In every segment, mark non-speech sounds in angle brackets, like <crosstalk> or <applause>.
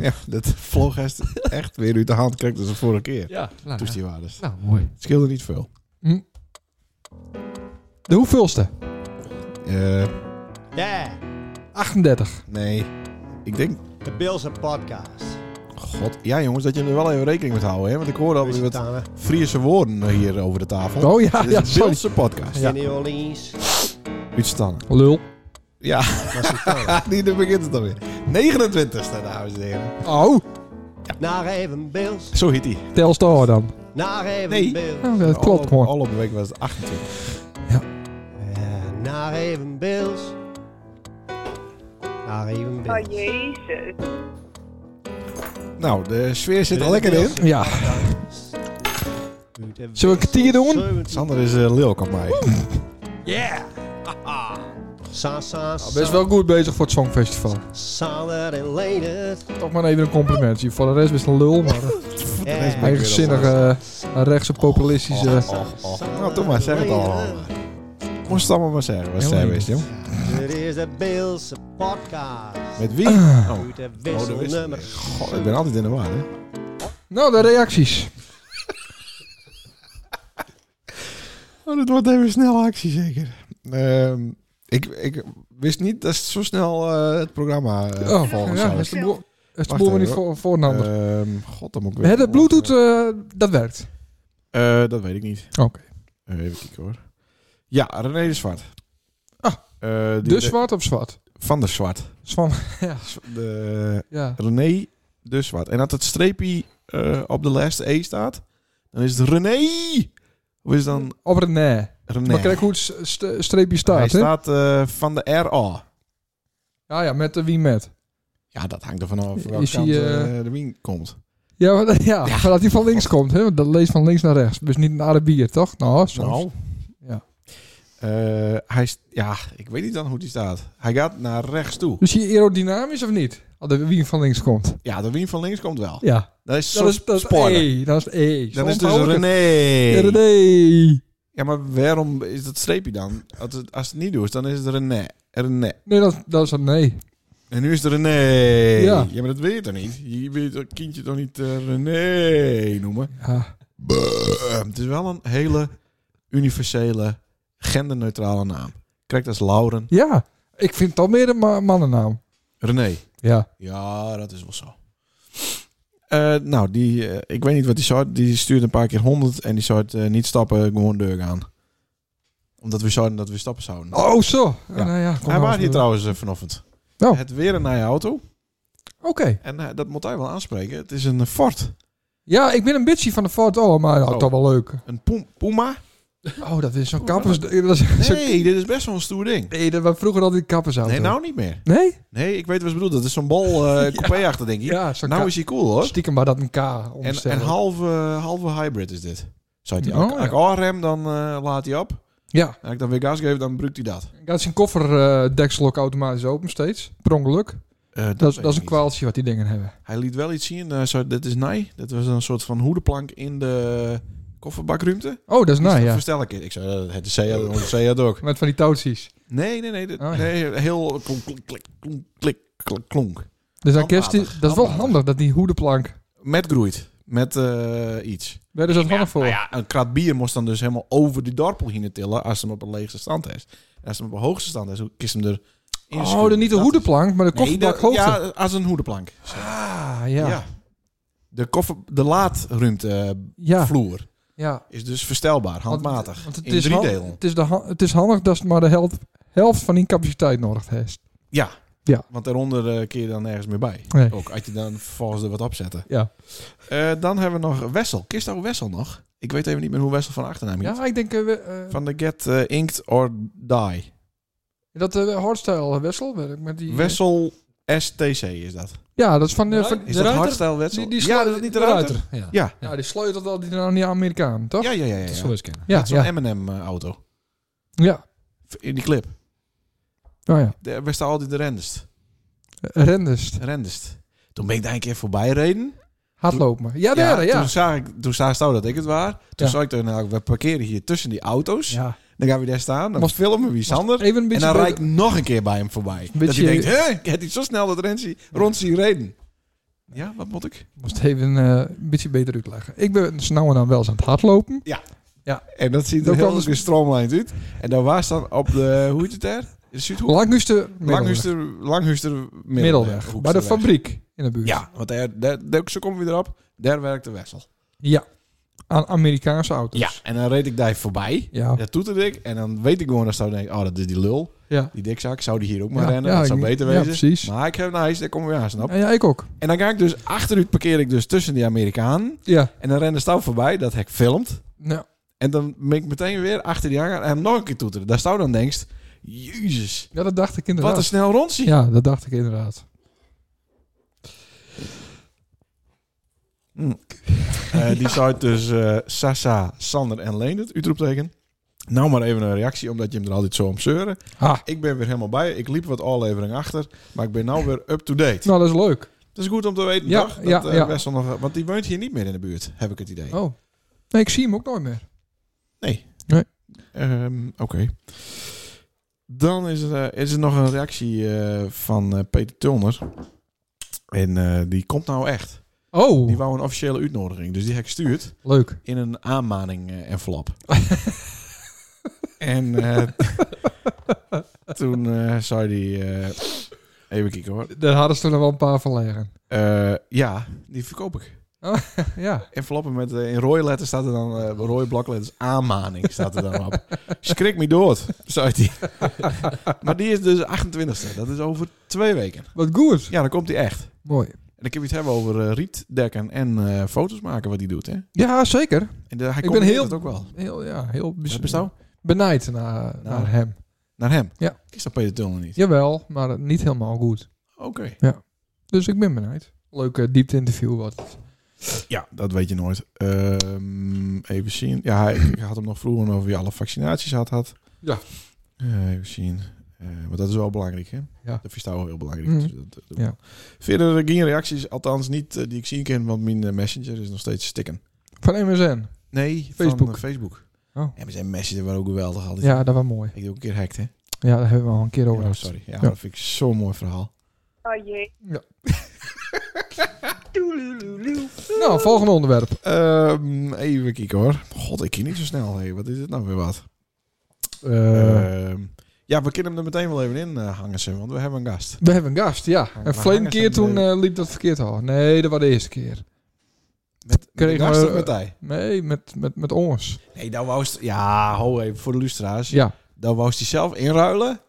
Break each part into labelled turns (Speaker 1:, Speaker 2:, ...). Speaker 1: Ja, dat vloog echt- echt weer uit de hand. Kijk, dat de vorige keer.
Speaker 2: Ja, nou,
Speaker 1: Toen
Speaker 2: ja.
Speaker 1: die waardes.
Speaker 2: nou mooi.
Speaker 1: Het scheelde niet veel.
Speaker 2: De hoeveelste?
Speaker 1: Eh,
Speaker 3: Yeah,
Speaker 2: 38.
Speaker 1: nee. Ik denk...
Speaker 3: de Bills podcast.
Speaker 1: God. Ja, jongens, dat je er wel even rekening mee houden, hè? Want ik hoorde al
Speaker 3: Is
Speaker 1: weer
Speaker 3: het
Speaker 1: wat
Speaker 3: aan, hè?
Speaker 1: Friese woorden hier over de tafel.
Speaker 2: Oh ja,
Speaker 1: Dit is
Speaker 2: ja,
Speaker 1: een
Speaker 2: sorry.
Speaker 1: Beeldse podcast.
Speaker 3: In New Orleans.
Speaker 1: Uitstannen.
Speaker 2: Lul.
Speaker 1: Ja,
Speaker 3: Was het aan.
Speaker 1: die Ah, daar begint het dan weer. 29ste, dames en heren.
Speaker 2: Oh,
Speaker 3: <laughs> Naar even Bills.
Speaker 1: Zo heet die.
Speaker 2: Telstar dan.
Speaker 3: Naar even
Speaker 1: Nee.
Speaker 3: Bills.
Speaker 2: Oh, dat klopt
Speaker 1: Al-
Speaker 2: gewoon.
Speaker 1: Afgelopen week was het 28.
Speaker 3: Eh, naar even Bills. Naar even
Speaker 4: Oh
Speaker 3: Bills.
Speaker 4: jezus.
Speaker 1: Nou, de sfeer zit er lekker in.
Speaker 2: Ja, Zullen we een kwartier doen?
Speaker 1: Sander is eh leuk op mij.
Speaker 3: Yeah! Sa,
Speaker 1: Nou,
Speaker 3: sa, sa.
Speaker 2: oh, best wel goed bezig voor het Songfestival.
Speaker 3: Sander en Leendert.
Speaker 2: Toch maar even een complimentje. Voor de rest best een lul, <laughs> maar een
Speaker 3: Yeah.
Speaker 1: ben ik
Speaker 2: eigenzinnige, eh, rechtse populistische... Oh,
Speaker 1: Nou, doe maar, zeg het al. Moest het allemaal maar zeggen, was
Speaker 2: Heel
Speaker 1: zij
Speaker 2: leuk.
Speaker 1: wist, joh.
Speaker 3: Dit is de Bills podcast.
Speaker 1: Met wie?
Speaker 2: Ah.
Speaker 1: Oh,
Speaker 3: Uit de
Speaker 1: oh dat wist ik
Speaker 3: wisselnummer.
Speaker 1: niet. God, ik ben altijd in de war, hè.
Speaker 2: Nou, de reacties.
Speaker 1: Oh, dat wordt even snel actie, zeker. Ehm, ik, ik wist niet dat het zo snel eh, het programma eh
Speaker 2: Oh,
Speaker 1: volgens
Speaker 2: ja,
Speaker 1: zou.
Speaker 2: is de boer, is de
Speaker 1: Wacht
Speaker 2: boer maar
Speaker 1: even,
Speaker 2: niet voor, voor een ander.
Speaker 1: Ehm, God, dan moet ik weer...
Speaker 2: het Bluetooth, eh, dat werkt.
Speaker 1: Eh, dat weet ik niet.
Speaker 2: Oké.
Speaker 1: Eh, even kijken, hoor. Ja, René de Zwart.
Speaker 2: Ah,
Speaker 1: Eh, die-
Speaker 2: De zwart op zwart?
Speaker 1: Van de Zwart.
Speaker 2: Zwan,
Speaker 1: De,
Speaker 2: ja.
Speaker 1: René de Zwart. En dat het streepje eh, op de laatste E staat, dan is het René. Of is het dan
Speaker 2: Of het nee.
Speaker 1: René?
Speaker 2: Maar kijk hoe het st- st- streepje staat,
Speaker 1: Hij
Speaker 2: hè?
Speaker 1: staat eh, van de RA.
Speaker 2: Ja, ja, met de wie met.
Speaker 1: Ja, dat hangt er vanaf welke
Speaker 2: Is hij,
Speaker 1: kant
Speaker 2: eh,
Speaker 1: eh, de wien komt.
Speaker 2: Ja, maar, dat- ja, maar dat hij van links komt, hè? want Dat leest van links naar rechts. Dus niet een Arabier, toch? Nou, soms.
Speaker 1: Nou.
Speaker 2: Ja.
Speaker 1: Eh, hij is, ja, ik weet niet dan hoe die staat. Hij gaat naar rechts toe.
Speaker 2: Dus hier aerodynamisch of niet? Als de wie van links komt.
Speaker 1: Ja, de wien van links komt wel.
Speaker 2: Ja.
Speaker 1: Dat is
Speaker 2: Dat
Speaker 1: zo'n
Speaker 2: is, dat is
Speaker 1: spoiler.
Speaker 2: E. Dat is E.
Speaker 1: Dan is
Speaker 2: Zo
Speaker 1: dus
Speaker 2: onthoud ik het. Ja,
Speaker 1: René.
Speaker 2: René.
Speaker 1: Ja, maar waarom is dat streepje dan? Als het, als het niet doet, dan is het René. René.
Speaker 2: Nee, dat, dat is een nee.
Speaker 1: En nu is het René.
Speaker 2: Ja.
Speaker 1: maar dat weet je toch niet? Je weet dat kindje toch niet eh, René noemen?
Speaker 2: Ja.
Speaker 1: Buh. Het is wel een hele universele, genderneutrale naam. Kijk, dat is Lauren.
Speaker 2: ja. Ik vind het al meer een ma- mannennaam.
Speaker 1: René.
Speaker 2: Ja.
Speaker 1: Ja, dat is wel zo. Eh, nou, die, eh, ik weet niet wat die soort. Die stuurde een paar keer 100 en die soort eh, niet stappen, gewoon deur gaan. Omdat we zouden dat we stappen zouden.
Speaker 2: Oh, zo. Ja.
Speaker 1: Ja.
Speaker 2: Nou, ja, kom
Speaker 1: hij
Speaker 2: maar
Speaker 1: was
Speaker 2: eens
Speaker 1: hier
Speaker 2: door.
Speaker 1: trouwens eh, vanochtend.
Speaker 2: Oh.
Speaker 1: Het weer een naar je auto.
Speaker 2: Oké.
Speaker 1: En eh, dat moet hij wel aanspreken. Het is een eh, Ford.
Speaker 2: Ja, ik ben een bitchie van de Ford. Oh, maar dat is
Speaker 1: Oh.
Speaker 2: toch wel leuk.
Speaker 1: Een Pum- Puma.
Speaker 2: Oh, dat is zo'n kappers... Dat is, <laughs> zo'n-
Speaker 1: Nee, dit is best wel een stoer ding.
Speaker 2: nee, dat was vroeger altijd kappersauto.
Speaker 1: Nee, nou niet meer.
Speaker 2: Nee?
Speaker 1: Nee, ik weet wat je bedoelt. Dat is zo'n bal eh coupé achter, denk ik.
Speaker 2: Ja, zo'n
Speaker 1: nou
Speaker 2: ka-
Speaker 1: is hij cool, hoor.
Speaker 2: Stiekem maar dat een K
Speaker 1: En,
Speaker 2: omstellen.
Speaker 1: en halve, halve hybrid is dit. Zou hij
Speaker 2: Oh,
Speaker 1: als
Speaker 2: ja.
Speaker 1: ik A-rem, dan eh, laat hij op.
Speaker 2: Ja.
Speaker 1: En als ik dan weer gas geef, dan bruikt hij dat.
Speaker 2: Gaat zijn kofferdeksel ook automatisch open steeds. Per ongeluk.
Speaker 1: Eh,
Speaker 2: Dat, is- dat
Speaker 1: weet
Speaker 2: is
Speaker 1: ik
Speaker 2: een
Speaker 1: niet.
Speaker 2: kwaaltje wat die dingen hebben.
Speaker 1: Hij liet wel iets zien. eh, zo, dit is nij. Dat was een soort van hoedenplank in de kofferbakruimte.
Speaker 2: Oh, dat is nou ja.
Speaker 1: Verstel ik het. Ik zei, eh, het is Seat, het is Seat ook.
Speaker 2: Met van die touwtjes.
Speaker 1: Nee, nee, nee. dit-
Speaker 2: Oh, ja.
Speaker 1: nee heel klonk, klonk, klonk, klonk, klonk, klonk, klonk.
Speaker 2: Dus dan kerst
Speaker 1: Handmatig,
Speaker 2: die, dat is wel
Speaker 1: handmatig.
Speaker 2: handig dat die hoedenplank.
Speaker 1: Met groeit. Met eh, iets.
Speaker 2: Daar is dat handig voor.
Speaker 1: Nou ja, een krat bier moest dan dus helemaal over die dorpel heen tillen als hem op een leegste stand is. En als hem op een hoogste stand is, kist hem er
Speaker 2: Oh, dan niet de hoedenplank, maar de kofferbak hoogte.
Speaker 1: Ja, als een hoedenplank.
Speaker 2: Ah,
Speaker 1: Ja.
Speaker 2: ja. Ja.
Speaker 1: De, koffer, de laadruimte eh,
Speaker 2: ja.
Speaker 1: vloer is dus verstelbaar, handmatig.
Speaker 2: Want het
Speaker 1: in
Speaker 2: is
Speaker 1: drie
Speaker 2: hand-
Speaker 1: delen.
Speaker 2: Het is, de han- het is handig dat het maar de helft, helft van die capaciteit nodig heeft.
Speaker 1: Ja.
Speaker 2: Ja.
Speaker 1: Want daaronder eh, keer je dan nergens meer bij.
Speaker 2: Nee.
Speaker 1: Ook als je dan vervolgens er wat opzetten.
Speaker 2: Ja.
Speaker 1: dan hebben we nog Wessel. Kist nou Wessel nog? Ik weet even niet meer hoe Wessel van achternaam heet.
Speaker 2: Ja, ik denk eh, we- eh,
Speaker 1: Van de Get eh, Inked or Die.
Speaker 2: dat eh, de hardstyle wissel werkt met die. eh,
Speaker 1: Wessel STC is dat.
Speaker 2: Ja, dat is van, eh, van
Speaker 1: Is
Speaker 2: de
Speaker 1: dat
Speaker 2: ruiter.
Speaker 1: hardstyle Wessel?
Speaker 2: Die, die
Speaker 1: ja,
Speaker 2: sleu-
Speaker 1: dat is niet de ruiter.
Speaker 5: Ja.
Speaker 1: Ja.
Speaker 2: Ja, Nou, die sleutelt al die aan die Amerikaan, toch?
Speaker 1: Ja, ja, ja. ja,
Speaker 5: Dat
Speaker 1: ja.
Speaker 5: zou eens kennen.
Speaker 2: ja,
Speaker 1: Dat is M&M,
Speaker 2: ja.
Speaker 1: zo'n M&M-auto.
Speaker 2: ja.
Speaker 1: eh, In die clip.
Speaker 2: Oh, ja.
Speaker 1: De- We staan altijd de rendest.
Speaker 2: Rendest.
Speaker 1: rendest. Toen ben ik daar een keer voorbij reden.
Speaker 2: Hardlopen. Ja, daar, ja.
Speaker 1: Toen zag ik, toen zag Stouw dat ik het waar. Toen
Speaker 2: Ja.
Speaker 1: zag ik er, nou, we parkeren hier tussen die auto's.
Speaker 2: ja.
Speaker 1: Dan gaan we daar staan. Dan
Speaker 2: Moest-
Speaker 1: filmen wie Sander.
Speaker 2: Even een
Speaker 1: En
Speaker 2: beetje.
Speaker 1: dan rijd
Speaker 2: beter-
Speaker 1: ik nog een keer bij hem voorbij. Dat
Speaker 2: beetje-
Speaker 1: hij denkt, hè, ik heb niet zo snel dat Renzi rond zien reden. Ja, wat moet ik?
Speaker 2: Moest even eh, een beetje beter uitleggen. Ik ben snauwen dan wel eens aan het hardlopen.
Speaker 1: En dat ziet er
Speaker 2: Dat
Speaker 1: heel
Speaker 2: kan dus-
Speaker 1: gestroomlijnd uit. En daar was dan op de, hoe heet het daar? De Zuidhoek?
Speaker 2: Langhuister, middelweg.
Speaker 1: Langhuister, Langhuister middelweg.
Speaker 2: middelweg. Bij de
Speaker 1: Hoeksterweg.
Speaker 2: fabriek in de buurt.
Speaker 1: Ja, want daar, daar, daar- zo komen we erop. Daar werkt de wessel.
Speaker 2: Ja. Aan Amerikaanse auto's.
Speaker 1: Ja, en dan reed ik daar voorbij.
Speaker 2: Ja.
Speaker 1: Dat toeterde ik. En dan weet ik gewoon dat zou denken, oh, dat is die lul.
Speaker 2: Ja.
Speaker 1: Die dikzak. Zou die hier ook maar
Speaker 2: Ja,
Speaker 1: rennen?
Speaker 2: ja,
Speaker 1: dat zou
Speaker 2: ik-
Speaker 1: beter
Speaker 2: ja,
Speaker 1: wezen.
Speaker 2: precies.
Speaker 1: Maar ik heb een ijs, daar kom je aan, snap.
Speaker 2: En ja, ik ook.
Speaker 1: En dan ga ik dus achteruit parkeer ik dus tussen die Amerikanen.
Speaker 2: Ja.
Speaker 1: En dan rende Stouw voorbij, dat hek filmt.
Speaker 2: Nou,
Speaker 1: En dan ben ik meteen weer achter die hangar en hem nog een keer toeteren. Daar Stouw dan denkt, jezus,
Speaker 2: ja, dat dacht ik inderdaad.
Speaker 1: wat een snel rondje.
Speaker 2: Ja, dat dacht ik inderdaad.
Speaker 1: Eh, die site dus eh, Sasa, Sander en Leendert, uitroepteken. Nou maar even een reactie, omdat je hem er altijd zo om zeuren.
Speaker 2: Ah,
Speaker 1: Ik ben weer helemaal bij. Ik liep wat aflevering achter, maar ik ben nou weer up-to-date.
Speaker 2: nou, dat is leuk.
Speaker 1: Dat is goed om te weten,
Speaker 2: Ja,
Speaker 1: toch? Dat,
Speaker 2: ja,
Speaker 1: eh,
Speaker 2: ja.
Speaker 1: Wessel nog, want die woont hier niet meer in de buurt, heb ik het idee.
Speaker 2: Oh. Nee, ik zie hem ook nooit meer.
Speaker 1: Nee.
Speaker 2: Nee.
Speaker 1: Ehm, Oké. Dan is er, eh, is er nog een reactie eh, van eh, Peter Tulner. En eh, die komt nou echt.
Speaker 2: Oh,
Speaker 1: Die wou een officiële uitnodiging, dus die heb ik gestuurd.
Speaker 2: leuk.
Speaker 1: in een aanmaning eh,
Speaker 2: <laughs>
Speaker 1: envelop. en eh, toen eh, zei die eh, even kijken hoor.
Speaker 2: Daar hadden ze er nog wel een paar van liggen.
Speaker 1: Eh, ja, die verkoop ik.
Speaker 2: <laughs> ja.
Speaker 1: Enveloppen met eh, in rode letters staat er dan eh rode blokletters aanmaning staat er dan op. Schrik me dood, zei die. <laughs> maar die is dus 28e. Dat is over twee weken.
Speaker 2: Wat goed.
Speaker 1: Ja, dan komt hij echt.
Speaker 2: Mooi.
Speaker 1: En dan kun je het hebben over eh, rietdekken en eh, foto's maken wat hij doet, hè?
Speaker 2: Ja, zeker.
Speaker 1: En de, hij
Speaker 2: ben
Speaker 1: combineert
Speaker 2: heel-
Speaker 1: het ook wel.
Speaker 2: Heel, ja, heel
Speaker 1: Wat Nou.
Speaker 2: bijz-
Speaker 1: bestaat?
Speaker 2: benijd naar, naar hem.
Speaker 1: Naar hem.
Speaker 2: Ja.
Speaker 1: Is dat Peter Tulner niet?
Speaker 2: Jawel, maar niet helemaal goed.
Speaker 1: Oké.
Speaker 2: Dus ik ben benijd. Leuk eh, diepte interview wat. het.
Speaker 1: Ja, dat weet je nooit. Ehm, even zien. Ja, hij- ik had hem nog vroeger over wie alle vaccinaties had. had.
Speaker 2: Ja.
Speaker 1: Eh, even zien. Eh want dat is wel belangrijk, hè?
Speaker 2: Ja.
Speaker 1: Dat verstaat wel heel belangrijk.
Speaker 2: Mhm.
Speaker 1: Dus dat- dat- dat-
Speaker 2: Ja.
Speaker 1: Verder eh, geen reacties, althans niet eh, die ik zien kan, want mijn eh, messenger is nog steeds stikken.
Speaker 2: Van MSN.
Speaker 1: Nee, Facebook.
Speaker 2: Facebook.
Speaker 1: Van, eh, Facebook.
Speaker 2: Oh.
Speaker 1: Ja, we zijn messenger waren ook geweldig altijd.
Speaker 2: Ja, dat was mooi.
Speaker 1: Ik doe ook een keer hacked, hè?
Speaker 2: Ja, daar hebben we al een keer over.
Speaker 1: Ja,
Speaker 2: gehad.
Speaker 1: sorry. Ja, dat vind ik zo'n mooi verhaal.
Speaker 4: Oh jee.
Speaker 2: Nou, volgende onderwerp.
Speaker 1: Ehm, even kijken hoor. God, ik ken niet zo snel. Hey, wat is dit nou weer wat?
Speaker 2: Eh,
Speaker 1: Ehm, ja, we kunnen hem er meteen wel even in eh, hangen, Sim, want we hebben een gast.
Speaker 2: we hebben een gast, ja.
Speaker 1: maar
Speaker 2: En verleden
Speaker 1: hangen ze
Speaker 2: keer
Speaker 1: hem
Speaker 2: toen eh, liep dat verkeerd al. Nee, dat was de eerste keer.
Speaker 1: Met, met
Speaker 2: Kregen
Speaker 1: een gast
Speaker 2: we-
Speaker 1: of met hij?
Speaker 2: Nee, met, met, met ons.
Speaker 1: Nee, dan wou ze- Ja, ho even, voor de lustra's.
Speaker 2: Ja,
Speaker 1: <laughs> Dan wou ze die zelf inruilen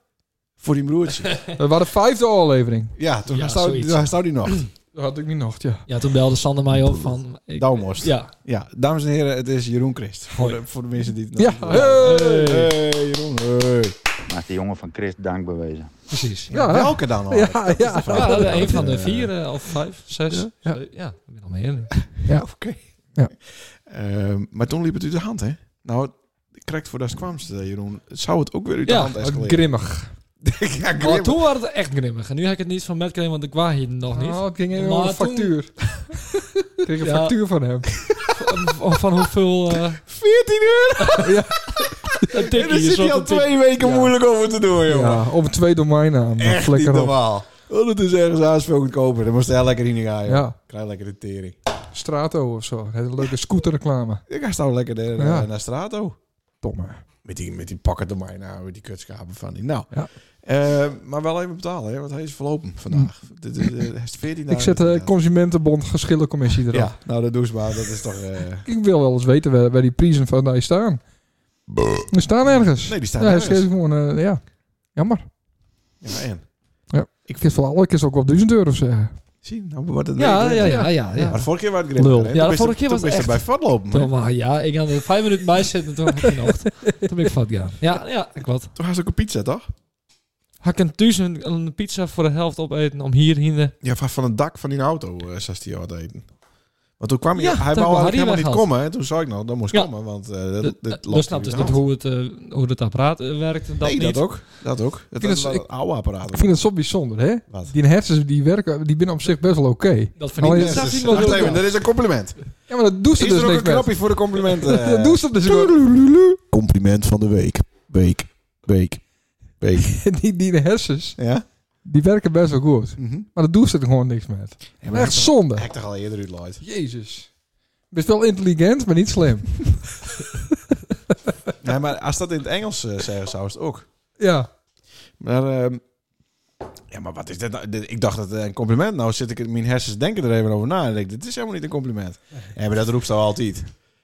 Speaker 1: voor die broertje.
Speaker 2: dat was de vijfde aflevering.
Speaker 1: ja, toen
Speaker 5: Ja,
Speaker 1: stond
Speaker 5: zoiets.
Speaker 1: daar stond die nog.
Speaker 2: Dat had ik niet nog, ja.
Speaker 5: Ja, toen belde Sander mij op van... Ik,
Speaker 1: Douwmost. Ja.
Speaker 5: ja,
Speaker 1: dames en heren, het is Jeroen Christ. Voor
Speaker 5: Hoi.
Speaker 1: de, voor de mensen die het
Speaker 2: Ja,
Speaker 1: nog-
Speaker 2: hey!
Speaker 1: Hey, Jeroen. Hey.
Speaker 6: Maar is de jongen van Chris dankbewezen.
Speaker 5: precies. Ja,
Speaker 2: Ja, Ah, hè?
Speaker 1: Welke dan al?
Speaker 2: Ja,
Speaker 1: Dat is
Speaker 2: ja.
Speaker 1: de vraag.
Speaker 5: dat is een
Speaker 1: Eh,
Speaker 5: van de vier eh, of vijf, zes.
Speaker 2: Ja.
Speaker 5: Ja, ja ik ben al meer.
Speaker 1: Oké.
Speaker 2: Ja.
Speaker 1: Ehm, maar toen liep het uit de hand, hè? Nou, correct voordat het kwam, zei eh, Jeroen, zou het ook weer uit de
Speaker 5: Ja,
Speaker 1: hand escaleren?
Speaker 2: Grimmig.
Speaker 1: ja, <laughs>
Speaker 5: Maar
Speaker 1: grimmig.
Speaker 5: toen was het echt grimmig. En nu heb ik het niet van Matt gekregen, want ik was hier nog niet.
Speaker 2: Oh,
Speaker 5: <laughs>
Speaker 2: het ging even
Speaker 5: Maar
Speaker 2: over een
Speaker 5: toen- <laughs>
Speaker 2: factuur. Ik kreeg een
Speaker 5: Ja.
Speaker 2: factuur van hem.
Speaker 5: van, van
Speaker 1: <laughs>
Speaker 5: hoeveel... eh
Speaker 1: 14 uur!
Speaker 5: een
Speaker 1: En daar
Speaker 5: tikkie,
Speaker 1: zit hij al twee weken
Speaker 5: Ja.
Speaker 1: moeilijk over te doen, jongen.
Speaker 2: Ja, over twee domeinnamen.
Speaker 1: Echt niet
Speaker 2: Flikker op.
Speaker 1: normaal. Oh, dat is ergens aanspelend kopen. Dan moest hij lekker in gaan, joh.
Speaker 2: Ja,
Speaker 1: Krijg lekker de tering.
Speaker 2: Strato of zo. Hele leuke scooterreclame.
Speaker 1: Ik ga staan lekker naar,
Speaker 2: Ja.
Speaker 1: naar Strato.
Speaker 2: Domme.
Speaker 1: Met die, met die pakken domein, nou, met die kutschapen van die. Nou,
Speaker 2: Ja.
Speaker 1: eh, maar wel even betalen, hè, want hij is verlopen vandaag. Dit is, eh, hij is 14
Speaker 2: Ik zet de Consumentenbond Geschillencommissie erop.
Speaker 1: Ja, nou dat doe ze maar. Dat is toch... eh,
Speaker 2: Ik wil wel eens weten waar, waar die prijzen van die staan. Die staan ergens.
Speaker 1: Nee, die staan
Speaker 2: Ja, dat
Speaker 1: ergens.
Speaker 2: is gewoon, eh, ja. Jammer.
Speaker 1: Ja, en?
Speaker 2: Ik vind het wel ik is ook wel 1000 euro zeggen.
Speaker 1: Zie, nou wordt het...
Speaker 5: Ja,
Speaker 1: weer-
Speaker 5: ja, ja, ja.
Speaker 1: Maar
Speaker 5: ja.
Speaker 1: de vorige keer was het grimmiger,
Speaker 5: Lul.
Speaker 1: hè?
Speaker 5: Ja,
Speaker 1: Toen
Speaker 5: de
Speaker 1: is
Speaker 5: vorige keer
Speaker 1: toen
Speaker 5: was het
Speaker 1: is er bij
Speaker 5: echt-
Speaker 1: Vatlopen. hè?
Speaker 5: Toen was- ja, ik had er vijf minuten bij zitten en toen had ik geen
Speaker 1: <laughs>
Speaker 5: ocht. Toen ben ik fout gegaan. Ja, ja, klopt.
Speaker 1: Toen was ze ook een pizza, toch?
Speaker 5: Had ik een thuis een, een pizza voor de helft opeten om hier, hier...
Speaker 1: Ja, van van het dak van die auto, eh, zei hij al het eten. Want toen kwam
Speaker 5: Ja,
Speaker 1: hij, hij
Speaker 5: toen
Speaker 1: wou
Speaker 5: had
Speaker 1: eigenlijk helemaal
Speaker 5: hij
Speaker 1: niet
Speaker 5: weggehad.
Speaker 1: komen. Hè? Toen zei ik nog, dan moest
Speaker 5: Ja.
Speaker 1: komen, want eh dat,
Speaker 5: Dat,
Speaker 1: dit
Speaker 5: dat snapt
Speaker 1: dus
Speaker 5: dus niet hoe het, eh, hoe het apparaat eh, werkt. en Dat
Speaker 1: nee,
Speaker 5: niet.
Speaker 1: dat ook. Dat ook. Dat
Speaker 2: vind
Speaker 1: is
Speaker 2: het-
Speaker 1: wel
Speaker 2: ik-
Speaker 1: een oude apparaat.
Speaker 2: Ik vind het zo bijzonder, hè?
Speaker 1: Wat?
Speaker 2: Die hersens die werken, die binnen op zich best wel oké.
Speaker 5: Dat vind ik
Speaker 2: Alleen-
Speaker 5: niet. Dat vind ik wel
Speaker 1: Wacht
Speaker 5: heel
Speaker 1: even, Oh,
Speaker 5: raar.
Speaker 1: dat is een compliment.
Speaker 2: Ja, maar dat doet ze
Speaker 1: Is
Speaker 2: dus
Speaker 1: er ook een
Speaker 2: niks mee.
Speaker 1: knopje voor de
Speaker 2: <laughs>
Speaker 1: eh? complimenten?
Speaker 2: Dat doet ze dus <laughs>
Speaker 1: eh? Compliment van de week. Week. Week. Week.
Speaker 2: niet. Die, die hersens,
Speaker 1: Ja?
Speaker 2: Die werken best wel goed. Maar dat doet ze er gewoon niks met. Echt zonde.
Speaker 1: Heb ik toch al eerder uitleid?
Speaker 2: Jezus. Best wel intelligent, maar niet slim. <laughs>
Speaker 1: Nee, maar als dat in het Engels eh, zeggen zou, is het ook.
Speaker 2: Ja.
Speaker 1: Maar, ehm, ja, maar wat is dit nou? Dit- Ik dacht dat het een compliment. Nou zit ik in mijn hersens denken er even over na. En ik denk, dit is helemaal niet een compliment. Ja, maar dat roept ze al altijd.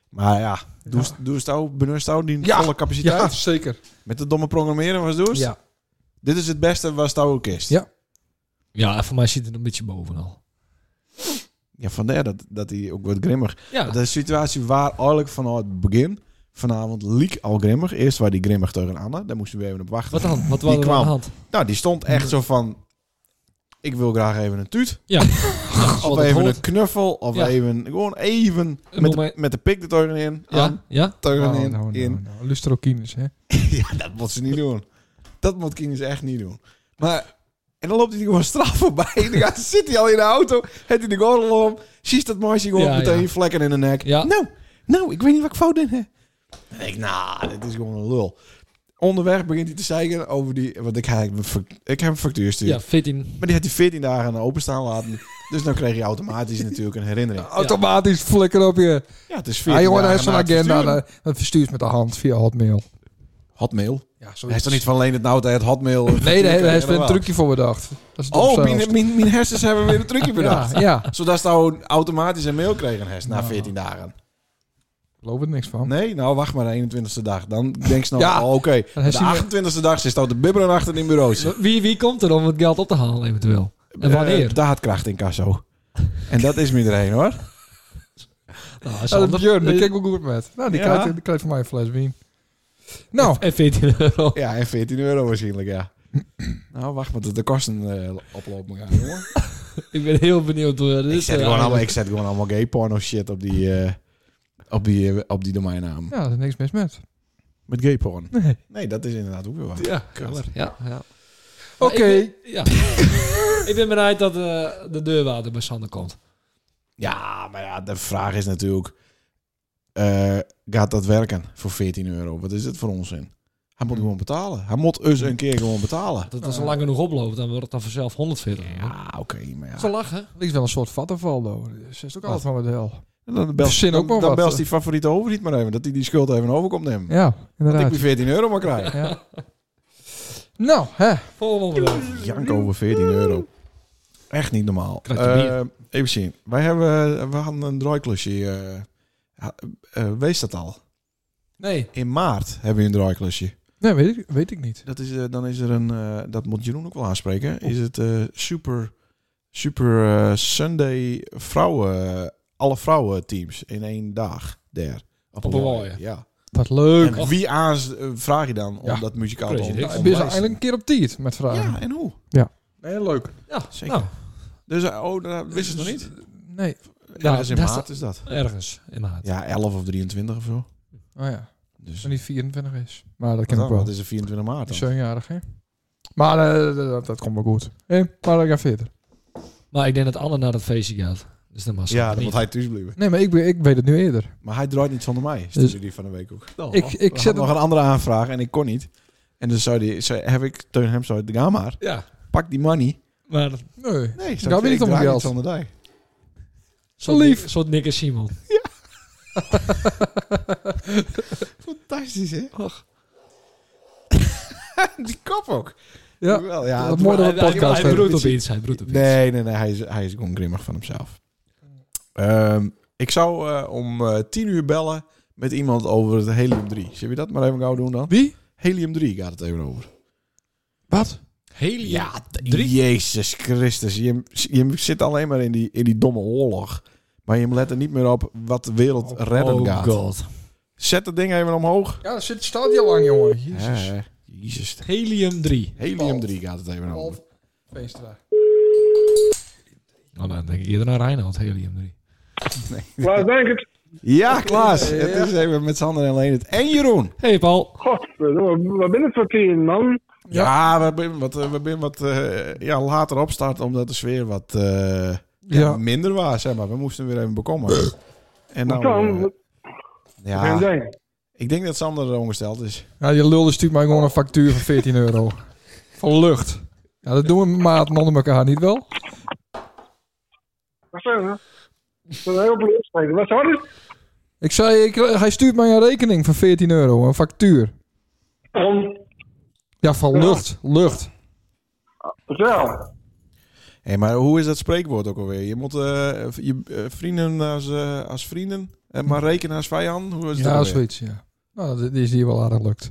Speaker 1: Maar ja, doe, doe stouw, benut stouw die
Speaker 2: Ja.
Speaker 1: volle capaciteit.
Speaker 2: Ja, zeker.
Speaker 1: Met de domme programmeren was doe.
Speaker 2: Ja.
Speaker 1: Dit is het beste wat stouw ook is.
Speaker 2: Ja.
Speaker 5: Ja, voor mij zit het een beetje bovenal.
Speaker 1: Ja, vandaar dat, dat hij ook wordt grimmig.
Speaker 5: Ja,
Speaker 1: De situatie waar eigenlijk vanaf het begin vanavond liek al grimmig. Eerst waar die grimmig tegen Anne. Daar moesten we even op wachten.
Speaker 5: wat dan? Wat was er
Speaker 1: kwam.
Speaker 5: aan de hand?
Speaker 1: Nou, die stond echt zo van... Ik wil graag even een tuut. Of
Speaker 5: Wat het
Speaker 1: even
Speaker 5: hoort.
Speaker 1: een knuffel. Of
Speaker 5: Ja.
Speaker 1: even... Gewoon even
Speaker 5: Een
Speaker 1: met de,
Speaker 5: moment.
Speaker 1: met de pik de teugen in. aan,
Speaker 5: Ja, ja.
Speaker 1: teugen
Speaker 2: Oh,
Speaker 1: in.
Speaker 2: nou, nou,
Speaker 1: in.
Speaker 2: nou. Lustrokines, hè?
Speaker 1: Ja, dat moet ze niet doen. Dat moet Kines echt niet doen. Maar... En dan loopt hij gewoon straf voorbij. En dan gaat- <laughs> zit hij al in de auto. Heeft hij de gordel om. Ziet dat meisje gewoon
Speaker 5: Ja,
Speaker 1: meteen
Speaker 5: ja.
Speaker 1: vlekken in de nek.
Speaker 5: Ja.
Speaker 1: Nou, nou, ik weet niet wat ik fout in heb. Dan denk ik, nou, dit is gewoon een lul. Onderweg begint hij te zeiken over die... Want ik, heb een fac- ik heb een factuur sturen.
Speaker 5: Ja, 14.
Speaker 1: Maar die had hij 14 dagen openstaan laten. Dus dan kreeg je automatisch natuurlijk een
Speaker 5: <laughs>
Speaker 1: herinnering.
Speaker 2: Automatisch flikker op je.
Speaker 1: Ja, het is 14
Speaker 2: Ja, jongen,
Speaker 1: dagen
Speaker 2: hij heeft zo'n
Speaker 1: na
Speaker 2: agenda. nou,
Speaker 1: het versturen.
Speaker 2: Dat dat verstuurt met de hand via Hotmail.
Speaker 1: Hotmail.
Speaker 2: Ja,
Speaker 1: Hij is toch niet van alleen het nou dat hij het hotmail...
Speaker 2: Nee, nee, daar heeft
Speaker 1: wel
Speaker 2: er een trucje voor bedacht. Dat is het
Speaker 1: Oh,
Speaker 2: opstel.
Speaker 1: mijn, mijn, mijn hersens hebben weer een trucje
Speaker 2: <laughs>
Speaker 1: bedacht.
Speaker 2: Ja, Nou. ja.
Speaker 1: Zodat ze nou automatisch een mail kregen hersen na 14 dagen.
Speaker 2: Ik geloof er niks van.
Speaker 1: Nee, nou wacht maar de 21ste dag. Dan denk ze nou,
Speaker 2: Ja.
Speaker 1: oh, oké.
Speaker 2: hij
Speaker 1: De
Speaker 2: ziet-
Speaker 1: 28ste dag zit nou de bibberen achter in bureaus.
Speaker 5: Wie, wie komt er om het geld op te halen eventueel? En wanneer?
Speaker 1: Eh, daadkracht in Casso. En dat is me iedereen hoor.
Speaker 5: Nou,
Speaker 2: Ja, dat
Speaker 5: Sander,
Speaker 2: Björn, daar
Speaker 5: eh,
Speaker 2: kijk ik wel goed met. Nou, die
Speaker 1: Ja.
Speaker 2: krijgt die krijgt van mij een fles wien. Nou,
Speaker 5: En 14 eh, euro.
Speaker 1: Ja, en 14 euro waarschijnlijk, ja. nou, wacht maar tot de kosten eh, oplopen gaan, jongen.
Speaker 5: Ik ben heel benieuwd. Hoor. Dit
Speaker 1: Ik
Speaker 5: is,
Speaker 1: zet,
Speaker 5: eh,
Speaker 1: gewoon allemaal, Dus, ik
Speaker 5: eigenlijk-
Speaker 1: zet gewoon allemaal gay porno shit op die, eh, op die, eh, op die domeinnaam.
Speaker 2: ja, er is niks mis met.
Speaker 1: Met gay porn.
Speaker 2: <laughs> Nee.
Speaker 1: Nee, dat is inderdaad ook weer waar.
Speaker 5: Ja, jammer. ja, ja.
Speaker 2: Oké.
Speaker 5: Maar Ik, ben- ja. <laughs> ik ben benieuwd dat eh, de deurwaarder bij Sander komt.
Speaker 1: Ja, maar ja, de vraag is natuurlijk... eh, gaat dat werken voor 14 euro? Wat is het voor onzin? Hij
Speaker 2: Hmm.
Speaker 1: moet gewoon betalen. Hij moet eens een keer gewoon betalen.
Speaker 5: Dat als het lang genoeg oploopt, dan wordt het dan vanzelf 140. Ja.
Speaker 1: Ah. Ja, oké, maar ja.
Speaker 5: Ze lachen.
Speaker 2: Er is wel een soort vattenval, though. Dus dat is ook altijd van wat de hel.
Speaker 1: Dan belt,
Speaker 2: Verzin ook
Speaker 1: dan,
Speaker 2: wel
Speaker 1: dan
Speaker 2: wat.
Speaker 1: belst die favoriete overheid maar even. Dat hij die schuld even overkomt nemen.
Speaker 2: Ja,
Speaker 1: dat ik
Speaker 2: inderdaad. <laughs>
Speaker 1: die 14 euro maar krijg.
Speaker 2: Ja. Nou, hè.
Speaker 5: Volgende onderwerp.
Speaker 1: Jank over 14 euro. Echt niet normaal.
Speaker 5: Krijg je bier.
Speaker 1: Eh, even zien. Wij hebben, eh, we hadden een draaiklusje. eh, ha- eh, wees dat al?
Speaker 5: Nee.
Speaker 1: In maart hebben we een draaiklusje.
Speaker 2: Nee, weet ik, weet ik niet.
Speaker 1: Dat is, eh, dan is er een, eh, dat moet Jeroen ook wel aanspreken. Is het eh, super, super eh, Sunday vrouwen, alle vrouwen teams in één dag daar.
Speaker 5: Op een waaien.
Speaker 1: Ja.
Speaker 2: Wat leuk.
Speaker 1: En wie aans eh, vraag je dan om
Speaker 2: Ja.
Speaker 1: dat muzikaal te
Speaker 5: Crazy
Speaker 1: ont-
Speaker 5: Dick.
Speaker 2: Nou,
Speaker 5: Nou,
Speaker 2: ik ben zo
Speaker 1: onderwijzen?
Speaker 2: eindelijk een keer op tijd met vragen.
Speaker 1: Ja, en hoe?
Speaker 2: Nee, leuk.
Speaker 5: Ja,
Speaker 1: Zeker.
Speaker 5: Nou,
Speaker 1: Dus, eh, oh, dat wist je het nog niet?
Speaker 2: Nee.
Speaker 1: Ja,
Speaker 5: Ja,
Speaker 1: is in
Speaker 5: daar
Speaker 1: maart is dat.
Speaker 5: ergens in maart.
Speaker 1: Ja, 11 of 23 of zo.
Speaker 2: Oh ja,
Speaker 1: Dus
Speaker 2: toen die 24 is. Maar dat
Speaker 1: wat
Speaker 2: ken
Speaker 1: dan?
Speaker 2: ik wel.
Speaker 1: Dat is de 24 maart dan.
Speaker 2: 7-jarig, hè. Maar eh, dat, dat komt wel goed. Hé, maar ik ga verder.
Speaker 5: Maar ik denk dat Anne naar dat feestje gaat. Dus dan mag ze
Speaker 1: Ja, dan
Speaker 5: niet.
Speaker 1: moet hij thuis blijven.
Speaker 2: Nee, maar ik, ben- ik weet het nu eerder.
Speaker 1: Maar hij draait niet zonder mij. Stuurde die van de week ook.
Speaker 5: Oh,
Speaker 2: Dus ik ik
Speaker 1: Ik
Speaker 2: zet
Speaker 1: zet
Speaker 2: het...
Speaker 1: nog een andere aanvraag en ik kon niet. En dus zou die, zei, heb ik tegen hem zo, ga maar,
Speaker 5: Ja,
Speaker 1: pak die money.
Speaker 5: maar
Speaker 2: Nee.
Speaker 1: Nee,
Speaker 2: Daar ben ik om
Speaker 1: draai
Speaker 2: geld.
Speaker 1: niet zonder die.
Speaker 5: zo
Speaker 2: lief.
Speaker 5: lief. Zo'n Nick en Simon.
Speaker 1: Fantastisch, hè? <laughs> die kop ook.
Speaker 2: Ja.
Speaker 1: Wel, ja
Speaker 2: Dat
Speaker 1: het-
Speaker 2: mooie-
Speaker 5: Hij,
Speaker 2: een podcast
Speaker 5: hij, hij
Speaker 2: hebben.
Speaker 5: broedt op iets. Hij broedt op iets.
Speaker 1: Nee, nee, nee, hij is, hij is gewoon grimmig van hemzelf. Ehm, ik zou eh, om eh, 10 uur bellen met iemand over het helium-3. Zullen we dat maar even gauw doen dan?
Speaker 2: Wie?
Speaker 1: Helium-3 gaat het even over.
Speaker 2: Wat?
Speaker 5: Helium.
Speaker 1: Drie? Jezus Christus, je, je zit alleen maar in die, in die domme oorlog. Maar je let er niet meer op wat de wereld redden
Speaker 5: oh
Speaker 1: gaat.
Speaker 5: god.
Speaker 1: Zet dat ding even omhoog.
Speaker 2: Ja, dat zit, staat heel lang, jongen.
Speaker 1: Jezus.
Speaker 2: Jezus.
Speaker 1: Jezus.
Speaker 5: Helium 3.
Speaker 1: Helium 3 gaat het even over.
Speaker 2: Half Veenstra.
Speaker 5: Nou, dan denk ik eerder naar Reinhold. Helium 3.
Speaker 4: Klaas Denkert.
Speaker 1: Ja, Klaas. Het is even met Sander en Leendert. En Jeroen.
Speaker 5: Hey Paul.
Speaker 4: God, wat ben het voor tien, man?
Speaker 1: Ja, we zijn wat, eh, we zijn wat eh, ja, later opstart omdat de sfeer wat eh, ja,
Speaker 2: Ja.
Speaker 1: minder was. Zeg maar. We moesten weer even bekomen. En nou,
Speaker 4: Wat dan?
Speaker 1: eh,
Speaker 4: Wat ben
Speaker 1: ja,
Speaker 4: jij?
Speaker 1: ik denk dat Sander ongesteld is.
Speaker 2: Ja, die lulde stuurt mij gewoon een factuur van 14 euro. Van lucht. Ja, dat doen we met maten onder elkaar niet wel.
Speaker 4: Wat zijn we? Dat is een heel blöd spreken. Wat zou het?
Speaker 2: Ik zei, ik, eh, hij stuurt mij een rekening van 14 euro, een factuur.
Speaker 4: Om.
Speaker 2: Ja, van lucht, lucht.
Speaker 4: Zo.
Speaker 1: Hé, maar hoe is dat spreekwoord ook alweer? Je moet eh, v- je eh, vrienden als, eh, als vrienden, en maar rekenen als vijanden. Hoe is dat
Speaker 2: Ja,
Speaker 1: alweer?
Speaker 2: zoiets, ja. Nou, dat is hier wel aardig lukt.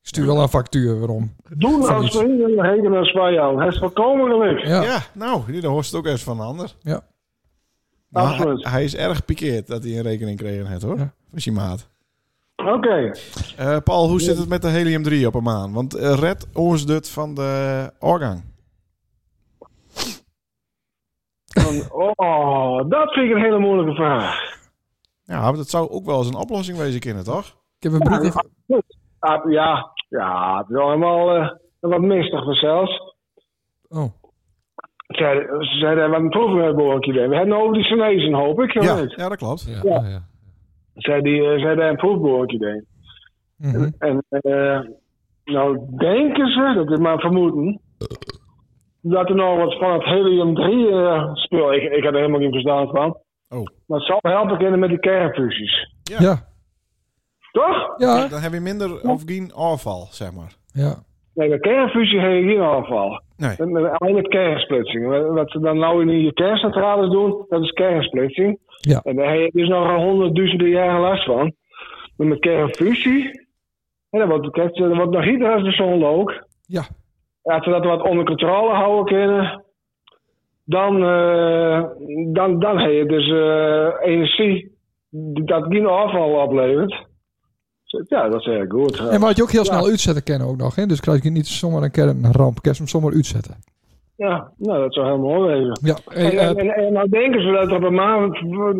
Speaker 2: Ik stuur wel een factuur, waarom?
Speaker 4: Doen als vrienden, hegen als vijand. Het is volkomen gelukt.
Speaker 2: Ja,
Speaker 1: Ja, nou, dit hoort het ook eens van een ander.
Speaker 2: Ja.
Speaker 1: Maar
Speaker 4: Absoluut.
Speaker 1: hij, hij is erg pikeerd dat hij een rekening kreeg net hoor.
Speaker 2: Ja.
Speaker 1: Van zijn maat.
Speaker 4: Oké.
Speaker 1: Eh, Paul, hoe zit het met de helium-3 op een maan? Want eh, red ons dit van de organg.
Speaker 4: Dan- Oh, dat vind ik een hele moeilijke vraag.
Speaker 1: Ja, maar dat zou ook wel eens een oplossing wezen kunnen, toch?
Speaker 2: ik heb een broek...
Speaker 4: Ah, ja, ja, het is wel helemaal eh, wat mistig voor zelfs.
Speaker 2: Oh,
Speaker 4: Ze ze zeiden, wat een proefboortje weer. We hebben het over die Chinezen, hoop ik.
Speaker 1: Ja,
Speaker 4: Ja. Ze
Speaker 1: ja dat klopt.
Speaker 5: Ja, ja. ja.
Speaker 4: zeiden, eh, ze hebben een proefboortje weer.
Speaker 2: mhm.
Speaker 4: En eh, nou denken ze, dat is maar vermoeden, dat er nog wat van het helium-3 eh spul, ik, ik had er helemaal geen verstaan van,
Speaker 1: Oh.
Speaker 4: maar het zal helpen kunnen met die kernfusies.
Speaker 1: Ja.
Speaker 2: ja,
Speaker 4: Toch?
Speaker 2: ja,
Speaker 1: Dan heb je minder of geen afval, zeg maar.
Speaker 2: ja.
Speaker 4: Nee, bij kernfusie heb je geen afval.
Speaker 1: Nee.
Speaker 4: En, eh, Alleen met kernsplitsing. Wat- Wat ze dan nou in je kerncentrales doen, dat is kernsplitsing.
Speaker 2: Ja.
Speaker 4: En daar heb je dus nog honderdduizenden jaren last van. Maar met kernfusie, hè, dan wordt, het- dan wordt nog ieder als de zon ook.
Speaker 2: Ja.
Speaker 4: Als ze dat wat onder controle houden kunnen, dan, eh, dan, dan heb je dus eh, energie die- dat geen afval oplevert. Ja, dat is erg goed.
Speaker 2: En wat je ook heel snel uitzetten kennen ook nog, hè? Dus krijg je niet zomaar een kernramp, kerst hem zomaar uitzetten.
Speaker 4: Ja, nou, dat zou heel mooi wezen.
Speaker 2: Ja,
Speaker 5: Hey,
Speaker 4: En,
Speaker 5: eh,
Speaker 4: en, en, en nou denken ze dat er op een maand,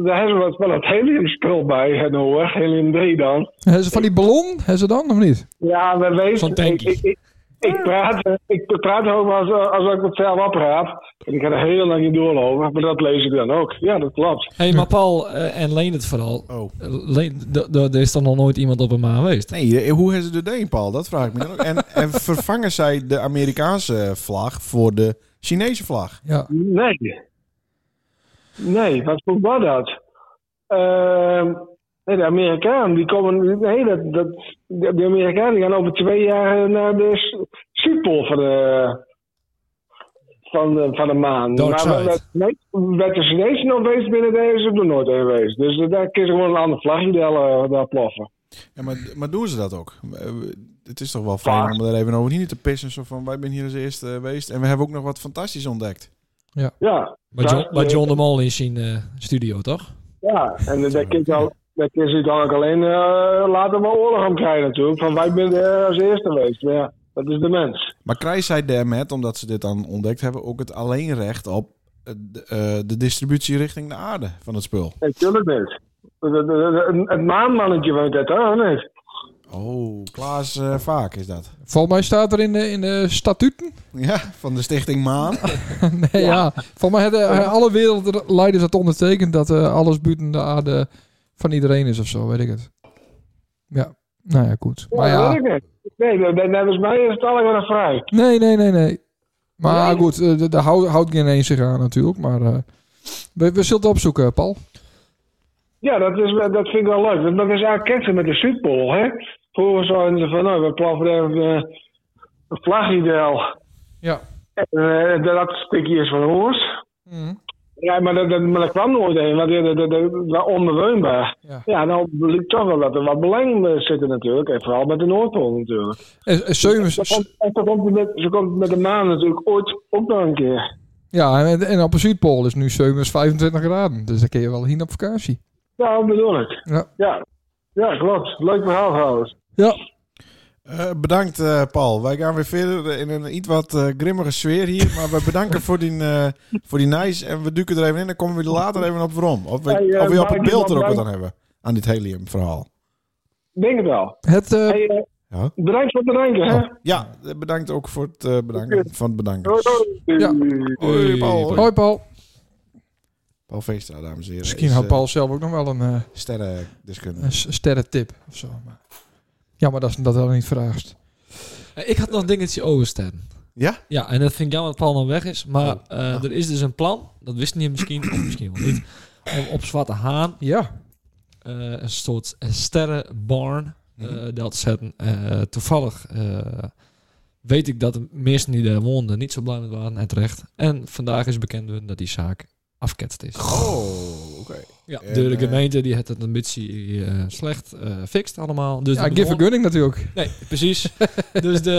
Speaker 4: daar hebben we wat van het heliumspul bij, hè, nou, hoor, helium 3 dan.
Speaker 2: hebben ze van die ballon, hebben ze dan of niet?
Speaker 4: Ja, we weten,
Speaker 5: Zo'n
Speaker 4: ik,
Speaker 5: tankje.
Speaker 4: ik, ik, ik praat, ik praat ook wel als, als ik het zelf opraap. En ik ga er heel lang in doorlopen, maar dat lees ik dan ook. Ja, dat klopt.
Speaker 5: hey, maar Paul eh, en Leen het vooral.
Speaker 1: Oh.
Speaker 5: Eh, Leen, d- d- er is dan nog nooit iemand op een maan geweest.
Speaker 1: Nee, eh, hoe hebben ze de deen, Paul? Dat vraag ik me dan ook. En, en vervangen zij de Amerikaanse vlag voor de Chinese vlag?
Speaker 2: Ja,
Speaker 4: Nee. Nee, wat voor was dat? Ehm, nee, de Amerikanen, die komen, nee, dat, dat, de de Amerikanen die gaan over twee jaar naar de s- Zuidpool van de, van de, van de maan.
Speaker 5: Dark
Speaker 4: maar
Speaker 5: side.
Speaker 4: wat- wat- nee, wat de Chinezen nog geweest binnen deze is er nog nooit een geweest. Dus eh, daar kun je gewoon een ander vlagje daar, eh, daar ploffen.
Speaker 1: Ja, maar, maar doen ze dat ook? Eh, Het is toch wel fijn om er even over niet te pissen. Zo van, wij zijn hier als eerste geweest en we hebben ook nog wat fantastisch ontdekt.
Speaker 4: Ja,
Speaker 5: Bij
Speaker 4: Ja,
Speaker 5: John, bij
Speaker 4: eh,
Speaker 5: John de Mol in zijn eh, studio, toch?
Speaker 4: ja. en eh, daar kun je dan- daar kun je dan ook alleen eh, later wel oorlog om krijgen natuurlijk. Van wij zijn er als eerste geweest. Maar ja, dat is de mens.
Speaker 1: Maar krijgt zij daarmee, omdat ze dit dan ontdekt hebben, ook het alleenrecht op eh, de, eh, de distributie richting de aarde van het spul?
Speaker 4: Natuurlijk niet. Het maanmannetje van dat, hoor, niet?
Speaker 1: Oh, Klaas eh, Vaak is dat.
Speaker 2: volgens mij staat er in de, in de statuten.
Speaker 1: <laughs> Ja, van de Stichting Maan.
Speaker 2: nee, ja. Volgens mij hebben eh, alle wereldleiders dat ondertekend dat eh, alles buiten de aarde van iedereen is of zo, weet ik het. Ja, nou ja, goed. Maar
Speaker 4: Dat
Speaker 2: ja,
Speaker 4: weet ik niet. Nee, dat- dat- volgens mij is het allemaal nog vrij.
Speaker 2: nee, nee, nee, nee. Maar goed, eh, de- daar houdt, houdt geen een zich aan natuurlijk, maar eh, we, we zullen het opzoeken, Paul.
Speaker 4: Ja, dat, is, wel- dat vind ik wel leuk. Want dat is eigenlijk ketsen met de Zuidpool, hè? Vroeger zouden ze van, nou, we plaffen even eh, een vlagidel.
Speaker 2: Ja.
Speaker 4: En eh, dat stukje is van ons. Ja, maar dat, dat, maar dat kwam nooit heen, want dat, dat, dat, dat was onbewoonbaar.
Speaker 2: Ja.
Speaker 4: Ja. nou bleek toch wel dat er wat belang eh, zitten natuurlijk. En vooral met de Noordpool natuurlijk.
Speaker 2: En, en zeven-
Speaker 4: Ze komt, en ze komt met, ze komt met de maan natuurlijk ooit ook nog een keer.
Speaker 2: ja, en, en op de Zuidpool is nu 7 25 graden, dus dan kun je wel hier op vakantie.
Speaker 4: Ja, dat bedoel ik.
Speaker 2: Ja.
Speaker 4: Ja, Ja, klopt. Leuk verhaal trouwens.
Speaker 2: Ja,
Speaker 1: Eh, bedankt, eh, Paul. Wij gaan weer verder in een iets wat eh, grimmige sfeer hier. Maar we bedanken voor die, eh, voor die nice. En we duiken er even in. Dan komen we er later even op waarom. Of we,
Speaker 4: Hey, eh,
Speaker 1: of we op
Speaker 4: Mike,
Speaker 1: het beeld er ook wat
Speaker 4: bedankt.
Speaker 1: aan hebben. Aan dit helium-verhaal.
Speaker 4: Denk het wel.
Speaker 2: het, eh,
Speaker 4: Hey, eh,
Speaker 1: Ja.
Speaker 4: Bedankt voor het bedanken, hè.
Speaker 1: Ja, eh, bedankt ook voor het eh, bedanken. Van het bedanken.
Speaker 4: Doei, doei.
Speaker 2: Ja.
Speaker 1: Hoi, Paul.
Speaker 5: Hoi.
Speaker 2: hoi Paul.
Speaker 1: Paul Veestra, dames en heren.
Speaker 2: Misschien
Speaker 1: is,
Speaker 2: had
Speaker 1: eh,
Speaker 2: Paul zelf ook nog wel een... eh,
Speaker 1: Sterrendeskundige.
Speaker 2: Een s- sterrentip of zo. Maar... Ja, maar dat is dat wel niet vraagt.
Speaker 5: Eh, Ik had nog een dingetje over, Stan.
Speaker 1: Ja?
Speaker 5: Ja, en dat vind ik jammer dat Paul dan weg is. Maar eh, er is dus een plan, dat wist hij misschien, of misschien wel niet, om op Zwarte Haan
Speaker 2: Ja.
Speaker 5: eh, een soort sterrenbarn eh dat zetten. Eh, toevallig eh, weet ik dat de meesten die daar woonden niet zo blij met waren en terecht. En vandaag is bekend geworden dat die zaak afketst is.
Speaker 1: Oh, oké.
Speaker 5: Ja,
Speaker 1: En,
Speaker 5: de
Speaker 1: eh,
Speaker 5: gemeente die had het een beetje eh, slecht eh fixt allemaal. Dus
Speaker 2: Ja,
Speaker 5: de
Speaker 2: give a
Speaker 5: bewoner-
Speaker 2: gunning natuurlijk.
Speaker 5: Nee, precies. dus de...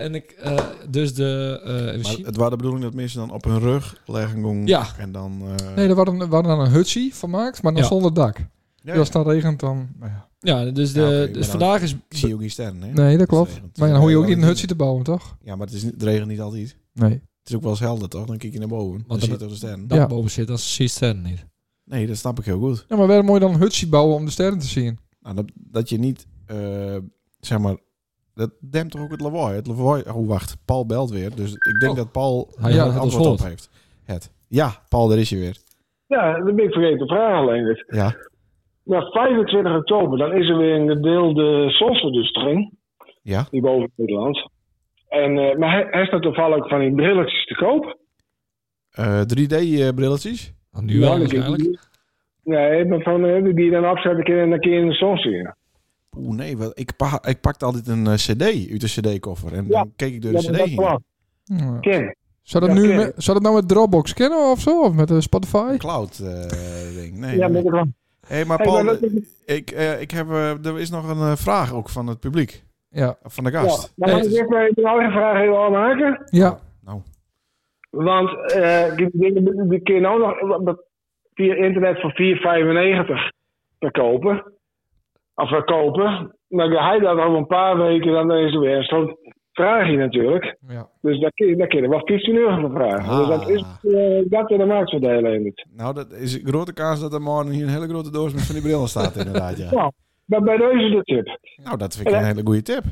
Speaker 5: En ik, eh, dus de eh,
Speaker 1: Maar
Speaker 5: misschien-
Speaker 1: het was de bedoeling dat mensen dan op hun rug leggen gong,
Speaker 5: Ja.
Speaker 1: en dan... eh,
Speaker 2: Nee, er waren, er waren dan een hutsie van gemaakt, maar dan
Speaker 5: Ja.
Speaker 2: zonder dak.
Speaker 1: ja,
Speaker 2: Dus als het dan regent, dan... Nou ja.
Speaker 5: ja, dus, de,
Speaker 1: Ja, oké, maar
Speaker 5: dus
Speaker 1: dan-
Speaker 5: vandaag is...
Speaker 1: Ik zie ook niet sterren, hè?
Speaker 2: Nee, dat klopt.
Speaker 1: Dus, eh, want-
Speaker 2: Maar dan hoor je ook niet een hutsie te bouwen, toch?
Speaker 1: Ja, maar het, is, niet- het regent niet altijd.
Speaker 2: Nee.
Speaker 1: Het is ook wel eens helder, toch? Dan kijk je naar boven. Dan
Speaker 5: Want
Speaker 1: zie je
Speaker 5: dan-
Speaker 1: toch de sterren.
Speaker 5: Dat
Speaker 2: Ja.
Speaker 5: boven zit, dan zie je sterren niet.
Speaker 1: Nee, dat snap ik heel goed.
Speaker 2: Ja, maar waarom moet je dan een hutsie bouwen om de sterren te zien?
Speaker 1: Nou, dat, dat je niet, eh, zeg maar, dat dempt toch ook het lawaai. Het lawaai, oh wacht, Paul belt weer. Dus ik denk
Speaker 5: Oh.
Speaker 1: dat Paul
Speaker 5: Hij
Speaker 1: ja,
Speaker 5: had
Speaker 1: het
Speaker 5: het als
Speaker 1: antwoord op
Speaker 5: woord.
Speaker 1: heeft. Het. Ja, Paul, daar is je weer.
Speaker 4: Ja, dat ben ik vergeten te vragen, Leendert.
Speaker 1: Ja.
Speaker 4: Maar 25 oktober, dan is er weer een gedeelde zonsverduistering.
Speaker 1: Ja.
Speaker 4: Hier boven Nederland. En, eh, maar hij, hij staat toevallig van die brilletjes te koop.
Speaker 1: Eh, 3D-brilletjes?
Speaker 5: Nou, nu wel
Speaker 4: dan kun je
Speaker 5: waarschijnlijk.
Speaker 4: die- Nee, maar van, eh, die- die je dan opzetten kan en dan kun je in de zon zien.
Speaker 1: Oeh, nee, wel, ik, pa ik pakte altijd een eh, cd uit de cd-koffer. En
Speaker 4: Ja,
Speaker 1: dan keek ik door Dus de
Speaker 4: Dat
Speaker 1: cd heen.
Speaker 4: dat klopt.
Speaker 2: Ja.
Speaker 4: Ken.
Speaker 2: Zou dat,
Speaker 4: Ja,
Speaker 2: nu
Speaker 4: oké.
Speaker 2: met, zou dat nou met Dropbox kennen of zo? Of met eh, Spotify?
Speaker 1: Cloud-ding. eh, nee,
Speaker 4: Ja,
Speaker 1: nee.
Speaker 4: maar dat klopt.
Speaker 1: hey, maar
Speaker 4: Hey,
Speaker 1: Paul,
Speaker 4: maar dat-
Speaker 1: ik, eh, ik heb, eh, er is nog een eh, vraag ook van het publiek.
Speaker 2: Ja.
Speaker 1: Van de
Speaker 4: Ja,
Speaker 1: gast.
Speaker 4: maar mag ik
Speaker 5: Nee,
Speaker 4: eerst maar even een andere vraag even al maken?
Speaker 2: Ja.
Speaker 1: Nou,
Speaker 4: Want eh, die dingen die kun je nou nog eh, via internet voor 4,95 verkopen. Of verkopen. Maar hij dat over een paar weken, dan is er weer een soort vraagje natuurlijk.
Speaker 2: ja.
Speaker 4: Dus daar kun je, daar kun je wel 15 euro voor vragen. Dus dat is eh, dat in de marktvoordelen niet.
Speaker 1: Nou, dat is een grote kans dat er morgen hier een hele grote doos met van die brillen
Speaker 4: <laughs>
Speaker 1: staat inderdaad, ja.
Speaker 4: Maar bij deze de tip.
Speaker 1: Nou, dat vind ik een hele goede tip.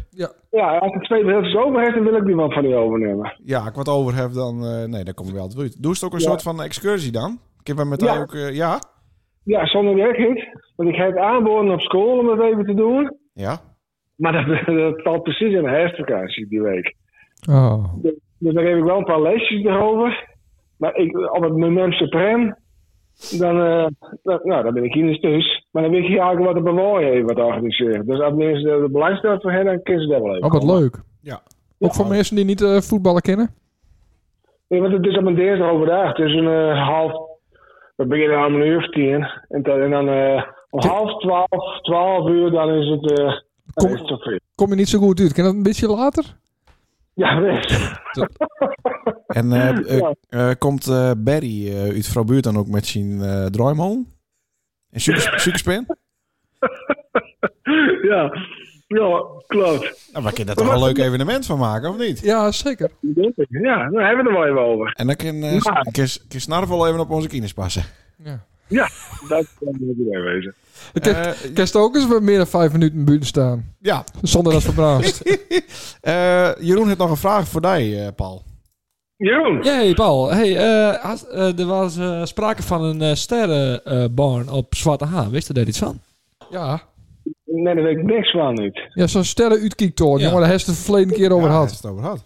Speaker 4: Ja, als ik twee brilletjes over heb, dan wil ik die wel van u overnemen.
Speaker 1: Ja, ik wat over heb, dan... eh, nee, dan kom je wel altijd uit. Doe je het ook een
Speaker 4: Ja.
Speaker 1: soort van excursie dan? Ik heb hem met
Speaker 4: Ja.
Speaker 1: hij ook... eh, ja?
Speaker 4: Ja, zonder werk niet. Want ik ga het aanboden op school om het even te doen.
Speaker 1: Ja?
Speaker 4: Maar dat, <laughs> dat valt precies in de herfstvakantie die week.
Speaker 2: Oh.
Speaker 4: Dus dan geef ik wel een paar lesjes erover. Maar ik, op het moment suprem, dan, eh, dan- nou, dan ben ik hier dus thuis. Maar dan wil ik hier eigenlijk wat de bewoner heeft wat organiseren. Dus als mensen er belangstelling voor hebben, dan kunnen ze dat wel even.
Speaker 2: Oh, wat leuk.
Speaker 1: Ja.
Speaker 2: Ook voor mensen die niet eh, voetballen kennen.
Speaker 4: Nee, want het is op een dinsdag overdag. Het is een eh, half... We beginnen om een uur of tien. En, dan- en dan eh, om half twaalf, twaalf uur, dan is het... eh dan
Speaker 2: Kom-
Speaker 4: is het zover.
Speaker 2: Kom je niet zo goed uit. Kan dat een beetje later?
Speaker 4: Ja, <laughs> weet je.
Speaker 1: En eh, eh,
Speaker 4: Ah, Ja.
Speaker 1: eh, komt eh, Barry eh, uit Vrouwbuurt dan ook met zijn eh draaimolen? En
Speaker 4: <laughs>
Speaker 1: sugar- sugarspin?
Speaker 4: ja. ja, klopt.
Speaker 1: nou, we kunnen daar toch wel een leuk evenement van maken, of niet?
Speaker 2: Ja, zeker.
Speaker 4: Ja, nou, daar hebben we er wel even over.
Speaker 1: En dan kan, eh
Speaker 4: Ja.
Speaker 1: kan, kan Snarf wel even op onze kines passen.
Speaker 2: Ja.
Speaker 4: Dat kan ik erbij wezen.
Speaker 2: Ik heb-
Speaker 1: Eh,
Speaker 2: Kerst ook eens meer dan vijf minuten buiten staan.
Speaker 1: ja.
Speaker 2: Zonder dat verbaasd.
Speaker 1: Eh, Jeroen heeft nog een vraag voor jou, eh, Paul.
Speaker 4: Jeroen,
Speaker 5: Hey Paul, hey, eh, had- eh, er was eh, sprake van een eh, sterrenbarn op Zwarte Haan. Wist je daar iets van?
Speaker 2: ja.
Speaker 4: nee, daar weet ik niks van niet.
Speaker 2: Ja, zo'n sterren uitkiektoren.
Speaker 5: Ja.
Speaker 2: Jongen, daar heeft het de verleden keer over
Speaker 1: Ja,
Speaker 2: gehad.
Speaker 1: hij is het over gehad.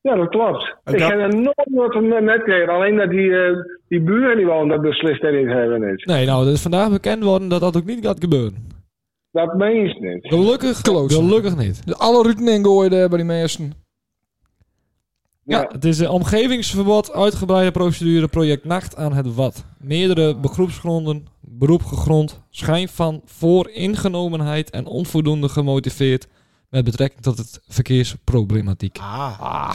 Speaker 4: Ja, dat klopt.
Speaker 1: Ik
Speaker 4: Ik
Speaker 1: had-
Speaker 4: heb er nooit wat van metgekregen. Alleen dat die, eh, die buren die wonen, dat beslist dat niet hebben. Niet.
Speaker 5: Nee, nou, het is vandaag bekend worden dat dat ook niet gaat gebeuren.
Speaker 4: Dat meen je niet.
Speaker 5: Gelukkig,
Speaker 2: Close.
Speaker 5: gelukkig niet.
Speaker 2: Dus alle ruten ingooien daar bij die mensen.
Speaker 5: Ja,
Speaker 4: Ja.
Speaker 5: het is een omgevingsverbod, uitgebreide procedure, project Nacht aan het Wat. Meerdere beroepsgronden, beroep gegrond, schijn van vooringenomenheid en onvoldoende gemotiveerd met betrekking tot het verkeersproblematiek.
Speaker 1: Ah.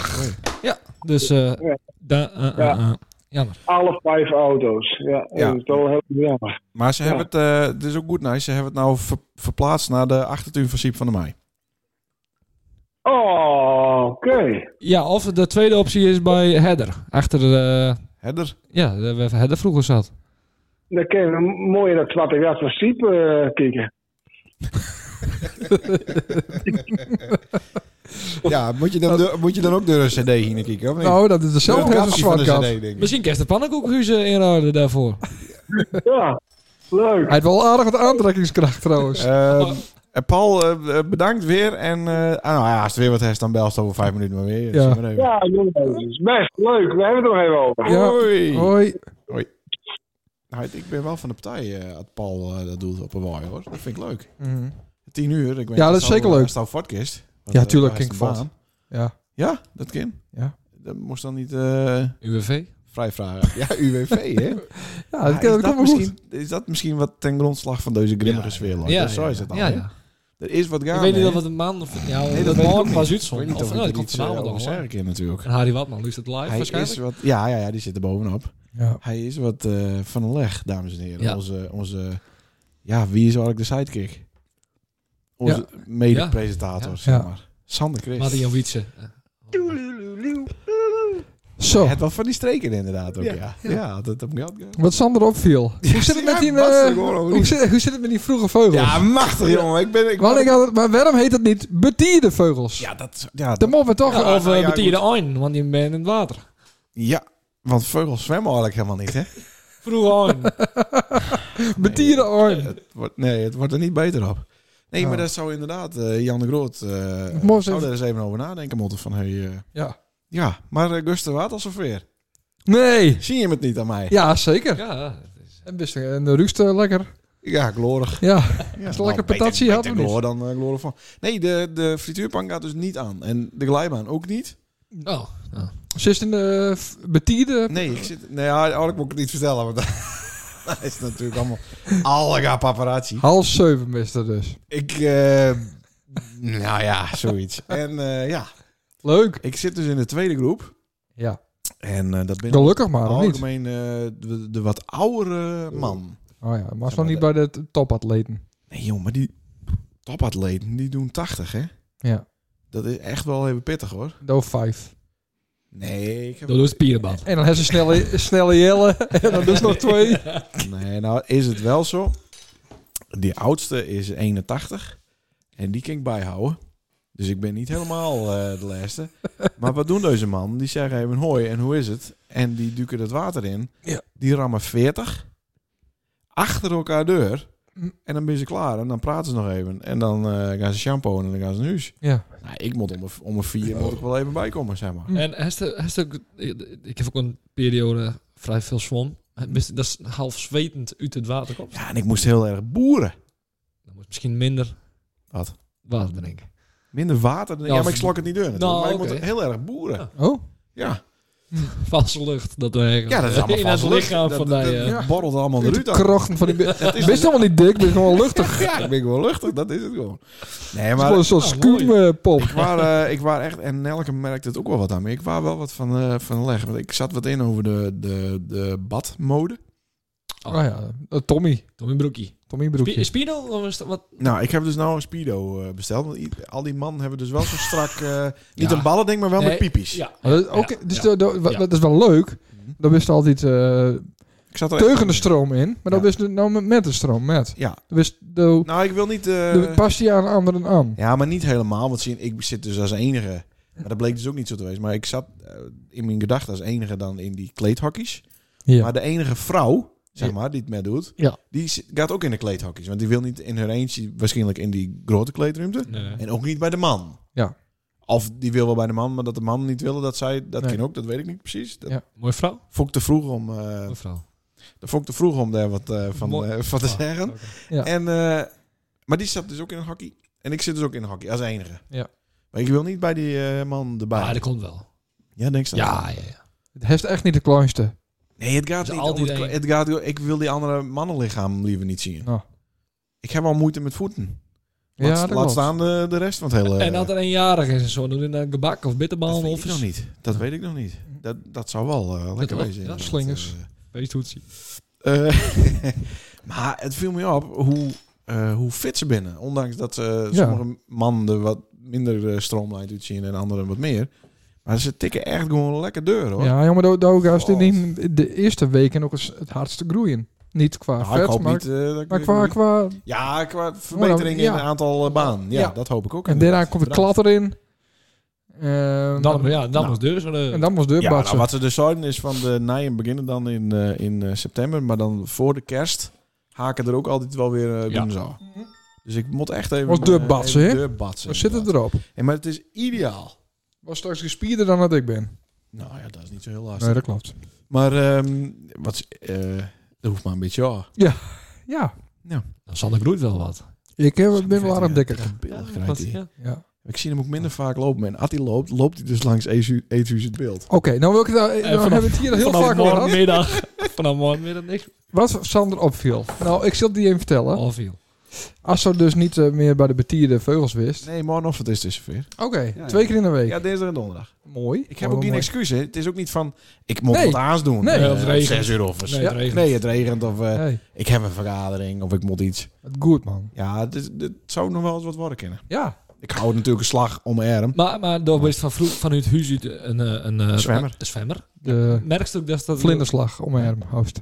Speaker 5: Dus, eh
Speaker 4: Ja.
Speaker 5: da- eh, eh,
Speaker 4: Ja.
Speaker 5: eh. jammer.
Speaker 4: Alle vijf auto's. Ja,
Speaker 1: Ja.
Speaker 4: dat is toch wel heel jammer.
Speaker 1: Maar ze
Speaker 4: Ja.
Speaker 1: hebben het, eh, het is ook goed nice, ze hebben het nou ver- verplaatst naar de achtertuin van Siep van de Mei.
Speaker 4: Oh, oké.
Speaker 5: Ja, of de tweede optie is bij Header. Achter, eh,
Speaker 1: Header?
Speaker 5: ja, daar waar Header vroeger zat.
Speaker 4: Dan kun je mooi in dat zwarte gat van Siep eh, kijken.
Speaker 1: Ja, moet je dan, door- moet je dan ook door een cd heen kijken, of niet?
Speaker 2: Nou, dat is
Speaker 1: Door het
Speaker 2: dezelfde als een
Speaker 1: kapje van de
Speaker 2: zwart kat. Hij
Speaker 1: cd, denk ik.
Speaker 5: Misschien kerst de pannenkoekhuizen inruilen daarvoor.
Speaker 4: Ja, leuk.
Speaker 2: heeft wel aardig wat aantrekkingskracht trouwens.
Speaker 1: Ehm, En Paul, eh, eh, bedankt weer. En eh, ah, nou ja, als er weer wat herst, dan bel je over vijf minuten maar weer.
Speaker 2: Ja.
Speaker 1: Zie maar even.
Speaker 4: Ja, jongens, het is best leuk. We hebben het nog even over.
Speaker 2: Ja.
Speaker 1: Hoi.
Speaker 2: Hoi.
Speaker 1: Nou, ik ben wel van de partij eh, dat Paul eh, dat doet op een waai, hoor. Dat vind ik leuk. Tien uur. Ik weet
Speaker 2: Ja,
Speaker 1: niet,
Speaker 2: dat is
Speaker 1: zou-
Speaker 2: zeker leuk.
Speaker 1: Zou vodkist. eh,
Speaker 2: Ja, tuurlijk, klinkt vod. Ja.
Speaker 1: Ja, dat kan.
Speaker 2: Ja.
Speaker 1: Dat moest dan niet eh
Speaker 5: UWV?
Speaker 1: vrij vragen. <laughs> Ja, UWV, hè?
Speaker 2: Ja, dat,
Speaker 1: Maar
Speaker 2: kan- dat
Speaker 1: is, dat
Speaker 2: komt wel
Speaker 1: misschien,
Speaker 2: goed.
Speaker 1: is dat misschien wat ten grondslag van deze grimmige sfeer? Lloyd?
Speaker 5: Ja,
Speaker 1: Dus zo is het dan.
Speaker 5: Ja,
Speaker 1: hè?
Speaker 5: ja.
Speaker 1: Er is wat gaande.
Speaker 5: Ik weet niet
Speaker 1: hè?
Speaker 5: of het een maand of... Ja,
Speaker 1: dat
Speaker 5: dat
Speaker 1: weet ik ook
Speaker 5: morgen
Speaker 1: niet.
Speaker 5: was
Speaker 1: Ik weet
Speaker 5: Utrecht.
Speaker 1: niet
Speaker 5: Of
Speaker 1: of
Speaker 5: nou,
Speaker 1: ik
Speaker 5: die
Speaker 1: er
Speaker 5: komt
Speaker 1: iets eh,
Speaker 5: vanavond al.
Speaker 1: over
Speaker 5: hoor.
Speaker 1: zeggen kan natuurlijk.
Speaker 5: En Harry Watman, is het live
Speaker 1: Hij is
Speaker 5: waarschijnlijk?
Speaker 1: wat, ja, ja, ja, die zit er bovenop.
Speaker 2: Ja.
Speaker 1: Hij is wat eh, van de leg, dames en heren.
Speaker 5: Ja.
Speaker 1: Onze, onze, ja, wie is eigenlijk de sidekick? Onze mede-presentator,
Speaker 5: Ja.
Speaker 1: zeg
Speaker 2: Ja.
Speaker 1: maar. Sander Christ.
Speaker 5: Marian Wietse.
Speaker 2: Zo.
Speaker 1: Het was van die streken inderdaad ook, ja. Ja, dat heb ik ook.
Speaker 2: Wat Sander opviel. Hoe zit het met die,
Speaker 1: Ja,
Speaker 2: eh,
Speaker 1: was er gewoon over
Speaker 2: hoe,
Speaker 1: niet.
Speaker 2: zit, hoe zit het met die vroege vogels?
Speaker 1: Ja, machtig, jongen. Ik ben... Ik
Speaker 2: Want ik had het- maar waarom heet het niet betierde vogels?
Speaker 1: ja, dat... Ja,
Speaker 2: Dan
Speaker 1: dat-
Speaker 2: moeten we toch...
Speaker 5: Ja, <laughs> of
Speaker 1: nou ja,
Speaker 5: eh betier
Speaker 1: goed.
Speaker 5: de oin, want die ben in het water.
Speaker 1: ja, want vogels zwemmen eigenlijk helemaal niet, hè?
Speaker 5: Vroeg
Speaker 1: <laughs>
Speaker 5: oin.
Speaker 2: betierde oren.
Speaker 1: Het wordt, nee, het wordt er niet beter op. Nee,
Speaker 2: Ja.
Speaker 1: maar dat zou inderdaad eh, Jan de Groot... eh
Speaker 2: Oh. Mooi
Speaker 1: zou
Speaker 2: even-
Speaker 1: er eens even over nadenken moeten van... Hey, eh,
Speaker 2: Ja.
Speaker 1: ja, maar uh, Guster wat alsof weer.
Speaker 2: Nee.
Speaker 1: Zie je hem het niet aan mij?
Speaker 2: Ja, zeker.
Speaker 5: Ja,
Speaker 2: En, best, en de rukste lekker.
Speaker 1: Ja, glorig.
Speaker 2: Ja.
Speaker 1: Ja,
Speaker 2: een lekker patatje
Speaker 1: beter-
Speaker 2: hadden we
Speaker 1: beter gloor dan eh, glorig van. Nee, de, de frituurpan gaat dus niet aan. En de glijbaan ook niet.
Speaker 5: nou,
Speaker 2: Ze is in de f- eh, betierde...
Speaker 1: Nee, ik zit... Nee, ja, eigenlijk moet ik het niet vertellen, want... <laughs> dat is natuurlijk allemaal... Allega paparazzi.
Speaker 2: Half zeven is dat dus.
Speaker 1: Ik... eh, nou ja, zoiets. En eh, ja,
Speaker 2: Leuk.
Speaker 1: ik zit dus in de tweede groep.
Speaker 2: Ja.
Speaker 1: En eh, dat ben ik
Speaker 2: Gelukkig maar, of niet?
Speaker 1: algemeen eh, de, de wat oudere man.
Speaker 2: Oh ja, maar
Speaker 1: Zeg
Speaker 2: ze nog
Speaker 1: maar
Speaker 2: niet bij de t- topatleten.
Speaker 1: Nee joh, maar die topatleten, die doen 80 hè.
Speaker 2: Ja.
Speaker 1: Dat is echt wel even pittig hoor.
Speaker 2: Door vijf.
Speaker 1: Nee, ik heb...
Speaker 5: dat doet spierenbad.
Speaker 2: En dan hebben ze snelle, <laughs> snelle jelle. En dan dus nog
Speaker 1: <laughs>
Speaker 2: twee.
Speaker 1: Nee, nou is het wel zo. Die oudste is 81. En die kan ik bijhouden. Dus ik ben niet helemaal eh, de laatste. Maar wat doen deze man? Die zeggen even hoi en hoe is het? En die duiken het water in.
Speaker 2: Ja.
Speaker 1: Die rammen 40. Achter elkaar deur.
Speaker 2: Mm.
Speaker 1: En dan ben ze klaar. En dan praten ze nog even. En dan eh, gaan ze shampoo en dan gaan ze naar huis.
Speaker 2: Ja. Mm.
Speaker 1: Nou, ik moet om een, om een vier moet ik wel even bijkomen, zeg maar.
Speaker 5: En heeft er- heeft er ook- ik- ik heb ook een periode vrij veel zwom. Het is- Dat is half zwetend uit het water komt.
Speaker 1: Ja, en ik moest heel erg boeren.
Speaker 5: Dan moet misschien minder
Speaker 1: Wat?
Speaker 5: water drinken.
Speaker 1: Minder water. dan-
Speaker 5: Ja,
Speaker 1: Ja, maar ik slok het niet deur. natuurlijk.
Speaker 5: Nou,
Speaker 1: maar ik moet
Speaker 5: oké.
Speaker 1: heel erg boeren.
Speaker 5: Ja.
Speaker 2: Oh.
Speaker 1: ja.
Speaker 5: Valse lucht, dat eigenlijk.
Speaker 1: Ja, dat is allemaal
Speaker 5: In het
Speaker 1: vaste lucht.
Speaker 5: lichaam
Speaker 1: Dat-
Speaker 5: van
Speaker 1: dat-
Speaker 5: die...
Speaker 1: dat
Speaker 5: eh,
Speaker 1: borrelt allemaal
Speaker 2: Uit
Speaker 1: eruit.
Speaker 2: de
Speaker 1: uit.
Speaker 2: krochten van die...
Speaker 1: <laughs>
Speaker 2: be-
Speaker 1: Dat is
Speaker 2: Best helemaal niet dik, best gewoon
Speaker 1: <laughs>
Speaker 2: luchtig.
Speaker 1: ja, ik ben gewoon luchtig. Dat is het gewoon. Nee,
Speaker 2: Het is
Speaker 1: maar Ah,
Speaker 2: gewoon zo'n
Speaker 5: nou,
Speaker 2: skuumpop.
Speaker 1: ik was, eh, ik was echt... En Nelke merkte het ook wel wat aan. Maar ik was wel wat van, eh, van leg. Want ik zat wat in over de, de, de badmode. Ah.
Speaker 2: Oh ja, eh, Tommy.
Speaker 5: Tommy Broekie.
Speaker 2: Tommy
Speaker 5: Spi-
Speaker 2: broekje.
Speaker 5: Spino? Of is dat wat?
Speaker 1: Nou, ik heb dus nou een Speedo eh, besteld. Want i- al die mannen hebben dus wel zo strak... eh, niet
Speaker 5: Ja.
Speaker 1: een ballen ding, maar wel
Speaker 5: Nee,
Speaker 1: met piepjes.
Speaker 5: Ja.
Speaker 2: Maar dat- Oké,
Speaker 5: Ja,
Speaker 2: dus
Speaker 5: ja.
Speaker 2: de- de- wa-
Speaker 5: Ja.
Speaker 2: dat is wel leuk.
Speaker 1: Mhm.
Speaker 2: Daar wist altijd eh
Speaker 1: Ik zat er echt-
Speaker 2: teugende stroom in. Maar dan
Speaker 1: Oh, Ja.
Speaker 2: wist het nou met, met de stroom, met.
Speaker 1: Ja.
Speaker 2: Dan wist de,
Speaker 1: Nou, ik wil niet... eh,
Speaker 2: de past die aan anderen aan.
Speaker 1: Ja, maar niet helemaal. Want zie, ik zit dus als enige. Maar dat bleek dus ook niet zo te wezen. Maar ik zat eh, in mijn gedachten als enige dan in die kleedhokjes.
Speaker 2: Ja.
Speaker 1: Maar de enige vrouw, zeg
Speaker 2: Ja.
Speaker 1: maar, die het met doet,
Speaker 2: Ja.
Speaker 1: die zit- gaat ook in de kleedhokjes. Want die wil niet in haar eentje, waarschijnlijk in die grote kleedruimte.
Speaker 5: Nee.
Speaker 1: En ook niet bij de man.
Speaker 2: Ja.
Speaker 1: Of die wil wel bij de man, maar dat de man niet wilde dat zij, dat
Speaker 2: Nee.
Speaker 1: kan ook, dat weet ik niet precies. Dat
Speaker 2: Ja.
Speaker 5: Mooie vrouw?
Speaker 1: vond ik te vroeg om, eh,
Speaker 5: Mooie vrouw.
Speaker 1: dat vond ik te vroeg om daar wat eh, van,
Speaker 5: Mooi.
Speaker 1: eh, van te
Speaker 5: Ah,
Speaker 1: zeggen.
Speaker 5: oké.
Speaker 2: Ja.
Speaker 1: En, eh, maar die zat dus ook in een hockey. En ik zit dus ook in een hockey, als enige.
Speaker 2: Ja.
Speaker 1: Maar ik wil niet bij die eh, man erbij.
Speaker 5: Ah, dat komt wel.
Speaker 1: Ja, denk je dat?
Speaker 5: Ja, ja, ja.
Speaker 2: Het heeft echt niet de kleinste.
Speaker 1: Nee, het gaat
Speaker 5: Dus
Speaker 1: niet
Speaker 5: al
Speaker 1: om
Speaker 5: die
Speaker 1: het, kle-
Speaker 5: dingen.
Speaker 1: het gaat, Ik wil die andere mannenlichaam liever niet zien.
Speaker 2: Nou.
Speaker 1: Ik heb al moeite met voeten.
Speaker 2: Ja,
Speaker 1: Laat,
Speaker 2: dat
Speaker 1: laat
Speaker 2: klopt.
Speaker 1: staan de, de rest van het hele...
Speaker 5: En dat er eenjarig is en zo, dan doe je een gebak of bitterbal
Speaker 1: Eh. dat weet
Speaker 5: of
Speaker 1: ik nog niet. Dat weet ik nog niet. Dat, dat zou wel eh, lekker
Speaker 5: wel,
Speaker 1: wezen.
Speaker 5: ja.
Speaker 1: inderdaad.
Speaker 2: Slingers.
Speaker 5: feesthoedsie.
Speaker 1: Eh, eh, <laughs> maar het viel me op hoe, eh, hoe fit ze binnen. Ondanks dat eh, sommige mannen er wat minder eh stroomlijnd uitzien en anderen wat meer. Maar ze tikken echt gewoon lekker deur hoor.
Speaker 2: Ja, jongen, daar- daar daar is dit
Speaker 1: Oh.
Speaker 2: niet de eerste weken ook eens het hardste groeien. Niet qua
Speaker 1: Nou, ik
Speaker 2: vet,
Speaker 1: hoop
Speaker 2: maar,
Speaker 1: niet. eh, dat ik-
Speaker 2: maar qua, qua...
Speaker 1: Ja, qua verbetering
Speaker 2: Ja.
Speaker 1: in het aantal eh, baan. Ja,
Speaker 2: Ja.
Speaker 1: dat hoop ik ook.
Speaker 2: En daarna komt het klatter in. Eh,
Speaker 5: Dan, ja, dan
Speaker 1: Nou.
Speaker 5: was deur zo
Speaker 2: en
Speaker 5: de...
Speaker 2: dan was de
Speaker 1: Ja, nou,
Speaker 2: batsen.
Speaker 1: wat ze dus zouden is van de nijen beginnen dan in, eh, in eh, september. Maar dan voor de kerst haken er ook altijd wel weer eh
Speaker 5: Ja.
Speaker 1: doen zou. Dus Dus ik moet echt even...
Speaker 2: Was deurbatsen,
Speaker 1: eh,
Speaker 2: hè?
Speaker 1: even deurbatsen,
Speaker 2: Wat zit het
Speaker 1: inderdaad.
Speaker 2: erop?
Speaker 1: Ja, maar het is ideaal.
Speaker 2: Was straks gespierder dan dat ik ben.
Speaker 1: Nou ja, dat is niet zo heel lastig.
Speaker 2: Nee, dat klopt.
Speaker 1: Maar ehm, wat, is- eh, dat hoeft maar een beetje af.
Speaker 2: Ja,
Speaker 5: Dan zal de groeit wel wat.
Speaker 2: ik heb, ben wel aardig dikker.
Speaker 1: eh,
Speaker 5: ja.
Speaker 2: Ja.
Speaker 1: Ik zie hem ook minder vaak lopen. En als hij loopt, loopt hij dus langs Eethuis Eethuis het beeld.
Speaker 2: Oké, nou wil ik het, nou, nou
Speaker 5: vanaf-
Speaker 2: hebben we het hier heel
Speaker 5: Vanaf
Speaker 2: vaak over gehad. <laughs>
Speaker 5: morgenmiddag. Vanaf morgenmiddag niks.
Speaker 2: Wat Sander opviel. Nou, ik zal het die even vertellen.
Speaker 5: Alviel.
Speaker 2: Als ze dus niet eh, meer bij de betierde vleugels wist.
Speaker 1: Nee, morgen of het is dus zover.
Speaker 2: Oké, twee keer in de week.
Speaker 1: Ja, dinsdag en donderdag.
Speaker 2: Mooi. Mooi,
Speaker 1: Ik heb ook geen
Speaker 2: Oh, mooi.
Speaker 1: excuus. hè. Het is ook niet van, ik moet
Speaker 2: Nee.
Speaker 1: wat aans doen.
Speaker 2: Nee.
Speaker 1: Eh,
Speaker 5: Ja, het regent.
Speaker 1: 6 uur of
Speaker 5: Nee,
Speaker 1: nee,
Speaker 5: het regent.
Speaker 1: nee, het regent. Of eh,
Speaker 2: Hey,
Speaker 1: ik heb een vergadering of ik moet iets.
Speaker 2: het goed man.
Speaker 1: Ja, dit, dit zou nog wel eens wat worden kunnen.
Speaker 2: Ja.
Speaker 1: Ik hou natuurlijk een slag om mijn arm.
Speaker 5: Maar, maar door best van vroeg vanuit huis uit een, eh, een, eh,
Speaker 1: Zwemmer.
Speaker 5: Een zwemmer.
Speaker 2: De
Speaker 5: Merkst ook dat dat
Speaker 2: vlinderslag om mijn arm, hoofd.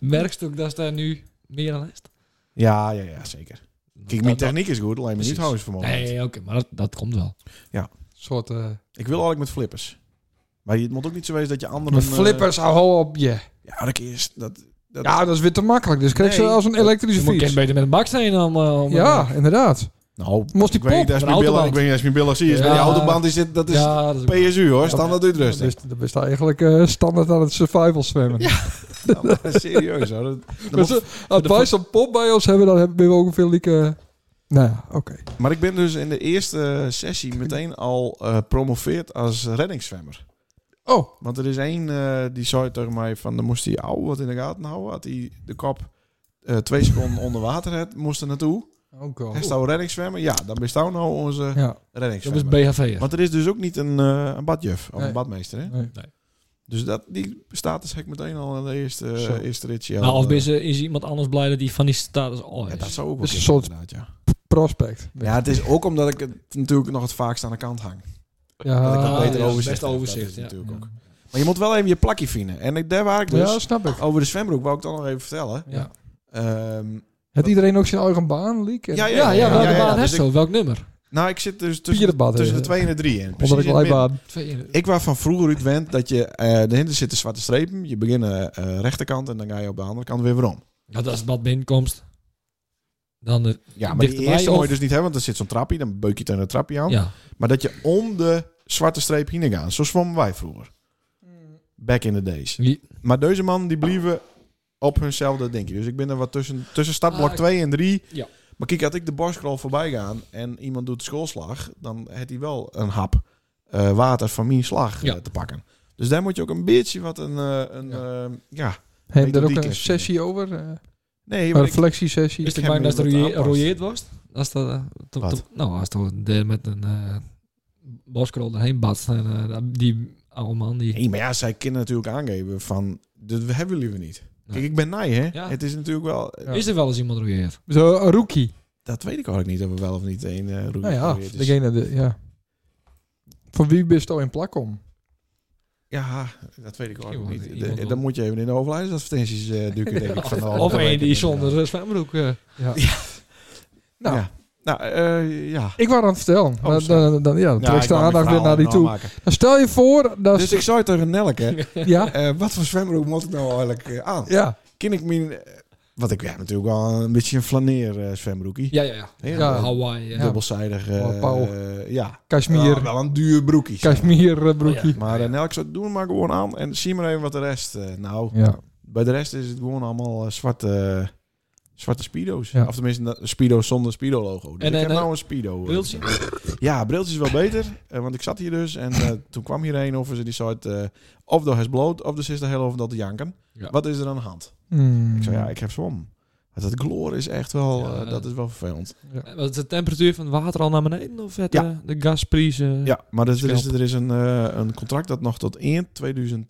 Speaker 5: Merkst ook dat daar nu meer aan is?
Speaker 1: Ja, ja, ja, zeker. Kijk, mijn
Speaker 5: Dat-
Speaker 1: techniek is goed, alleen mijn
Speaker 5: Precies.
Speaker 1: uithoudingsvermogen.
Speaker 5: Nee, oké, maar dat, dat komt wel.
Speaker 2: soort... eh
Speaker 1: Ik wil eigenlijk met flippers. Maar het moet ook niet zo wezen dat je anderen...
Speaker 2: met flippers, hou op je.
Speaker 1: eh, ja, dat is... Dat, eh, dat,
Speaker 2: Ja, dat is weer te makkelijk. Dus krijg je
Speaker 1: Nee.
Speaker 2: als een elektrische
Speaker 5: Je moet
Speaker 2: fiets.
Speaker 5: kind beter met een bak zijn dan... eh, om-
Speaker 2: Ja, inderdaad.
Speaker 1: nou,
Speaker 2: Moest die
Speaker 1: ik weet niet,
Speaker 2: pop?
Speaker 1: dat is
Speaker 5: Een
Speaker 1: mijn billen,
Speaker 5: autoband.
Speaker 1: ik weet niet, dat is mijn billen zie. je.
Speaker 5: Ja.
Speaker 1: Maar die autoband is dit, dat is
Speaker 5: ja, dat is ook-
Speaker 1: PSU hoor, standaard
Speaker 2: Dat
Speaker 1: uitrusting.
Speaker 2: is, dat is eigenlijk eh, standaard aan het survival zwemmen.
Speaker 1: Nou, maar serieus hoor. Dat, dat
Speaker 2: Dus,
Speaker 1: moet-
Speaker 2: eh, als wij zo'n pop bij ons hebben, dan hebben we ook een veel lieke... Nou ja, oké.
Speaker 1: maar ik ben dus in de eerste sessie meteen al eh promoveerd als reddingszwemmer.
Speaker 2: Oh,
Speaker 1: Want er is één eh, die zei tegen mij van, dan moest hij ouwe wat in de gaten houden. Had hij de kop eh, twee seconden onder water had, moest er naartoe.
Speaker 2: oh god.
Speaker 1: Hij zou reddingszwemmer. Ja, dan bist nou nou onze
Speaker 2: Ja.
Speaker 5: Dat is
Speaker 1: reddingszwemmer.
Speaker 5: BHV.
Speaker 1: Want er is dus ook niet een, eh, een badjuf of
Speaker 2: Nee.
Speaker 1: een badmeester. Hè?
Speaker 2: Nee.
Speaker 1: Dus dat, die status heb ik meteen al in de eerste,
Speaker 2: Zo.
Speaker 1: eh, eerste ritje.
Speaker 5: Nou,
Speaker 1: al,
Speaker 5: of
Speaker 1: eh,
Speaker 5: is, eh, is iemand anders blij dat die van die status oh, al
Speaker 1: ja,
Speaker 5: is?
Speaker 1: dat zou ook wel
Speaker 2: Dat is een
Speaker 1: kunnen,
Speaker 2: soort-
Speaker 1: inderdaad, ja.
Speaker 2: Prospect.
Speaker 1: Dus ja, het is ook omdat ik het natuurlijk nog het vaakst aan de kant hang. Dat ik
Speaker 5: Ah,
Speaker 1: dan beter
Speaker 5: ja,
Speaker 1: overzicht
Speaker 5: best
Speaker 1: heb,
Speaker 5: overzicht,
Speaker 1: dat is
Speaker 5: ja.
Speaker 1: natuurlijk
Speaker 5: Ja.
Speaker 1: ook. Maar je moet wel even je plakje vinden. En ik, daar waar ik dus...
Speaker 2: ja, snap ik.
Speaker 1: Over de zwembroek wou ik dan nog even vertellen.
Speaker 2: Ja.
Speaker 1: Ehm,
Speaker 2: Heeft iedereen ook zijn eigen baan, Liek? nou, En-
Speaker 1: Ja, ja.
Speaker 5: Ja, ja, welke
Speaker 1: Ja, ja,
Speaker 5: baan
Speaker 1: dus
Speaker 5: heeft
Speaker 1: ik-
Speaker 5: zo? Welk nummer?
Speaker 1: nou, ik zit dus
Speaker 2: Vierde
Speaker 1: tussen,
Speaker 2: bad,
Speaker 1: tussen de
Speaker 2: eh,
Speaker 1: twee en de drie in. Precies
Speaker 2: Onder de
Speaker 1: in het midden.
Speaker 2: glijbaan.
Speaker 5: Twee in-
Speaker 1: Ik was van vroeger uit wend dat je... eh daarachter zitten zwarte strepen. Je begint eh eh, rechterkant en dan ga je op de andere kant weer weer om.
Speaker 5: Ja, dat is wat binnenkomst. Dan eh, de...
Speaker 1: Ja, maar die
Speaker 5: Dichterbij
Speaker 1: eerste moet
Speaker 5: of-
Speaker 1: je dus niet hebben, want er zit zo'n trapje. Dan beuk je tegen een trapje aan.
Speaker 5: Ja.
Speaker 1: Maar dat je om de zwarte streep heen gaat. Zo zwommen wij vroeger. Back in the days.
Speaker 5: Wie-
Speaker 1: Maar deze man die blieven op hunzelfde denk je. Dus ik ben er wat tussen, tussen startblok
Speaker 5: Ah,
Speaker 1: 2 en 3.
Speaker 5: Ja.
Speaker 1: Maar kijk, had ik de borstkrol voorbij gaan en iemand doet de schoolslag, dan heeft hij wel een hap eh, water van mijn slag eh,
Speaker 5: Ja.
Speaker 1: te pakken. Dus daar moet je ook een beetje wat een... eh, een ja. ja.
Speaker 2: Hebben
Speaker 1: Ik
Speaker 2: we
Speaker 1: doe
Speaker 2: daar
Speaker 1: die
Speaker 2: ook een
Speaker 1: kerst
Speaker 2: sessie over? eh,
Speaker 1: Nee,
Speaker 2: een
Speaker 1: maar ik-
Speaker 2: reflectiesessie?
Speaker 5: Is het
Speaker 1: heb
Speaker 5: bang dat
Speaker 1: me
Speaker 5: er
Speaker 1: wat
Speaker 5: roeie-
Speaker 1: aanpast.
Speaker 5: roeieerd was? Als dat, eh, to-
Speaker 1: Wat?
Speaker 5: to- nou, als toch de met een eh boskrol erheen badst. En, eh, die oude man die...
Speaker 1: Nee, maar ja, zij kunnen natuurlijk aangeven van, dit hebben jullie weer niet. Kijk, ik ben naai, hè?
Speaker 5: Ja.
Speaker 1: Het is natuurlijk wel... eh,
Speaker 2: Ja.
Speaker 5: Is er wel eens iemand roeieerd?
Speaker 2: Zo, een rookie.
Speaker 1: Dat weet ik eigenlijk niet, of we wel of niet één eh roeien
Speaker 2: Nou ja,
Speaker 1: geprobeerd is.
Speaker 2: degene de, ja. Van wie bist al in plak om?
Speaker 1: Ja, dat weet ik ook
Speaker 5: Misschien
Speaker 1: niet.
Speaker 5: wel
Speaker 1: De-
Speaker 5: iemand wel.
Speaker 1: dan moet je even in de overlijdensadvertenties eh
Speaker 2: <laughs>
Speaker 1: duiken, denk ik. Van de
Speaker 5: Of
Speaker 1: afgelopen
Speaker 5: een die
Speaker 1: weken.
Speaker 5: zonder eh, zwembroek... eh,
Speaker 2: Nou,
Speaker 1: Ja. Nou, eh, ja.
Speaker 2: ik was aan het vertellen. dan,
Speaker 1: sorry.
Speaker 2: dan, dan- ja, dan
Speaker 1: Oh, Ja,
Speaker 2: trekt
Speaker 1: ik
Speaker 2: de
Speaker 1: wou mijn
Speaker 2: aandacht weer
Speaker 1: verhaal
Speaker 2: naar die toe.
Speaker 1: afmaken.
Speaker 2: Dan stel je voor... Dat
Speaker 1: Dus ik zei tegen Nelke,
Speaker 2: <laughs> ja,
Speaker 1: eh, wat voor zwembroek moet ik nou eigenlijk eh, aan?
Speaker 2: ja,
Speaker 1: Ken ik mijn... eh, wat ik ja, natuurlijk wel een beetje een flaneer eh zwembroekie.
Speaker 5: Ja, ja, ja.
Speaker 1: Heel
Speaker 2: Ja.
Speaker 1: dubbel-
Speaker 5: Hawaii. eh.
Speaker 1: Dubbelzijdig. eh,
Speaker 2: Oh, Paul.
Speaker 1: eh, ja.
Speaker 2: kashmir,
Speaker 1: Ah, wel een duur broekje.
Speaker 2: kashmir eh, broekje.
Speaker 1: Maar eh, Nelke zei, doe hem maar gewoon aan en zie maar even wat de rest. eh, nou,
Speaker 2: Ja,
Speaker 1: bij de rest is het gewoon allemaal eh, zwarte... Zwarte Speedo's.
Speaker 2: Ja.
Speaker 1: Of tenminste, na- Speedo's zonder Speedo-logo. Dus
Speaker 5: En,
Speaker 1: ik
Speaker 5: eh,
Speaker 1: heb
Speaker 5: eh,
Speaker 1: nou een Speedo. eh,
Speaker 5: Wiltje?
Speaker 1: Ja, briltjes is wel beter. eh, want ik zat hier dus en
Speaker 5: <laughs>
Speaker 1: eh, toen kwam hier een over ze die soort eh of door is bloot of de sister heel over dat te janken.
Speaker 5: Ja.
Speaker 1: Wat is er aan de hand?
Speaker 2: Hmm.
Speaker 1: Ik zei ja, ik heb zwom. Maar dat gloor is echt wel,
Speaker 5: Ja,
Speaker 1: eh,
Speaker 5: eh,
Speaker 1: dat is wel vervelend.
Speaker 5: Was de temperatuur van het water al naar beneden? Of het,
Speaker 1: Ja.
Speaker 5: eh, de gasprijs? eh,
Speaker 1: Ja, maar dus er is,
Speaker 5: Schelp.
Speaker 1: er is een, eh, een contract dat nog tot 1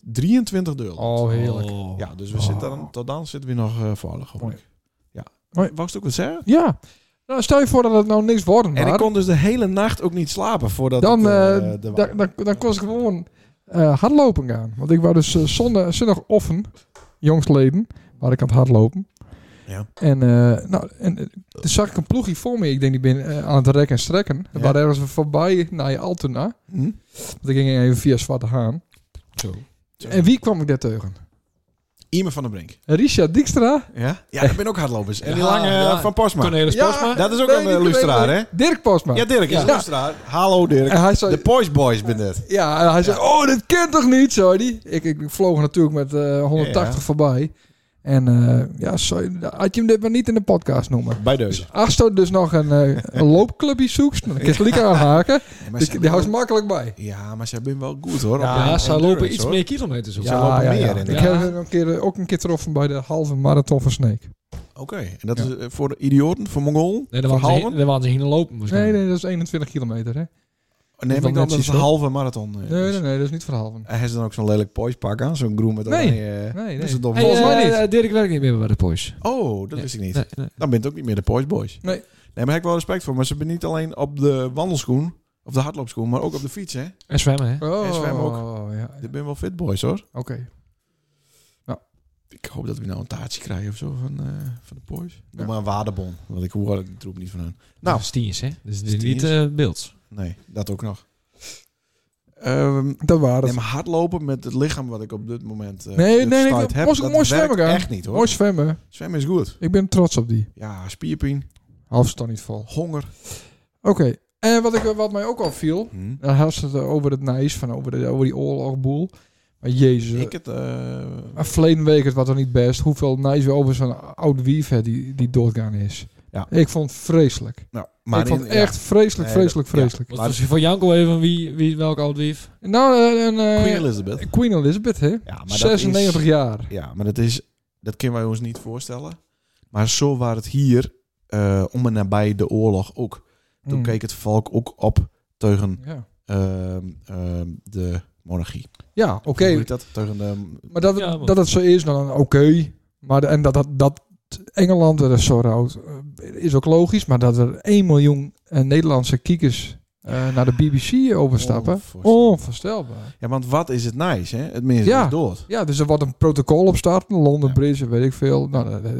Speaker 1: 2023 duurt.
Speaker 2: Oh, heerlijk.
Speaker 5: Oh.
Speaker 1: Ja, dus we
Speaker 2: Oh.
Speaker 1: zitten dan, tot dan zitten we nog eh veilig. hoor
Speaker 2: Mooi.
Speaker 1: ik. Ja.
Speaker 2: Mooi.
Speaker 1: Wou je het ook wat zeggen?
Speaker 2: Ja. Nou, stel je voor dat het nou niks wordt,
Speaker 1: En ik
Speaker 2: maar
Speaker 1: kon dus de hele nacht ook niet slapen voordat
Speaker 2: dan,
Speaker 1: het, eh,
Speaker 2: eh,
Speaker 1: de-
Speaker 2: dan, dan, dan kon ik gewoon eh, hardlopen gaan. Want ik was dus eh, zondag, zondag offen, jongstleden, waar ik aan het hardlopen.
Speaker 1: Ja.
Speaker 2: En, eh, nou, en eh, toen zag ik een ploegje voor me. Ik denk, die ben eh, aan het rekken en strekken.
Speaker 1: Ja.
Speaker 2: We waren ergens voorbij naar je Altena.
Speaker 1: Hm?
Speaker 2: Want ik ging even via Zwarte Haan.
Speaker 5: Zo.
Speaker 2: En wie kwam ik daar tegen?
Speaker 1: Iemer van den Brink.
Speaker 2: Richard Dijkstra.
Speaker 1: Ja? Ja, dat ben ook hardlopers. En die
Speaker 5: Ja,
Speaker 1: lange eh,
Speaker 5: ja.
Speaker 1: van Postma.
Speaker 5: Cornelis
Speaker 2: Ja,
Speaker 5: Postma.
Speaker 1: Dat is ook
Speaker 2: Nee,
Speaker 1: een
Speaker 2: niet
Speaker 1: eh,
Speaker 2: de
Speaker 1: luisteraar, hè?
Speaker 2: Wemeling. Dirk Postma.
Speaker 1: Ja, Dirk is
Speaker 5: Ja.
Speaker 1: een luisteraar. Hallo Dirk.
Speaker 2: En hij zei,
Speaker 1: De Poise Boys ben dit.
Speaker 2: ja, en hij zei, oh, dit kent toch niet, zei hij. Ik, ik vloog natuurlijk met eh, 180
Speaker 1: Ja.
Speaker 2: voorbij. En eh, ja, sorry, had je hem dit maar niet in de podcast noemen.
Speaker 1: Bij deze.
Speaker 2: Als je dus nog een, eh,
Speaker 1: <laughs>
Speaker 2: een loopclubje zoekt, dan kun je het aanhaken. Die, die houdt makkelijk bij.
Speaker 1: Ja, maar ze zijn wel goed hoor.
Speaker 5: Ja,
Speaker 1: Op een
Speaker 5: ze lopen
Speaker 1: endurance,
Speaker 5: iets
Speaker 1: hoor.
Speaker 5: meer kilometers. hoor.
Speaker 1: Ja. lopen meer, inderdaad.
Speaker 2: Ik heb hem een keer, eh, ook een keer getroffen bij de halve marathon van Sneek.
Speaker 1: Oké, en dat is eh, voor de idioten, voor Mongolen?
Speaker 5: Nee,
Speaker 1: voor
Speaker 5: daar waren ze heen-
Speaker 1: halven?
Speaker 5: daar waren ze heen lopen. misschien.
Speaker 2: Nee, nee, dat is 21 kilometer, hè?
Speaker 1: Neem ik
Speaker 2: dat
Speaker 1: dan dat
Speaker 2: net
Speaker 1: het
Speaker 2: zo.
Speaker 1: een halve marathon eh,
Speaker 2: Nee,
Speaker 1: is.
Speaker 2: nee, nee, dat is niet voor de halve.
Speaker 1: En hij is dan ook zo'n lelijk Poise pak aan, zo'n groen met
Speaker 2: Nee.
Speaker 1: oranje, eh,
Speaker 2: Nee,
Speaker 1: dat is
Speaker 2: nee.
Speaker 1: een domme
Speaker 5: Hey,
Speaker 1: volgens mij
Speaker 5: eh,
Speaker 1: niet.
Speaker 5: eh, Dirk werkt niet meer bij de Porsche.
Speaker 1: Oh, dat wist ik niet.
Speaker 5: Nee, nee.
Speaker 1: Dan bent het ook niet meer de Poise Boys.
Speaker 2: Nee.
Speaker 1: Nee, maar daar heb ik wel respect voor. Maar ze zijn niet alleen op de wandelschoen, op de hardloopschoen, maar ook op de fiets, hè?
Speaker 5: En zwemmen, hè?
Speaker 2: Oh,
Speaker 1: En zwemmen ook.
Speaker 2: ja.
Speaker 1: Dit ben wel fit boys, hoor.
Speaker 2: Oké.
Speaker 1: Ik hoop dat we nou een taartje krijgen of zo van, eh, van de Poise. Doe
Speaker 2: Ja.
Speaker 1: maar een waardebon, want ik hoor de troep niet van hen.
Speaker 5: Nou.
Speaker 1: Nou.
Speaker 5: Dat is tiens, hè? Dus
Speaker 1: Dat is
Speaker 5: niet
Speaker 1: tiens.
Speaker 5: eh beelds.
Speaker 1: Nee, dat ook nog. Ehm
Speaker 2: Dat waren
Speaker 1: Nee,
Speaker 2: het.
Speaker 1: maar hardlopen met het lichaam wat ik op dit moment
Speaker 2: Nee,
Speaker 1: eh, de
Speaker 2: nee, nee,
Speaker 1: strijd
Speaker 2: ik-
Speaker 1: heb,
Speaker 2: moest ik
Speaker 1: dat
Speaker 2: mooi
Speaker 1: werkt
Speaker 2: zwemmen gaan.
Speaker 1: echt niet hoor.
Speaker 2: Mooi zwemmen.
Speaker 1: Zwemmen is goed.
Speaker 2: Ik ben trots op die.
Speaker 1: Ja, spierpijn,
Speaker 2: Halfstand niet vol.
Speaker 1: honger.
Speaker 2: Oké. En wat, ik, wat mij ook al viel,
Speaker 1: Hm.
Speaker 2: dan had ze het eh, over het nijs, van over, de, over die oorlogboel. Maar jezus,
Speaker 1: Ik het... eh,
Speaker 2: Maar verleden week het was dan niet best. Hoeveel nice we over zo'n oud wief hè, die, die doodgaan is.
Speaker 1: Ja.
Speaker 2: Ik vond het vreselijk.
Speaker 1: nou,
Speaker 2: Maar
Speaker 1: maar
Speaker 2: ik vond het
Speaker 1: in- ja,
Speaker 2: echt vreselijk,
Speaker 1: Nee,
Speaker 2: vreselijk,
Speaker 1: dat- ja.
Speaker 2: vreselijk.
Speaker 5: Wat was voor Janko even wie, wie welk oud wief?
Speaker 2: Nou, eh, een, eh,
Speaker 1: Queen Elizabeth.
Speaker 2: Queen Elizabeth, hè?
Speaker 1: Ja, maar dat
Speaker 2: 96
Speaker 1: is,
Speaker 2: jaar.
Speaker 1: Ja, maar dat is... Dat kunnen wij ons niet voorstellen. Maar zo waren het hier eh, om en nabij de oorlog ook. Toen
Speaker 2: Mm.
Speaker 1: keek het volk ook op tegen
Speaker 2: Ja,
Speaker 1: ehm, ehm, de monarchie.
Speaker 2: ja oké.
Speaker 1: Hoe heet dat? Tegen de...
Speaker 2: Maar dat, het-
Speaker 5: Ja, maar-
Speaker 2: dat het zo is, nou, dan oké. Maar de- en dat, dat, dat Engeland er zo rouwt, eh, is ook logisch. Maar dat er 1 miljoen eh, Nederlandse kiekers eh, naar de BBC overstappen.
Speaker 1: Onvoorstelbaar.
Speaker 2: Onvoorstelbaar.
Speaker 1: Ja, want wat is het nice, hè? Het mensen
Speaker 2: Ja.
Speaker 1: is dood.
Speaker 2: Ja, dus er wordt een protocol op starten. London
Speaker 1: Ja.
Speaker 2: Bridge, en weet ik veel. Nou, dat- dat-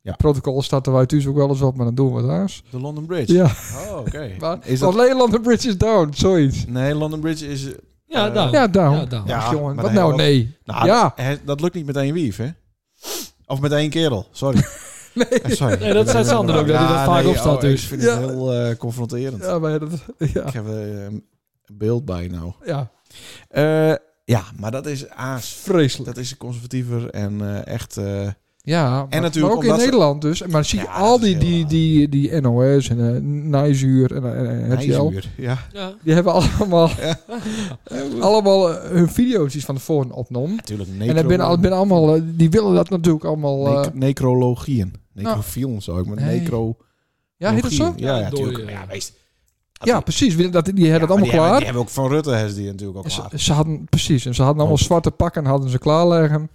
Speaker 1: Ja.
Speaker 2: Protocol starten wij thuis dus ook wel eens op, maar dan doen we het anders.
Speaker 1: De London Bridge.
Speaker 2: Ja,
Speaker 1: Oh, oké.
Speaker 5: <laughs>
Speaker 2: maar
Speaker 1: Is
Speaker 2: is
Speaker 1: dat-
Speaker 2: London Bridge is down, zoiets.
Speaker 1: Nee, London Bridge is...
Speaker 5: Ja,
Speaker 1: Eh,
Speaker 5: daar.
Speaker 2: Ja, down.
Speaker 5: Ja, down.
Speaker 1: Ja,
Speaker 2: Ach, jongen,
Speaker 1: maar
Speaker 2: wat
Speaker 1: dan
Speaker 5: Oh,
Speaker 2: nou?
Speaker 1: hebben
Speaker 2: Nee.
Speaker 1: Nou,
Speaker 2: Ja.
Speaker 1: dat- hè, dat lukt niet met één wief, hè? Of met één kerel, sorry. Eh, sorry.
Speaker 5: <laughs> Nee, dat zei Sander ook, dat hij dat vaak opstaat,
Speaker 1: oh,
Speaker 5: dus.
Speaker 1: Ik vind
Speaker 2: Ja.
Speaker 1: het heel eh, confronterend.
Speaker 2: Ja, maar dat... <laughs> Ja.
Speaker 1: Ik heb eh, een beeld bij nou.
Speaker 2: ja,
Speaker 1: Eh, ja, maar dat is aas.
Speaker 2: vreselijk.
Speaker 1: Dat is conservatiever en eh, echt... eh,
Speaker 2: Ja, maar, maar
Speaker 1: natuurlijk
Speaker 2: ook in
Speaker 1: omdat ze-
Speaker 2: Nederland dus. Maar dan zie je
Speaker 1: Ja,
Speaker 2: al
Speaker 1: dat is
Speaker 2: die,
Speaker 1: heel
Speaker 2: die,
Speaker 1: raar.
Speaker 2: die, die NOS en eh Nijzuur en, eh, en, en RTL.
Speaker 1: ijzuur. Ja,
Speaker 5: Ja.
Speaker 2: Die hebben
Speaker 1: <laughs>
Speaker 2: allemaal, allemaal eh, hun video's die ze van tevoren opnomen.
Speaker 1: natuurlijk.
Speaker 2: En dan ben, al- ben allemaal, eh, die willen dat natuurlijk allemaal... eh,
Speaker 1: necrologieën. Necrofielen zou ik, maar
Speaker 2: Nee.
Speaker 1: necro...
Speaker 2: ja, heet dat zo?
Speaker 1: Ja, ja,
Speaker 5: Ja, dode,
Speaker 1: natuurlijk.
Speaker 5: ja.
Speaker 1: Ja, wees-
Speaker 2: Ja, precies. Wil- Dat, die
Speaker 1: Ja,
Speaker 2: hebben dat
Speaker 1: maar
Speaker 2: allemaal
Speaker 1: die Hebben,
Speaker 2: klaar.
Speaker 1: die hebben ook van Rutte hebben ze die natuurlijk ook
Speaker 2: En
Speaker 1: klaar.
Speaker 2: Ze, ze hadden, precies, en ze hadden allemaal
Speaker 1: Oh.
Speaker 2: zwarte pakken en hadden ze klaarleggen.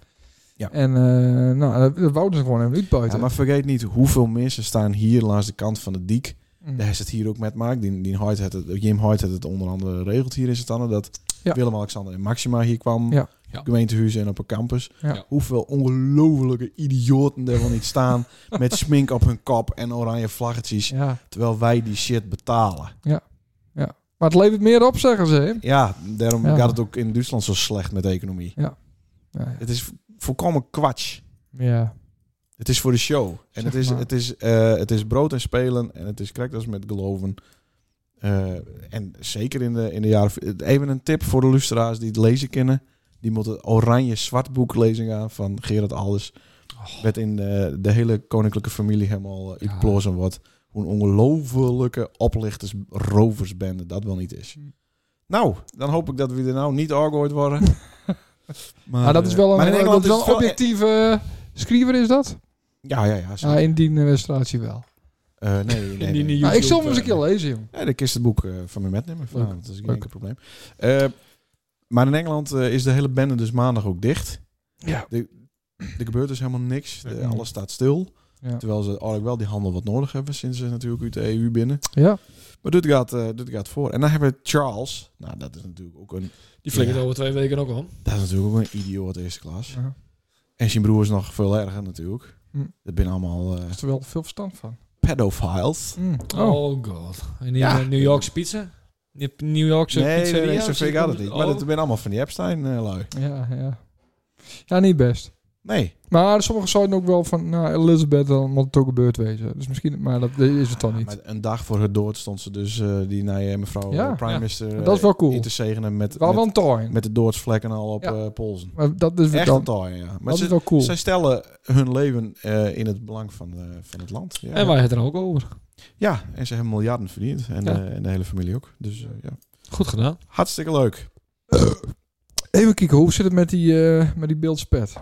Speaker 1: Ja.
Speaker 2: En eh, nou, dat- dat wouden ze gewoon helemaal
Speaker 1: Ja,
Speaker 2: uitbuiten.
Speaker 1: maar vergeet niet hoeveel mensen staan hier langs de kant van de diek.
Speaker 2: Mm.
Speaker 1: Daar is het hier ook met Mark. Die, die Hoyt had het, Jim Hoyt had het onder andere regeld hier in Santander. Dat
Speaker 2: Ja.
Speaker 1: Willem-Alexander en Maxima hier kwam.
Speaker 2: Ja.
Speaker 5: Ja.
Speaker 1: Gemeentehuizen en op een campus.
Speaker 2: Ja.
Speaker 5: Ja.
Speaker 1: Hoeveel ongelofelijke idioten er wel niet
Speaker 2: <laughs>
Speaker 1: staan. met smink op hun kop en oranje vlaggetjes.
Speaker 2: Ja.
Speaker 1: Terwijl wij die shit betalen.
Speaker 2: Maar het levert meer op, zeggen ze. hè?
Speaker 1: Ja, daarom
Speaker 2: Ja.
Speaker 1: gaat het ook in Duitsland zo slecht met de economie.
Speaker 2: Ja.
Speaker 1: Het is vo- volkomen kwatsch.
Speaker 2: ja.
Speaker 1: Het is voor de show. En
Speaker 2: Zeg
Speaker 1: het is,
Speaker 2: maar.
Speaker 1: het, is, eh, het is brood en spelen. En het is crackers met geloven. Eh, en zeker in de, in de jaren... Even een tip voor de luisteraars die het lezen kennen. Die moeten het oranje-zwart boek lezen gaan van Gerard Alders.
Speaker 2: Oh.
Speaker 1: Werd in de, de hele koninklijke familie helemaal
Speaker 5: Ja.
Speaker 1: uh, uitplozen wordt. Hoe een ongelofelijke oplichters, roversbende dat wel niet is.
Speaker 2: Hmm.
Speaker 1: Nou, dan hoop ik dat we er nou niet argooid worden.
Speaker 2: <laughs>
Speaker 1: maar,
Speaker 2: Maar dat is wel
Speaker 1: eh,
Speaker 2: een,
Speaker 1: maar in
Speaker 2: eh, dat
Speaker 1: Engeland
Speaker 2: is wel
Speaker 1: het
Speaker 2: een objectieve eh, schrijver, is dat?
Speaker 1: Ja, ja, ja.
Speaker 2: Ja,
Speaker 1: zeker.
Speaker 2: in die illustratie wel.
Speaker 1: Eh,
Speaker 2: <laughs>
Speaker 1: nee, nee, nee.
Speaker 5: die
Speaker 2: Nou, ik zal hem
Speaker 5: YouTube,
Speaker 2: eens een
Speaker 5: eh,
Speaker 2: keer lezen, jong.
Speaker 1: Ja, ik kist het boek eh, van me metnemen vanavond. Dat is geen
Speaker 2: leuk.
Speaker 1: enkel probleem. Eh, maar in Engeland eh, is de hele bende dus maandag ook dicht.
Speaker 2: Ja.
Speaker 1: Er gebeurt dus helemaal niks. De-
Speaker 2: Nee.
Speaker 1: alles staat stil.
Speaker 2: Ja.
Speaker 1: Terwijl ze eigenlijk wel die handel wat nodig hebben sinds ze natuurlijk uit de EU binnen.
Speaker 2: Ja.
Speaker 1: Maar dit gaat, eh, dit gaat voor. En dan hebben we Charles. Nou, dat is natuurlijk ook een,
Speaker 5: Die flikkert
Speaker 1: Ja.
Speaker 5: over twee weken ook om.
Speaker 1: dat is natuurlijk ook een idioot eerste klas.
Speaker 2: Ja.
Speaker 1: En zijn broer is nog veel erger natuurlijk.
Speaker 2: Hm.
Speaker 1: Dat zijn allemaal eh
Speaker 2: Daar is er wel veel verstand van.
Speaker 1: pedophiles.
Speaker 2: Mm.
Speaker 5: Oh,
Speaker 2: Oh.
Speaker 5: god. En die
Speaker 1: Ja.
Speaker 5: eh, New Yorkse pizza? Die heb- New Yorkse
Speaker 1: Nee,
Speaker 5: pizza?
Speaker 1: nee,
Speaker 5: Oh.
Speaker 1: eh, nee, zover gaat het niet. Maar dat zijn allemaal van die Epstein-lui.
Speaker 2: Ja, ja. Ja, niet best.
Speaker 1: Nee.
Speaker 2: Maar sommigen zeiden ook wel van, nou, Elizabeth, dan moet het ook gebeurd wezen. Dus misschien, maar dat is het dan niet.
Speaker 1: Maar een dag voor het dood stond ze dus eh, die naar je mevrouw
Speaker 2: Ja,
Speaker 1: eh, Prime
Speaker 5: ja.
Speaker 1: Minister
Speaker 2: Dat is wel cool.
Speaker 1: in te zegenen met,
Speaker 2: Wel wel
Speaker 1: met,
Speaker 2: een toren.
Speaker 1: met de doodsvlek en al op
Speaker 2: Ja.
Speaker 1: eh, polsen.
Speaker 2: Maar dat is
Speaker 1: Echt een
Speaker 2: dan,
Speaker 1: taai, ja. Maar
Speaker 2: dat is
Speaker 1: ze,
Speaker 2: wel cool.
Speaker 1: zij stellen hun leven eh, in het belang van, eh, van het land. Ja.
Speaker 5: En wij het er ook over.
Speaker 1: ja, en ze hebben miljarden verdiend. En,
Speaker 5: Ja.
Speaker 1: eh, en de hele familie ook. Dus eh, ja.
Speaker 5: Goed gedaan.
Speaker 1: Hartstikke leuk.
Speaker 2: Even kijken, hoe zit het met die, eh, met die beeldspet?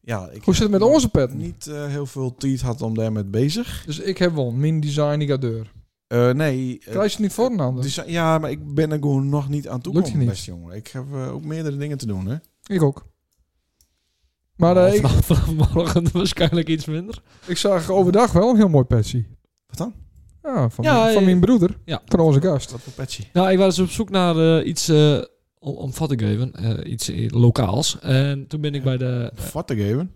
Speaker 1: Ja, ik
Speaker 2: Hoe zit het met onze pet?
Speaker 1: niet eh, heel veel tijd had om daarmee bezig.
Speaker 2: Dus ik heb wel een min design, ik ga deur.
Speaker 1: Eh, nee. eh,
Speaker 2: Krijg je het niet voor een ander?
Speaker 1: dus, ja, maar ik ben er gewoon nog niet aan toe
Speaker 2: Lukt je
Speaker 1: gekomen,
Speaker 2: niet?
Speaker 1: beste jongen. Ik heb eh, ook meerdere dingen te doen, hè.
Speaker 2: Ik ook. Maar eh,
Speaker 1: Oh,
Speaker 2: ik,
Speaker 5: vanaf, vanaf morgen <laughs> waarschijnlijk iets minder.
Speaker 2: ik zag overdag wel een heel mooi petje.
Speaker 1: Wat dan?
Speaker 2: Ja, van,
Speaker 5: Ja,
Speaker 2: mijn- van
Speaker 5: eh,
Speaker 2: mijn broeder.
Speaker 5: ja.
Speaker 2: Van onze gast.
Speaker 1: Wat voor petje?
Speaker 5: Nou, ik was dus op zoek naar eh, iets eh, om, om vat te geven. eh, iets eh, lokaals. En toen ben ik bij de...
Speaker 1: Wat te geven?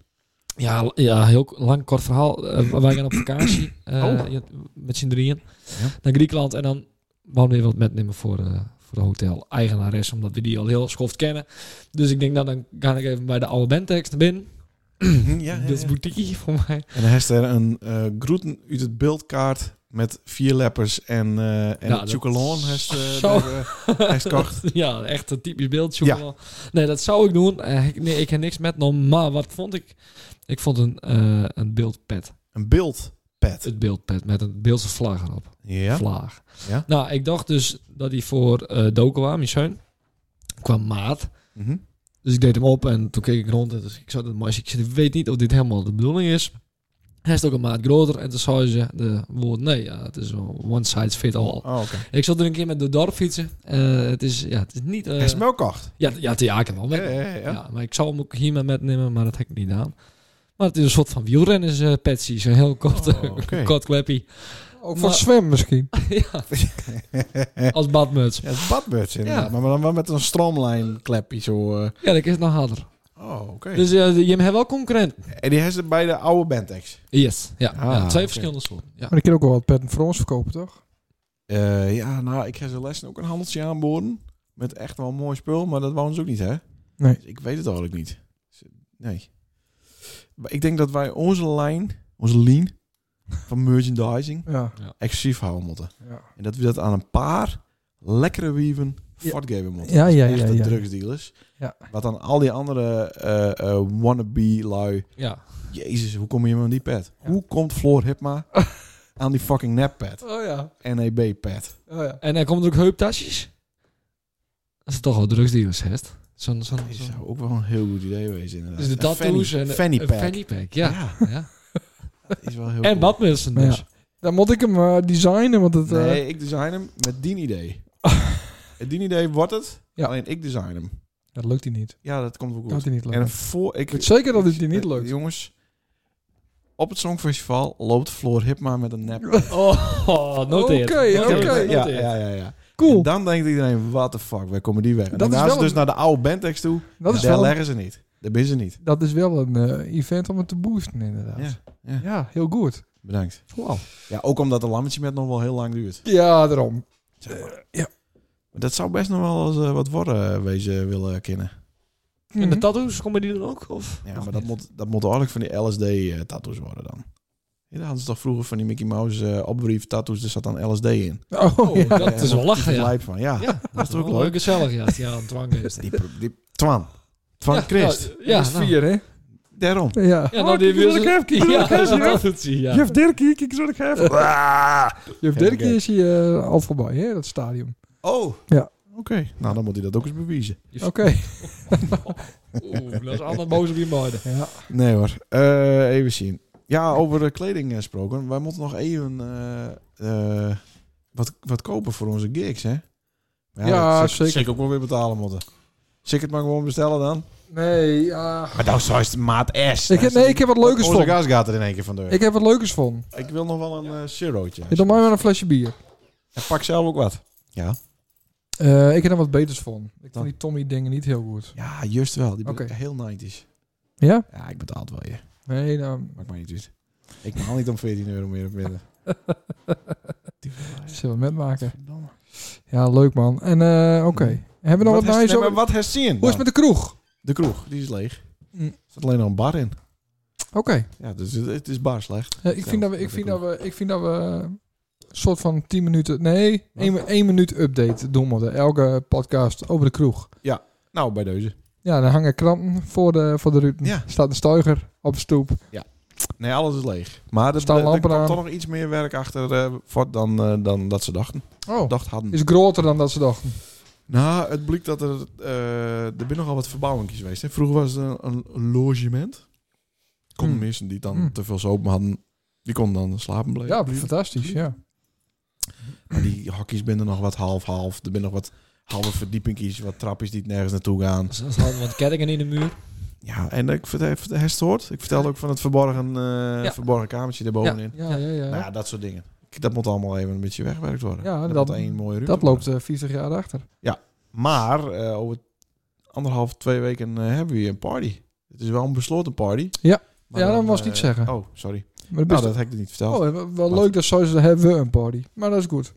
Speaker 5: Ja, l- ja heel k- lang, kort verhaal. Eh, wij gaan op vakantie. eh,
Speaker 1: Oh.
Speaker 5: ja, met z'n drieën.
Speaker 1: Ja.
Speaker 5: Naar Griekenland. En dan wouden we wat metnemen voor, eh, voor de hotel-eigenares. Omdat we die al heel schoft kennen. Dus ik denk, nou, dan ga ik even bij de oude bandtekst binnen.
Speaker 1: Mhm, ja,
Speaker 5: Dit is boutique <laughs> voor mij.
Speaker 1: En dan heeft er een eh groeten uit het beeldkaart met vier leppers en, eh en
Speaker 5: Nou, dat-
Speaker 1: chocolon heeft, eh,
Speaker 5: Zo.
Speaker 1: daar, eh, heeft
Speaker 5: <laughs>
Speaker 1: gekocht.
Speaker 5: Ja, echt een typisch beeldje.
Speaker 1: Ja.
Speaker 5: wel. Nee, dat zou ik doen. Eh, ik, nee, ik heb niks met nou, maar wat vond ik? Ik vond een, eh, een beeldpad.
Speaker 1: Een beeldpad.
Speaker 5: Het beeldpad met een beeldse vlag erop.
Speaker 1: Ja.
Speaker 5: Vlaag.
Speaker 1: Ja.
Speaker 5: Nou, ik dacht dus dat hij voor eh Doken kwam, mijn zoon. Kwam maat.
Speaker 1: Mhm.
Speaker 5: Dus ik deed hem op en toen keek ik rond. En dus ik zat het maar ik zei, ik weet niet of dit helemaal de bedoeling is. Hij is ook een maat groter. En toen zei ze de woord, nee, ja, het is wel one size fit all.
Speaker 1: Oh, oké.
Speaker 5: Ik zat er een keer met de dorp fietsen. Eh, het, is, ja, het is niet... eh,
Speaker 1: Hij is melkkocht.
Speaker 5: ja, ja, het- ja, ik heb hem al
Speaker 1: Ja,
Speaker 5: met.
Speaker 1: ja, ja, ja.
Speaker 5: Ja, maar ik zal hem ook hier maar metnemen, maar dat heb ik niet aan. Maar het is een soort van wielrenners eh Patsy, zo'n heel kort,
Speaker 1: Oh,
Speaker 5: eh,
Speaker 1: oké.
Speaker 5: <laughs> kort kleppie.
Speaker 2: Ook voor
Speaker 5: Maar-
Speaker 2: zwem misschien.
Speaker 5: ja, als
Speaker 1: <laughs>
Speaker 5: badmuts.
Speaker 1: Ja, het is badmuts inderdaad.
Speaker 5: Ja.
Speaker 1: Maar dan wel met een stroomlijn klepje zo. eh.
Speaker 5: Ja, dat is nog harder.
Speaker 1: Oh, oké.
Speaker 5: Dus eh, je hebt wel concurrent.
Speaker 1: En die heeft ze bij de oude Bentex.
Speaker 5: Yes, ja.
Speaker 1: Ah,
Speaker 5: ja, twee
Speaker 1: oké.
Speaker 5: verschillende soorten. Ja.
Speaker 2: Maar ik kan ook wel wat petten voor ons verkopen, toch?
Speaker 1: Eh, ja, nou, ik heb ze les ook een handeltje aanboden. Met echt wel een mooi spul, maar dat wonen ze ook niet, hè?
Speaker 2: Nee.
Speaker 1: Dus ik weet het eigenlijk niet. Dus, Nee. Maar ik denk dat wij onze lijn, onze lean van merchandising,
Speaker 2: Ja.
Speaker 1: exclusief houden moeten.
Speaker 2: Ja,
Speaker 1: En dat we dat aan een paar lekkere wieven
Speaker 2: Ja.
Speaker 1: voortgeven moeten. Dus
Speaker 2: ja, ja. ja,
Speaker 1: Echte
Speaker 2: ja.
Speaker 1: drugsdealers.
Speaker 2: Ja.
Speaker 1: Wat dan al die andere eh, eh, wannabe-lui...
Speaker 5: ja.
Speaker 1: Jezus, hoe kom je met die pet?
Speaker 2: Ja.
Speaker 1: Hoe komt
Speaker 2: <laughs>
Speaker 1: Floor Hipma aan die fucking E nep-pet?
Speaker 2: Oh ja.
Speaker 1: NEB-pet.
Speaker 2: Oh ja.
Speaker 5: En er komen er ook heuptasjes. Dat is toch wel drugsdealers, hè? Zo'n, zo'n,
Speaker 1: Dat
Speaker 5: zo'n-
Speaker 1: zou ook wel een heel goed idee wezen, inderdaad.
Speaker 5: Dus de
Speaker 1: Een
Speaker 5: tattoos
Speaker 1: fanny,
Speaker 5: en
Speaker 1: fanny
Speaker 5: een
Speaker 1: pack.
Speaker 5: fanny pack, ja. ja.
Speaker 1: dat <laughs> is wel heel cool.
Speaker 5: En badmutsen
Speaker 2: Maar
Speaker 5: dus.
Speaker 2: ja. Dan moet ik hem eh, designen, want het... eh,
Speaker 1: Nee, ik design hem met die
Speaker 2: <laughs>
Speaker 1: idee. Met die idee wordt het,
Speaker 2: Ja.
Speaker 1: alleen ik design hem.
Speaker 2: Dat lukt hij niet.
Speaker 1: Ja, dat komt wel
Speaker 2: Dat
Speaker 1: goed.
Speaker 2: had hij niet
Speaker 1: en
Speaker 2: lukt.
Speaker 1: voor, ik,
Speaker 2: Ik weet zeker dat het die niet
Speaker 1: eh,
Speaker 2: lukt.
Speaker 1: Jongens, op het Songfestival loopt Floor Hipma met een nep.
Speaker 5: Oh, <laughs> oh, noteer.
Speaker 2: Oké,
Speaker 5: Noteer,
Speaker 2: oké.
Speaker 5: noteer.
Speaker 1: Ja, ja, ja, ja. En
Speaker 2: Cool.
Speaker 1: dan denkt iedereen, what the fuck, waar komen die weg? En
Speaker 2: Dat
Speaker 1: dan
Speaker 2: is
Speaker 1: gaan ze
Speaker 2: wel
Speaker 1: dus
Speaker 2: een-
Speaker 1: naar de oude bandtext toe.
Speaker 2: Dat is
Speaker 1: en daar
Speaker 2: wel,
Speaker 1: leggen ze niet. Daar ben ze niet.
Speaker 2: dat is wel een eh, event om het te boosten, inderdaad.
Speaker 1: Ja, ja.
Speaker 2: Ja, heel goed.
Speaker 1: Bedankt.
Speaker 2: Wauw.
Speaker 1: Ja, ook omdat de lammetje met nog wel heel lang duurt.
Speaker 2: Ja, daarom.
Speaker 1: Zeg maar.
Speaker 2: ja.
Speaker 1: Eh, Maar Dat zou best nog wel eens eh, wat worden eh, wezen willen kennen.
Speaker 2: Hm.
Speaker 5: En de tattoos, komen die dan ook? Of?
Speaker 1: Mhm. Ja,
Speaker 5: Nog
Speaker 1: maar dat
Speaker 5: niet?
Speaker 1: moet, dat moet eigenlijk van die LSD-tattoos eh, worden dan. Ja, dat hadden ze toch vroeger van die Mickey Mouse eh, opbrief tattoos, er zat dan LSD in.
Speaker 2: Oh,
Speaker 5: Oh,
Speaker 2: ja.
Speaker 5: dat is wel lachen, ja.
Speaker 1: Lijp van, ja.
Speaker 5: Ja, dat is
Speaker 1: toch
Speaker 5: ook
Speaker 1: leuk?
Speaker 5: leuk. Gezellig, ja. als die aan het
Speaker 1: <laughs>
Speaker 5: dwangen is.
Speaker 1: Die, die, Twan. Twan
Speaker 5: Ja,
Speaker 1: Christ.
Speaker 5: Ja, ja,
Speaker 2: dat is
Speaker 5: nou.
Speaker 2: vier, hè?
Speaker 1: Daarom.
Speaker 2: Ja.
Speaker 5: Ja, nou, die wil ik even Ja, dat doet hij, ja.
Speaker 1: Jef Dirkie, kijk eens wat ik heb. Ah.
Speaker 2: Juf
Speaker 1: Ja,
Speaker 2: Dirkie
Speaker 1: oké.
Speaker 2: is hier eh, al voorbij, hè? Dat stadion.
Speaker 1: Oh.
Speaker 2: Ja.
Speaker 1: Oké, nou dan moet hij dat ook eens bewijzen.
Speaker 2: Oké.
Speaker 5: Oeh, dat is allemaal boos op je moeder.
Speaker 2: Ja.
Speaker 1: Nee hoor. Eh, even zien. Ja, over eh, kleding gesproken. Wij moeten nog even eh, eh, wat, wat kopen voor onze gigs, hè?
Speaker 2: Ja,
Speaker 1: dat
Speaker 2: zeker.
Speaker 1: ook wel weer betalen moeten. Zeker het maar gewoon bestellen dan.
Speaker 2: Nee,
Speaker 5: ah.
Speaker 2: ja.
Speaker 1: Maar nou, zo is het maat S.
Speaker 2: Ik heb, nee, ik heb wat leukers
Speaker 1: Onze
Speaker 2: van.
Speaker 1: gas gaat er in één keer van deur.
Speaker 2: Ik
Speaker 1: Ik,
Speaker 2: heb wat leukers van.
Speaker 1: wil nog wel een eh zerootje.
Speaker 2: Je doet mij maar een flesje bier.
Speaker 1: En pak zelf ook wat. Ja.
Speaker 2: Eh, ik heb er wat beters van. Ik
Speaker 1: Dan.
Speaker 2: vond die Tommy dingen niet heel goed.
Speaker 1: Ja, juist wel. Die
Speaker 2: Oké.
Speaker 1: ben heel 90
Speaker 2: Ja?
Speaker 1: Ja, ik betaal het wel, je.
Speaker 2: Nee, nou...
Speaker 1: Maakt mij niet uit. Ik haal niet om 14 euro meer of
Speaker 2: <laughs>
Speaker 1: minder. Die verlaat.
Speaker 2: Zullen we het metmaken?
Speaker 1: Verdomme.
Speaker 2: Ja, leuk man. En eh, oké. Hebben we nog wat,
Speaker 1: heeft-
Speaker 2: nice
Speaker 1: nee,
Speaker 2: over?
Speaker 1: maar wat herzien?
Speaker 2: Hoe is het met de kroeg?
Speaker 1: De kroeg, die is leeg.
Speaker 2: Hm.
Speaker 1: Er zit alleen nog een bar in.
Speaker 2: Oké.
Speaker 1: Ja, dus het, het is bar slecht.
Speaker 2: Ja, ik, vind
Speaker 1: Zelf,
Speaker 2: dat we, ik,
Speaker 1: dat
Speaker 2: vind
Speaker 1: ik
Speaker 2: dat we, ik vind dat we een soort van 10 minuten... Nee, 1, 1 minuut update doen we. Elke podcast over de kroeg.
Speaker 1: Nou, bij deze.
Speaker 2: Ja, dan hangen kranten voor de, voor de ruiten.
Speaker 1: Ja.
Speaker 2: Staat een stuiger op de stoep.
Speaker 1: Nee, alles is leeg. Maar er,
Speaker 2: Staan
Speaker 1: er, er
Speaker 2: lampen
Speaker 1: kwam
Speaker 2: aan.
Speaker 1: toch nog iets meer werk achter eh, voort dan, eh, dan dat ze dachten.
Speaker 2: Oh,
Speaker 1: dacht hadden.
Speaker 2: is groter dan dat ze dachten.
Speaker 1: Nou, het blijkt dat er... eh er zijn nogal wat verbouwingjes geweest. Hè. Vroeger was het een, een logement. Konden
Speaker 2: Hmm.
Speaker 1: mensen die dan
Speaker 2: Hmm.
Speaker 1: te veel zopen hadden... Die konden dan slapen blijven.
Speaker 2: Ja, fantastisch, ja.
Speaker 1: Maar die hokjes binnen nog wat half-half. Er zijn nog wat halve verdiepingjes, wat trapjes die het nergens naartoe gaan.
Speaker 5: Ze ze hadden wat kerken in de muur.
Speaker 1: Ja, en ik vertel, het hoort. Ik vertelde ook van het verborgen, eh,
Speaker 5: Ja.
Speaker 1: verborgen kamertje
Speaker 5: Ja.
Speaker 1: daarbovenin.
Speaker 2: Ja, ja, ja.
Speaker 1: Nou ja, dat soort dingen. Dat moet allemaal even een beetje weggewerkt worden.
Speaker 2: Ja,
Speaker 1: dat,
Speaker 2: dat-
Speaker 1: moet één mooie ruimte
Speaker 2: dat loopt eh, 40 jaar achter.
Speaker 1: worden. Maar eh, over anderhalf, twee weken eh, hebben we hier een party. Het is wel een besloten party.
Speaker 2: Ja.
Speaker 1: Maar
Speaker 2: Ja, dan was
Speaker 1: eh,
Speaker 2: niet zeggen.
Speaker 1: Oh, sorry.
Speaker 2: Maar
Speaker 1: Nou,
Speaker 2: best,
Speaker 1: dat heb ik er niet verteld.
Speaker 2: oh, wel- wel
Speaker 1: Wat?
Speaker 2: leuk dat ze ze hebben we een party. Maar dat is goed.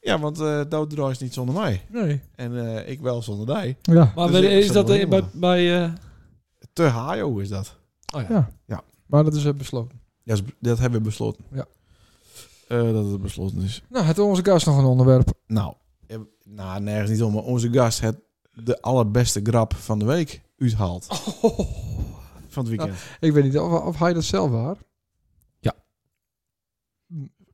Speaker 1: Ja, want eh Dooddraai is niet zonder mij.
Speaker 2: Nee.
Speaker 1: En eh, ik wel zonder mij.
Speaker 2: Ja.
Speaker 5: Maar
Speaker 1: Dus ik- ik
Speaker 5: is
Speaker 1: zal
Speaker 5: dat
Speaker 1: wel
Speaker 5: eh, bij...
Speaker 1: inloggen.
Speaker 5: bij eh,
Speaker 1: Te Hajo is dat.
Speaker 2: ja.
Speaker 1: Ja.
Speaker 2: Maar dat is eh, besloten.
Speaker 1: Ja, dat is- dat hebben we besloten.
Speaker 2: Ja.
Speaker 1: Eh, dat het besloten is.
Speaker 2: Nou, het onze gast nog een onderwerp.
Speaker 1: Nou, eh, nou nergens niet om. Maar onze gast het de allerbeste grap van de week uithaalt.
Speaker 5: Oh.
Speaker 1: Van het weekend.
Speaker 2: Ik weet niet of, of hij dat zelf waar.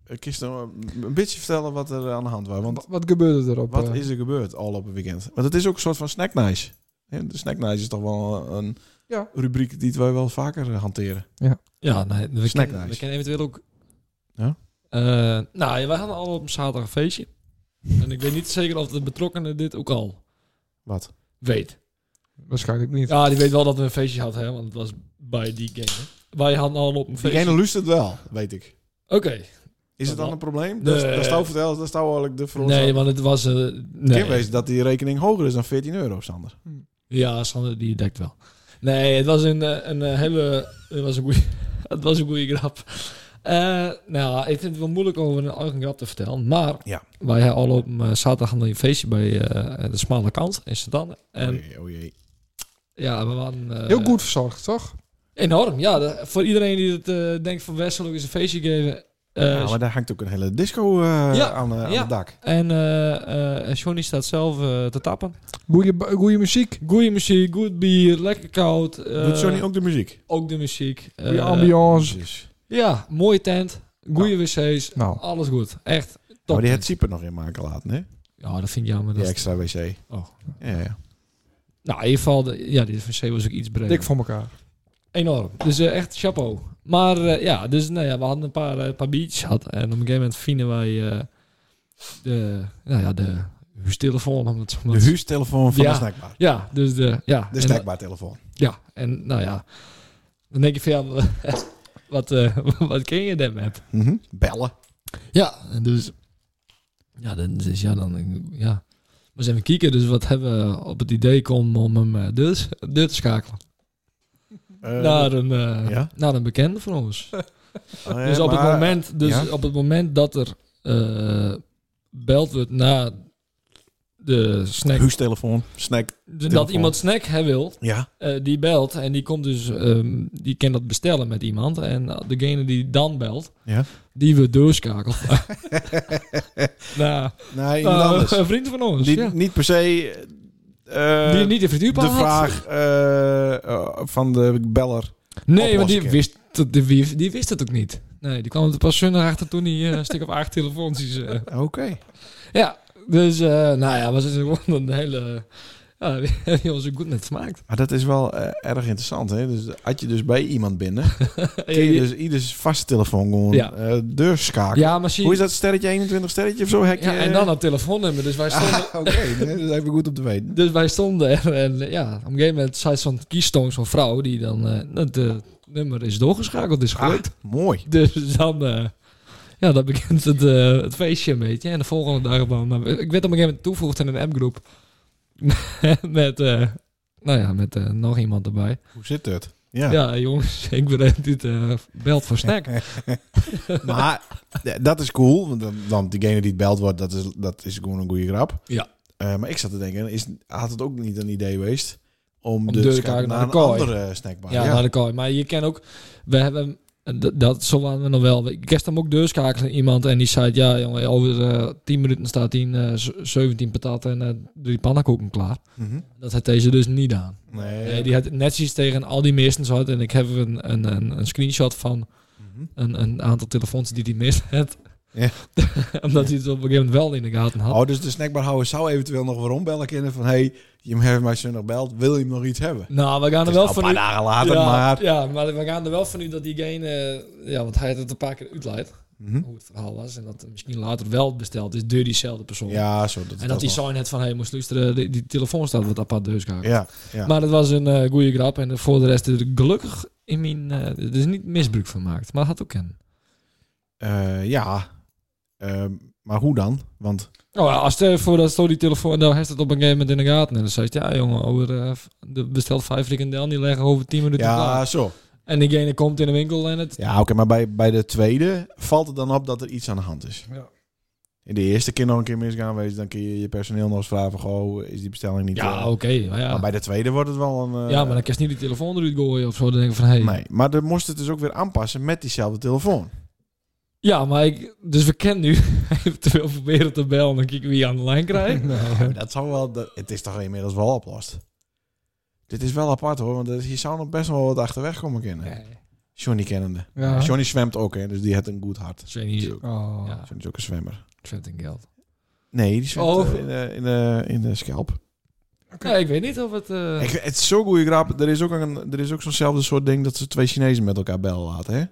Speaker 1: Ik kies nou een een beetje vertellen wat er aan de hand was. Want
Speaker 2: Wat, wat gebeurde erop?
Speaker 1: wat
Speaker 2: eh?
Speaker 1: is er gebeurd al op het weekend? Want het is ook een soort van snacknice. Hè, De snacknice is toch wel een
Speaker 2: Ja.
Speaker 1: rubriek die wij wel vaker eh, hanteren.
Speaker 5: Ja, nee, we,
Speaker 1: Snack
Speaker 5: kunnen,
Speaker 1: nice.
Speaker 5: we kunnen eventueel ook...
Speaker 1: Ja?
Speaker 5: Eh, nou, ja, wij hadden al op een zaterdag een feestje. En ik weet niet zeker of de betrokkenen dit ook al
Speaker 1: Wat?
Speaker 5: weet.
Speaker 2: Waarschijnlijk niet.
Speaker 5: Ja, die weet wel dat we een feestje hadden, hè, want het was bij die game. Hè. Wij hadden al op een
Speaker 1: Die
Speaker 5: feestje.
Speaker 1: ene lust het wel, weet ik.
Speaker 5: Oké.
Speaker 1: Is het dan
Speaker 5: wel.
Speaker 1: een probleem?
Speaker 5: Nee.
Speaker 1: Dat Dat zou vertellen, dat zou eigenlijk de veroorzaak.
Speaker 5: Nee, want het was... eh nee.
Speaker 1: Kim wees dat die rekening hoger is dan 14 euro, Sander.
Speaker 5: Ja, Sander die dekt wel. Nee, het was een, eh, een eh, hele... Het was een goeie, <laughs> het was een goeie grap. Eh, nou, ik vind het wel moeilijk om een eigen grap te vertellen. Maar
Speaker 1: Ja.
Speaker 5: wij hebben al op eh, zaterdag hadden we een feestje bij eh, de Smale Kant in Sedan. En
Speaker 1: oh jee, oh jee.
Speaker 5: ja, we waren... eh,
Speaker 2: Heel goed verzorgd, toch?
Speaker 5: Enorm, ja. De- voor iedereen die het eh, denkt van Wessel ook eens een feestje geven. eh,
Speaker 1: ja, Nou, maar daar hangt ook een hele disco eh,
Speaker 5: Ja,
Speaker 1: aan, eh, aan
Speaker 5: ja.
Speaker 1: het dak.
Speaker 5: En eh, eh, Johnny staat zelf eh, te tappen.
Speaker 2: Goeie, goeie muziek.
Speaker 5: Goeie muziek, goed bier, lekker koud. eh,
Speaker 1: Doet Johnny ook de muziek?
Speaker 5: ook de muziek.
Speaker 2: Goeie
Speaker 5: Eh,
Speaker 2: ambiance.
Speaker 1: Precies.
Speaker 5: Ja, mooie tent, goede wc's,
Speaker 2: Nou,
Speaker 5: alles goed. Echt top.
Speaker 1: Maar die het Sieper nog in maken laten, hè?
Speaker 5: Ja, dat vind ik jammer.
Speaker 1: Die
Speaker 5: Dat
Speaker 1: extra wc.
Speaker 5: Oh.
Speaker 1: Ja, ja.
Speaker 5: Nou, in ieder geval, de- ja, die wc was ook iets breder.
Speaker 2: dik voor elkaar.
Speaker 5: Enorm. Dus eh, echt chapeau. Maar eh, ja, dus nou ja, we hadden een paar, eh, paar biertjes gehad. En op een gegeven moment vinden wij eh, de, nou ja, de huistelefoon. Om het zo maar
Speaker 1: De
Speaker 5: te-
Speaker 1: huustelefoon van
Speaker 5: Ja.
Speaker 1: de snackbar.
Speaker 5: Ja, dus de, ja.
Speaker 1: De
Speaker 5: en,
Speaker 1: snackbar telefoon.
Speaker 5: Ja, en nou ja. Dan denk je van ja, <laughs> wat, eh, <laughs> wat ken je dem app?
Speaker 1: Mhm. Bellen.
Speaker 5: Ja, en dus... Ja, dan, dus, ja, dan ja. We zijn even kijken, dus wat hebben we op het idee komen om hem eh, deur, deur te schakelen?
Speaker 1: Eh,
Speaker 5: naar, een, eh,
Speaker 1: ja?
Speaker 5: naar een bekende van ons.
Speaker 1: oh, ja,
Speaker 5: Dus op het
Speaker 1: maar-
Speaker 5: moment, dus
Speaker 1: ja?
Speaker 5: op het moment dat er eh beld wordt naar de snack, dus
Speaker 1: Huustelefoon, snack.
Speaker 5: dat
Speaker 1: telefoon.
Speaker 5: iemand snack hebben wil,
Speaker 1: Ja.
Speaker 5: eh, die belt en die komt dus, ehm, die kan dat bestellen met iemand. En eh, degene die dan belt,
Speaker 1: Ja.
Speaker 5: die
Speaker 1: <laughs>
Speaker 5: we doorschakelt. nou,
Speaker 1: Nee, iemand
Speaker 5: nou, <laughs>
Speaker 1: anders.
Speaker 5: een vriend van ons.
Speaker 1: Die
Speaker 5: ja.
Speaker 1: niet per se... eh,
Speaker 5: die het niet in frituurpan
Speaker 1: de
Speaker 5: had.
Speaker 1: vraag eh, eh, van de beller.
Speaker 5: Nee, want die
Speaker 1: oplossen.
Speaker 5: wist, het, die, wist- die wist het ook niet. Nee, die kwam er pas zondag achter toen hij eh, een stuk of acht telefoontjes... eh,
Speaker 1: Oké.
Speaker 5: ja, dus eh, nou ja, was het gewoon een hele... Ja, <laughs> die hebben ons ook goed net vermaakt.
Speaker 1: Maar dat is wel eh, erg interessant, hè? Dus had je dus bij iemand binnen, kun
Speaker 5: Ja,
Speaker 1: je dus ieders vaste telefoon gewoon
Speaker 5: Ja.
Speaker 1: eh, deur schakelen.
Speaker 5: ja, maar zie
Speaker 1: Hoe is dat sterretje 21 sterretje of zo? Hek je,
Speaker 5: Ja, en dan dat telefoonnummer. Dus wij stonden,
Speaker 1: <laughs> Ah, Oké, nee, dat is even goed om te weten.
Speaker 5: Dus wij stonden er en eh, ja, op een gegeven moment zei zo'n keystone, zo'n vrouw, die dan eh, het eh, nummer is doorgeschakeld, is
Speaker 1: Ah,
Speaker 5: gelukt.
Speaker 1: mooi.
Speaker 5: <laughs> Dus dan, eh, ja, dan begint het, eh, het feestje een beetje. En de volgende dag, dan, eh, ik werd op een gegeven moment toegevoegd in een appgroep. <laughs> met, eh, nou ja, met eh, nog iemand erbij.
Speaker 1: Hoe zit het?
Speaker 5: Ja,
Speaker 1: Ja.
Speaker 5: jongens, <laughs> ik ben dit eh, belt voor snack.
Speaker 1: Maar eh, dat is cool, want dan, dan diegene die het belt wordt, dat is, dat is gewoon een goede grap.
Speaker 5: Ja.
Speaker 1: Eh, maar ik zat te denken, is, had het ook niet een idee geweest om,
Speaker 5: Om
Speaker 1: dus
Speaker 5: deur te
Speaker 1: te kijken
Speaker 5: kijken
Speaker 1: naar,
Speaker 5: naar de
Speaker 1: een
Speaker 5: kooi.
Speaker 1: andere snackbar.
Speaker 5: Ja, naar de kooi. Maar je kan ook... We hebben... eh, d- Dat zo waren we nog wel. Ik heb hem ook deurskakelen iemand en die zei... Ja, jongen, over eh 10 minuten staat hier eh, z- 17 patat en eh, drie pannenkoeken klaar.
Speaker 1: Mhm.
Speaker 5: Dat had deze dus niet aan.
Speaker 1: Nee.
Speaker 5: Nee, Eh, die had netjes tegen al die meesters had. En ik heb een, een, een, een screenshot van
Speaker 1: Mhm.
Speaker 5: een, een aantal telefoons die hij mist had.
Speaker 1: Ja.
Speaker 5: <laughs> Omdat hij het op een gegeven moment wel in de gaten had.
Speaker 1: Oh, dus de snackbarhouder zou eventueel nog weer ombellen kunnen van... hey, je hebt mij zo nog belt, wil je hem nog iets hebben?
Speaker 5: Nou, we gaan
Speaker 1: Het
Speaker 5: er
Speaker 1: is al
Speaker 5: wel
Speaker 1: een
Speaker 5: van
Speaker 1: paar
Speaker 5: uit.
Speaker 1: dagen later,
Speaker 5: ja,
Speaker 1: maar...
Speaker 5: ja, maar we gaan er wel van uit dat diegene... eh, ja, want hij had het een paar keer uitleid.
Speaker 1: Mhm.
Speaker 5: Hoe het verhaal was. En dat er misschien later wel besteld is door diezelfde persoon.
Speaker 1: Ja, zo. Dat
Speaker 5: en dat hij
Speaker 1: is wel-
Speaker 5: zijn het van... Hé, hey, moest luisteren. Die, die telefoon staat wat apart dus
Speaker 1: Ja, ja.
Speaker 5: Maar dat was een eh goede grap. En voor de rest is er gelukkig in mijn... eh, er is niet misbruik van gemaakt. Maar dat had ook kennen.
Speaker 1: Eh, ja. Ehm, maar hoe dan? Want
Speaker 5: Nou ja, als er voor dat stond die telefoon, dan heeft het op een gegeven moment in de gaten. En dan zei je, ja jongen, over, eh, de bestelt vijf frikandel, die leggen over tien minuten
Speaker 1: ja,
Speaker 5: klaar.
Speaker 1: zo.
Speaker 5: En diegene komt in de winkel en het...
Speaker 1: Ja, oké, maar bij, bij de tweede valt het dan op dat er iets aan de hand is.
Speaker 2: Ja.
Speaker 1: In de eerste keer nog een keer misgaan wezen, dan kun je je personeel nog eens vragen van, goh, is die bestelling niet...
Speaker 5: Ja,
Speaker 1: eh,
Speaker 5: oké. maar ja.
Speaker 1: Maar bij de tweede wordt het wel een... eh,
Speaker 5: ja, maar dan kan je niet die telefoon eruit gooien of zo. Dan denk ik van, hé.
Speaker 1: Nee, maar dan moest het dus ook weer aanpassen met diezelfde telefoon.
Speaker 5: Ja, maar ik... Dus we kennen nu <laughs> eventueel proberen te bellen. Dan kijken we wie aan de lijn
Speaker 1: <laughs>
Speaker 5: krijgt.
Speaker 1: Ja, maar dat zou wel... dat- het is toch inmiddels wel oplost. Dit is wel apart hoor, want er is- hier zou nog best wel wat achterweg komen kunnen.
Speaker 5: Nee.
Speaker 1: Johnny kennende.
Speaker 2: Ja.
Speaker 1: Johnny zwemt ook, hè, dus die heeft een goed hart.
Speaker 5: Zijn hier...
Speaker 2: Oh.
Speaker 5: Ja,
Speaker 1: Johnny is ook een zwemmer.
Speaker 5: vet in geld.
Speaker 1: Nee, die zwemt
Speaker 5: Oh.
Speaker 1: eh, in, de, in, de, in de schelp.
Speaker 5: Ja, ik weet niet of het... eh,
Speaker 1: Ik, het is zo'n goede grap. Er is ook, een, er is ook zo'nzelfde soort ding dat ze twee Chinezen met elkaar bellen laten, hè?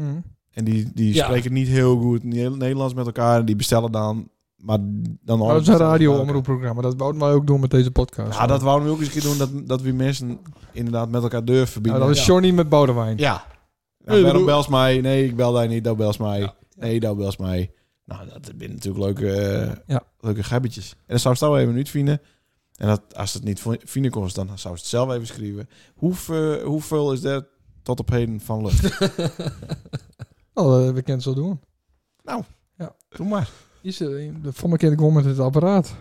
Speaker 2: Mm.
Speaker 1: En die, die
Speaker 5: Ja.
Speaker 1: spreken niet heel goed Ne- Nederlands met elkaar. En die bestellen dan... Maar dan
Speaker 2: Maar dat is een radio-omroepprogramma. Dat bouwt mij ook door met deze podcast.
Speaker 1: Ja, dat wouden we ook eens een keer doen. Dat, dat we mensen inderdaad met elkaar durven
Speaker 2: Nou,
Speaker 1: verbieden.
Speaker 2: dat is
Speaker 5: Ja.
Speaker 2: Johnny met Boudewijn.
Speaker 1: Ja.
Speaker 2: Nee,
Speaker 1: Nou,
Speaker 2: ik
Speaker 1: waarom
Speaker 2: bedoel-
Speaker 1: bels mij? Nee, ik bel daar niet. Dat bels mij.
Speaker 5: Ja.
Speaker 1: Nee, dat bels mij. Nou, dat zijn natuurlijk leuke, eh,
Speaker 2: Ja.
Speaker 1: leuke gebbetjes. En dat zou ze wel even niet vinden. En dat, als het niet vo- vinden kon, dan zou ze het zelf even schrijven. Hoeveel, hoeveel is dat tot op heden van
Speaker 2: <laughs>
Speaker 1: lucht?
Speaker 2: Nou, eh, we kunnen het zo doen.
Speaker 1: Doe maar.
Speaker 2: Is er, de vorige keer dat ik gewoon met het apparaat.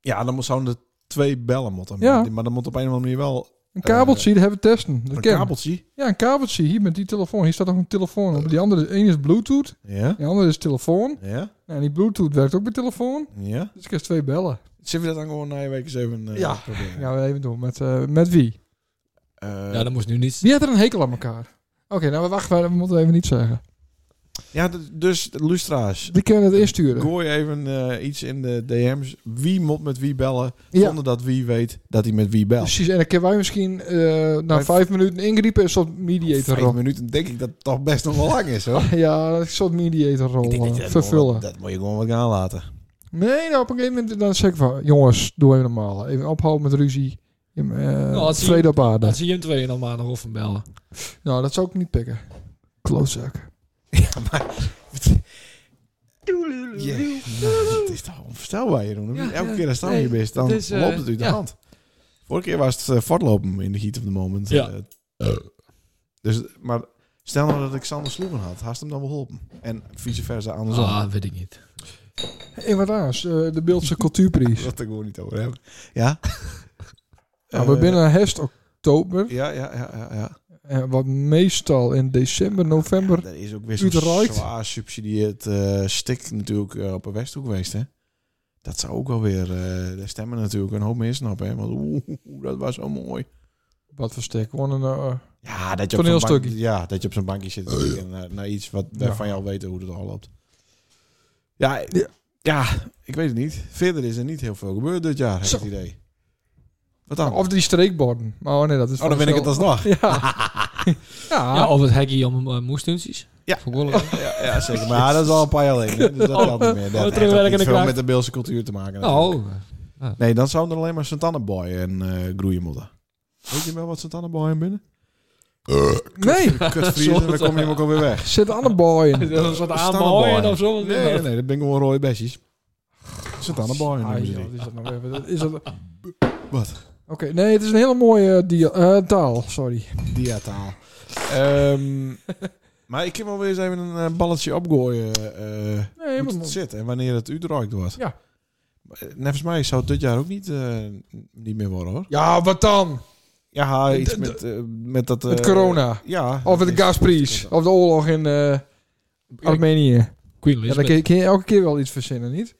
Speaker 1: Ja, dan mo- zouden er twee bellen moeten.
Speaker 2: Ja.
Speaker 1: Maar, maar dan moet op een of andere manier wel
Speaker 2: Een kabeltje, die hebben we testen. Dat
Speaker 1: een
Speaker 2: kan.
Speaker 1: kabeltje.
Speaker 2: Ja, een kabeltje hier met die telefoon. Hier staat nog een telefoon op. Die andere, één is Bluetooth,
Speaker 1: Ja.
Speaker 2: de andere is telefoon.
Speaker 1: Ja.
Speaker 2: Nou, en die Bluetooth werkt ook met telefoon.
Speaker 1: Ja.
Speaker 2: Dus ik heb twee bellen.
Speaker 1: Zullen we dat dan gewoon na je week eens even eh,
Speaker 2: Ja.
Speaker 1: proberen?
Speaker 2: Ja, we even doen. Met, eh, met wie?
Speaker 1: Eh,
Speaker 5: <laughs> Ja, dat moest nu niet...
Speaker 2: Wie had er een hekel aan elkaar? Oké, nou wacht, we moeten even niet zeggen.
Speaker 1: ja, d- dus lustra's.
Speaker 2: Die kunnen het insturen.
Speaker 1: Gooi even eh, iets in de DM's. Wie moet met wie bellen,
Speaker 2: Ja.
Speaker 1: zonder dat wie weet dat hij met wie belt.
Speaker 2: Precies, en dan kunnen wij misschien eh, na
Speaker 1: Wij-
Speaker 2: vijf minuten ingrijpen een soort mediator
Speaker 1: Vijf
Speaker 2: rol.
Speaker 1: minuten denk ik dat het toch best nog wel lang is, hoor.
Speaker 2: Ja, een soort mediator rol eh, vervullen.
Speaker 1: Vervullen. Dat moet je gewoon wat gaan laten. <laughs>
Speaker 2: Nee, nou, op een gegeven moment dan zeg ik van... Jongens, doe even normaal. Even ophouden met ruzie. Je, eh,
Speaker 5: als je-
Speaker 2: vrede op aarde.
Speaker 5: Dan zie je hem tweeën dan maar nog of hem bellen.
Speaker 2: Nou, dat zou ik niet pikken. Klootzak.
Speaker 1: Ja, nou, dit is toch onvoorstelbaar, Jeroen.
Speaker 5: Ja,
Speaker 1: Elke
Speaker 5: ja.
Speaker 1: keer als het aan
Speaker 5: Nee,
Speaker 1: je bent, dan
Speaker 5: het is, eh,
Speaker 1: loopt het uit de
Speaker 5: ja.
Speaker 1: hand. Vorige keer was het eh, voortlopen in de heat of the moment.
Speaker 5: Ja.
Speaker 1: Eh, dus, maar stel nou dat ik Sander Sloeven had, had hem dan wel geholpen. En vice versa andersom.
Speaker 5: Ah, weet ik niet.
Speaker 2: En wat anders, eh, de
Speaker 1: <laughs>
Speaker 2: Beeldse Cultuurprijs.
Speaker 1: Dat ik gewoon niet over hebben. <laughs> Ja?
Speaker 2: nou, we
Speaker 1: Eh,
Speaker 2: binnen herfst oktober.
Speaker 1: Ja, ja, ja, ja. ja.
Speaker 2: En wat meestal in december, november...
Speaker 1: Er is ook weer zo'n
Speaker 2: Utrecht.
Speaker 1: zwaar subsidieerd eh stik natuurlijk eh, op een Westhoek geweest, hè? Dat zou ook wel weer... eh daar stemmen natuurlijk een hoop mensen op, hè? Want oeh, dat was zo mooi.
Speaker 2: Wat voor stek? Gewoon een... eh,
Speaker 1: Ja, dat je op zo'n bank,
Speaker 2: Toneelstukje.
Speaker 1: ja, dat je op zo'n bankje zit te kijken naar, naar iets wat,
Speaker 2: Ja.
Speaker 1: waarvan je al weet hoe het al loopt. Ja, ja.
Speaker 2: Ja.
Speaker 1: ik weet het niet. Verder is er niet heel veel gebeurd dit jaar, heb ik
Speaker 2: Zo. Nou,
Speaker 1: het idee. Wat dan?
Speaker 2: of die streekborden. Maar oh nee, dat is...
Speaker 1: oh, dan ben ik het alsnog.
Speaker 2: Ja. ja.
Speaker 5: Ja, of het hekje om uh, moestuntjes.
Speaker 1: Ah. Ja.
Speaker 5: Vond
Speaker 1: <laughs>
Speaker 5: ik wel leuk.
Speaker 1: Ja, ja, zeker. Maar dat is al een paar jaar geleden. Dus dat geldt niet meer. Dat heeft ook
Speaker 5: terugwerkende
Speaker 1: niet veel
Speaker 5: kracht.
Speaker 1: met de Beelse cultuur te maken. natuurlijk.
Speaker 5: Nou,
Speaker 1: Nee, dan zou er alleen maar Santana-boy en eh groeien moeten. Weet je wel wat Santana-boy in binnen? <laughs>
Speaker 2: Nee, <laughs>
Speaker 1: Kutvrienden, dan kom je hem ook alweer weg.
Speaker 2: zit een andere bal
Speaker 1: <laughs>
Speaker 2: in.
Speaker 5: Dat <laughs> is wat
Speaker 1: aanbaaien
Speaker 5: aanbaaien
Speaker 1: of
Speaker 5: of zo.
Speaker 1: Nee, nee, dat ben ik gewoon rode besjes. Santana-boy
Speaker 2: Ah,
Speaker 1: noemen ze
Speaker 2: joh,
Speaker 1: die.
Speaker 2: wat is dat nou weer? Dat Is dat... Oké,
Speaker 1: Wat?
Speaker 2: nee, het is een hele mooie eh, dia- eh, taal, sorry.
Speaker 1: Diataal. Ehm, maar ik kan wel weer eens even een eh, balletje opgooien. eh
Speaker 2: Nee,
Speaker 1: hoe
Speaker 2: maar...
Speaker 1: het zit en wanneer het u draait wordt.
Speaker 2: Ja.
Speaker 1: Eh, Nevens mij zou het dit jaar ook niet, eh, niet meer worden hoor.
Speaker 2: Ja, wat dan?
Speaker 1: Ja, iets
Speaker 2: d-
Speaker 1: met, eh, met dat...
Speaker 2: Met
Speaker 1: eh,
Speaker 2: corona.
Speaker 1: Ja.
Speaker 2: Of met de gasprijs. Of de oorlog in eh, Armenië.
Speaker 5: Queen
Speaker 2: Ja, dan kun je, kun je elke keer wel iets verzinnen, niet?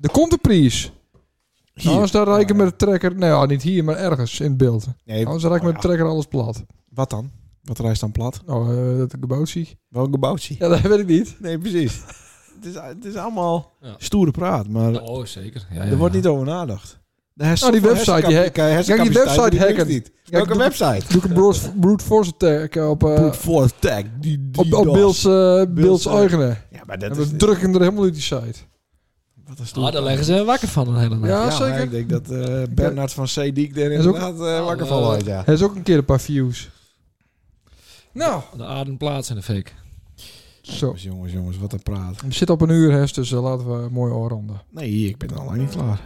Speaker 2: Er komt een prijs.
Speaker 1: Hier.
Speaker 2: Anders dan rijk ik
Speaker 1: Ja, ja.
Speaker 2: met de trekker... Nou ja, niet hier, maar ergens in beeld.
Speaker 1: Nee,
Speaker 2: Anders rijk ik
Speaker 1: oh,
Speaker 2: met de trekker alles plat.
Speaker 1: wat dan? Wat reist dan plat?
Speaker 2: Nou, eh, dat ik gebouwd zie.
Speaker 1: Welk gebouwtje?
Speaker 2: Ja, dat weet ik niet.
Speaker 1: Nee, precies. het, is, het is allemaal
Speaker 5: Ja.
Speaker 1: stoere praat, maar
Speaker 5: Oh, zeker. Ja, ja,
Speaker 1: er
Speaker 5: ja.
Speaker 1: wordt niet over nagedacht. De hersen-
Speaker 2: Nou, die website,
Speaker 1: hersenkap-
Speaker 2: die hack-
Speaker 1: kijk, hersencapaciteit,
Speaker 2: website
Speaker 1: maar die lukt
Speaker 2: hacken.
Speaker 1: niet.
Speaker 2: Kijk,
Speaker 1: Welke
Speaker 2: doe-
Speaker 1: website?
Speaker 2: <laughs> Doe ik een brute- brute force attack op, eh,
Speaker 1: Brute force tag. Die, die
Speaker 2: op, op
Speaker 1: dos.
Speaker 2: Bils, eh Bils
Speaker 1: eh,
Speaker 2: eigenen.
Speaker 1: Ja, maar
Speaker 2: En
Speaker 1: dat is...
Speaker 2: we drukken er helemaal uit die site.
Speaker 1: Wat is
Speaker 5: Ah, daar leggen ze wakker van een hele nacht.
Speaker 2: Ja,
Speaker 1: Ja,
Speaker 2: zeker.
Speaker 1: maar ik denk dat eh Bernard van Zeediek er
Speaker 2: is ook-
Speaker 1: inderdaad eh, wakker van
Speaker 5: Eh,
Speaker 1: wordt, ja.
Speaker 2: Hij is ook een keer een paar views. Nou,
Speaker 5: De aarde plaats in de fake.
Speaker 2: zo.
Speaker 1: Jongens, jongens, jongens, wat een praat.
Speaker 2: We zitten op een uur, hè, dus eh, laten we mooi oorronden.
Speaker 1: Nee, ik ben al lang niet klaar.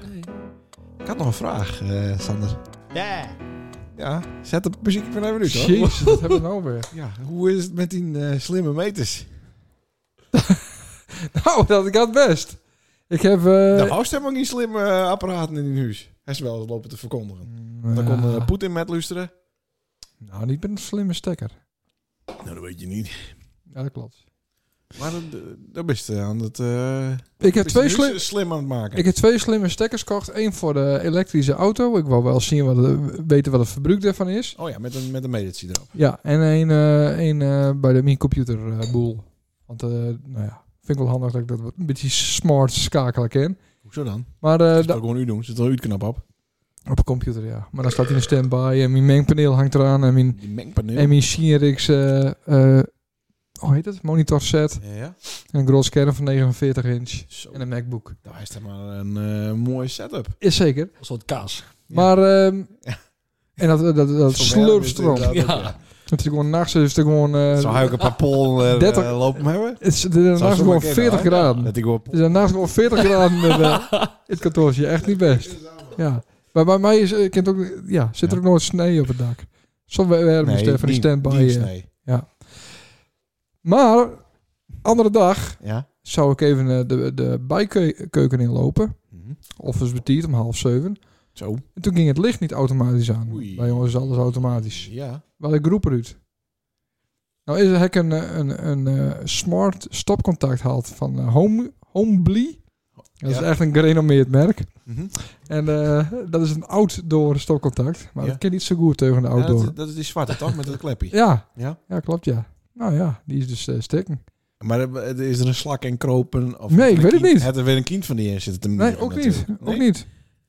Speaker 1: Ik had nog een vraag, eh, Sander.
Speaker 3: Yeah.
Speaker 1: Ja, zet de muziekje maar even uit, hoor.
Speaker 2: Jezus, wat hebben we nou weer? <laughs>
Speaker 1: Ja, hoe is het met die eh, slimme meters?
Speaker 2: Nou, dat ik had best. Ik heb... eh,
Speaker 1: nou, Oost hebben ook niet slimme eh, apparaten in hun huis. Hij is wel eens lopen te verkondigen.
Speaker 2: ja.
Speaker 1: Dan kon eh, Poetin met luisteren.
Speaker 2: Nou, niet met een slimme stekker.
Speaker 1: Nou, dat weet je niet.
Speaker 2: Ja, dat klopt.
Speaker 1: Maar dat, dat best eh, aan het... eh,
Speaker 2: Ik heb,
Speaker 1: best
Speaker 2: twee
Speaker 1: nu
Speaker 2: slim,
Speaker 1: slim aan het maken.
Speaker 2: ik heb twee slimme stekkers gekocht. Eén voor de elektrische auto. Ik wou wel zien wat het- weten wat het verbruik daarvan is.
Speaker 1: Oh ja, met een, met een metertje erop.
Speaker 2: Ja, en één eh, één, eh, bij de, mijn computerboel. Want, eh, nou ja, vind ik wel handig dat ik dat een beetje smart schakelen kan.
Speaker 1: Hoezo dan?
Speaker 2: Maar eh,
Speaker 1: Dat
Speaker 2: da-
Speaker 1: kan gewoon u doen. Zit er een knap op.
Speaker 2: op een computer, ja. Maar dan staat hij in standby en mijn mengpaneel hangt eraan en mijn,
Speaker 1: Die mengpaneel.
Speaker 2: Mm. en mijn Shinrix, eh, eh, hoe heet het? Monitor set
Speaker 1: Ja, ja.
Speaker 2: en een groot scherm van 49 inch
Speaker 1: Zo.
Speaker 2: en een MacBook.
Speaker 1: Nou, hij is toch maar een eh, mooie setup.
Speaker 2: Is zeker.
Speaker 5: Een soort kaas.
Speaker 2: Maar
Speaker 1: <laughs>
Speaker 2: ehm, en dat dat dat, dat
Speaker 1: Zo'n werm is het
Speaker 2: slurpstroom.
Speaker 1: inderdaad ook,
Speaker 5: Ja.
Speaker 2: Het is gewoon nachts is het gewoon eh,
Speaker 1: Zou hij ook een paar pol eh,
Speaker 2: 30
Speaker 1: eh, lopen hebben?
Speaker 2: het is het is nachts
Speaker 1: zomaar
Speaker 2: gewoon
Speaker 1: kunnen,
Speaker 2: 40
Speaker 1: hoor.
Speaker 2: graden.
Speaker 1: Dat ik wel
Speaker 2: Het is daarnaast gewoon
Speaker 1: <laughs>
Speaker 2: 40 graden met, eh, in het kantoortje. Echt niet best. Ja. Maar bij mij is, eh, kent ook, ja, zit er ook nooit snee op het dak. Soms werken we van die standby. eh.
Speaker 1: nee.
Speaker 2: Maar, andere dag
Speaker 1: Ja.
Speaker 2: zou ik even eh, de, de bijkeuken inlopen.
Speaker 1: Mhm.
Speaker 2: Of eens betiert om half zeven.
Speaker 1: Zo.
Speaker 2: En toen ging het licht niet automatisch aan.
Speaker 1: Oei.
Speaker 2: Bij ons is alles automatisch.
Speaker 1: Ja.
Speaker 2: Waar ik roep eruit. Nou is hek een, eh, een, een, eh, smart stopcontact haalt van eh, Home, Homebly. Dat is
Speaker 1: Ja.
Speaker 2: echt een gerenommeerd merk.
Speaker 1: Mhm.
Speaker 2: En eh, dat is een outdoor stopcontact. Maar
Speaker 1: Ja.
Speaker 2: dat kan niet zo goed tegen de
Speaker 1: Ja,
Speaker 2: outdoor.
Speaker 1: dat, dat is die zwarte, toch? Met dat klepje.
Speaker 2: Ja.
Speaker 1: Ja.
Speaker 2: ja, klopt ja. Nou ja, die is dus eh stikken.
Speaker 1: Maar eh, is er een slak en kropen? Of
Speaker 2: Nee,
Speaker 1: een
Speaker 2: ik weet het
Speaker 1: kind-
Speaker 2: niet.
Speaker 1: Had er weer een kind van die in zitten? te
Speaker 2: Nee,
Speaker 1: mieren
Speaker 2: ook niet.
Speaker 1: natuurlijk.
Speaker 2: Ook
Speaker 1: Nee?
Speaker 2: niet.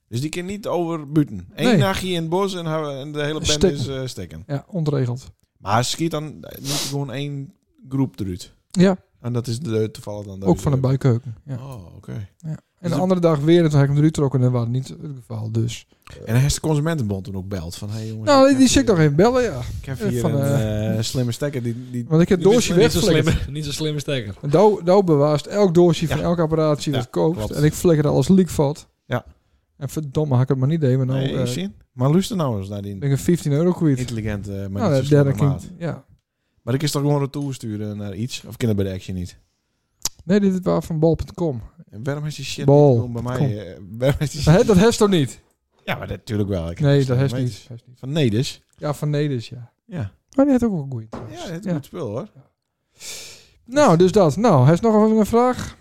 Speaker 1: Dus die kan niet overbuten. Eén
Speaker 2: Nee.
Speaker 1: nachtje in het bos en, hou- en de hele band
Speaker 2: Stikken.
Speaker 1: is eh steken.
Speaker 2: Ja, ontregeld.
Speaker 1: Maar schiet dan eh, niet gewoon één groep eruit.
Speaker 2: Ja,
Speaker 1: En dat is de, toevallig dan
Speaker 2: ook van de
Speaker 1: buik.
Speaker 2: bijkeuken. Ja.
Speaker 1: Oh, oké.
Speaker 2: En
Speaker 1: Dus
Speaker 2: de
Speaker 1: het-
Speaker 2: andere dag weer, en toen heb ik hem eruit getrokken en dat was niet het geval. Dus.
Speaker 1: En hij is de Consumentenbond toen ook belt. Van, hey jongens,
Speaker 2: Nou,
Speaker 1: ik
Speaker 2: die, die
Speaker 1: heb
Speaker 2: zit
Speaker 1: hier-
Speaker 2: nog even bellen, ja.
Speaker 1: Ik heb
Speaker 2: eh,
Speaker 1: hier
Speaker 2: van,
Speaker 1: een
Speaker 2: eh,
Speaker 1: eh, slimme stekker die... die
Speaker 2: Want ik heb
Speaker 1: Die
Speaker 2: doosje
Speaker 1: wisselen
Speaker 5: Niet zo
Speaker 2: wegflikkerd.
Speaker 5: slimme, niet zo slimme stekker.
Speaker 2: Douw douw bewaast elk doosje
Speaker 1: Ja.
Speaker 2: van elke apparatie dat
Speaker 1: Ja,
Speaker 2: koopt.
Speaker 1: klopt.
Speaker 2: En ik flikker er alles leak valt.
Speaker 1: Ja.
Speaker 2: En verdomme, had ik het maar niet deed. Maar nou
Speaker 1: nee,
Speaker 2: eh,
Speaker 1: zin. Maar luister nou eens naar
Speaker 2: ben
Speaker 1: die
Speaker 2: ik een 15 euro kwijt.
Speaker 1: intelligente eh, maar
Speaker 2: Nou,
Speaker 1: niet
Speaker 2: de
Speaker 1: zo slimme
Speaker 2: derde
Speaker 1: maat.
Speaker 2: kind. Ja.
Speaker 1: Maar ik is toch gewoon retour sturen naar iets? Of kinderen bij de Action niet?
Speaker 2: Nee, dit was van
Speaker 1: <laughs>
Speaker 2: bol.com.
Speaker 1: En waarom is die shit
Speaker 2: Bal,
Speaker 1: niet gewoon bij
Speaker 2: kom.
Speaker 1: mij? eh, waarom is die
Speaker 2: Maar
Speaker 1: shit...
Speaker 2: hè, dat heeft toch niet?
Speaker 1: Ja, maar natuurlijk wel. Ik heb
Speaker 2: Nee,
Speaker 1: een
Speaker 2: dat heeft
Speaker 1: slimme
Speaker 2: niet.
Speaker 1: meid. Van nee dus.
Speaker 2: Ja, van Nedis, ja.
Speaker 1: Ja.
Speaker 2: Maar die heeft ook wel goed.
Speaker 1: Ja, het is
Speaker 2: Ja.
Speaker 1: een goed spul hoor.
Speaker 2: Nou, dus dat. Nou, heeft nog even een vraag?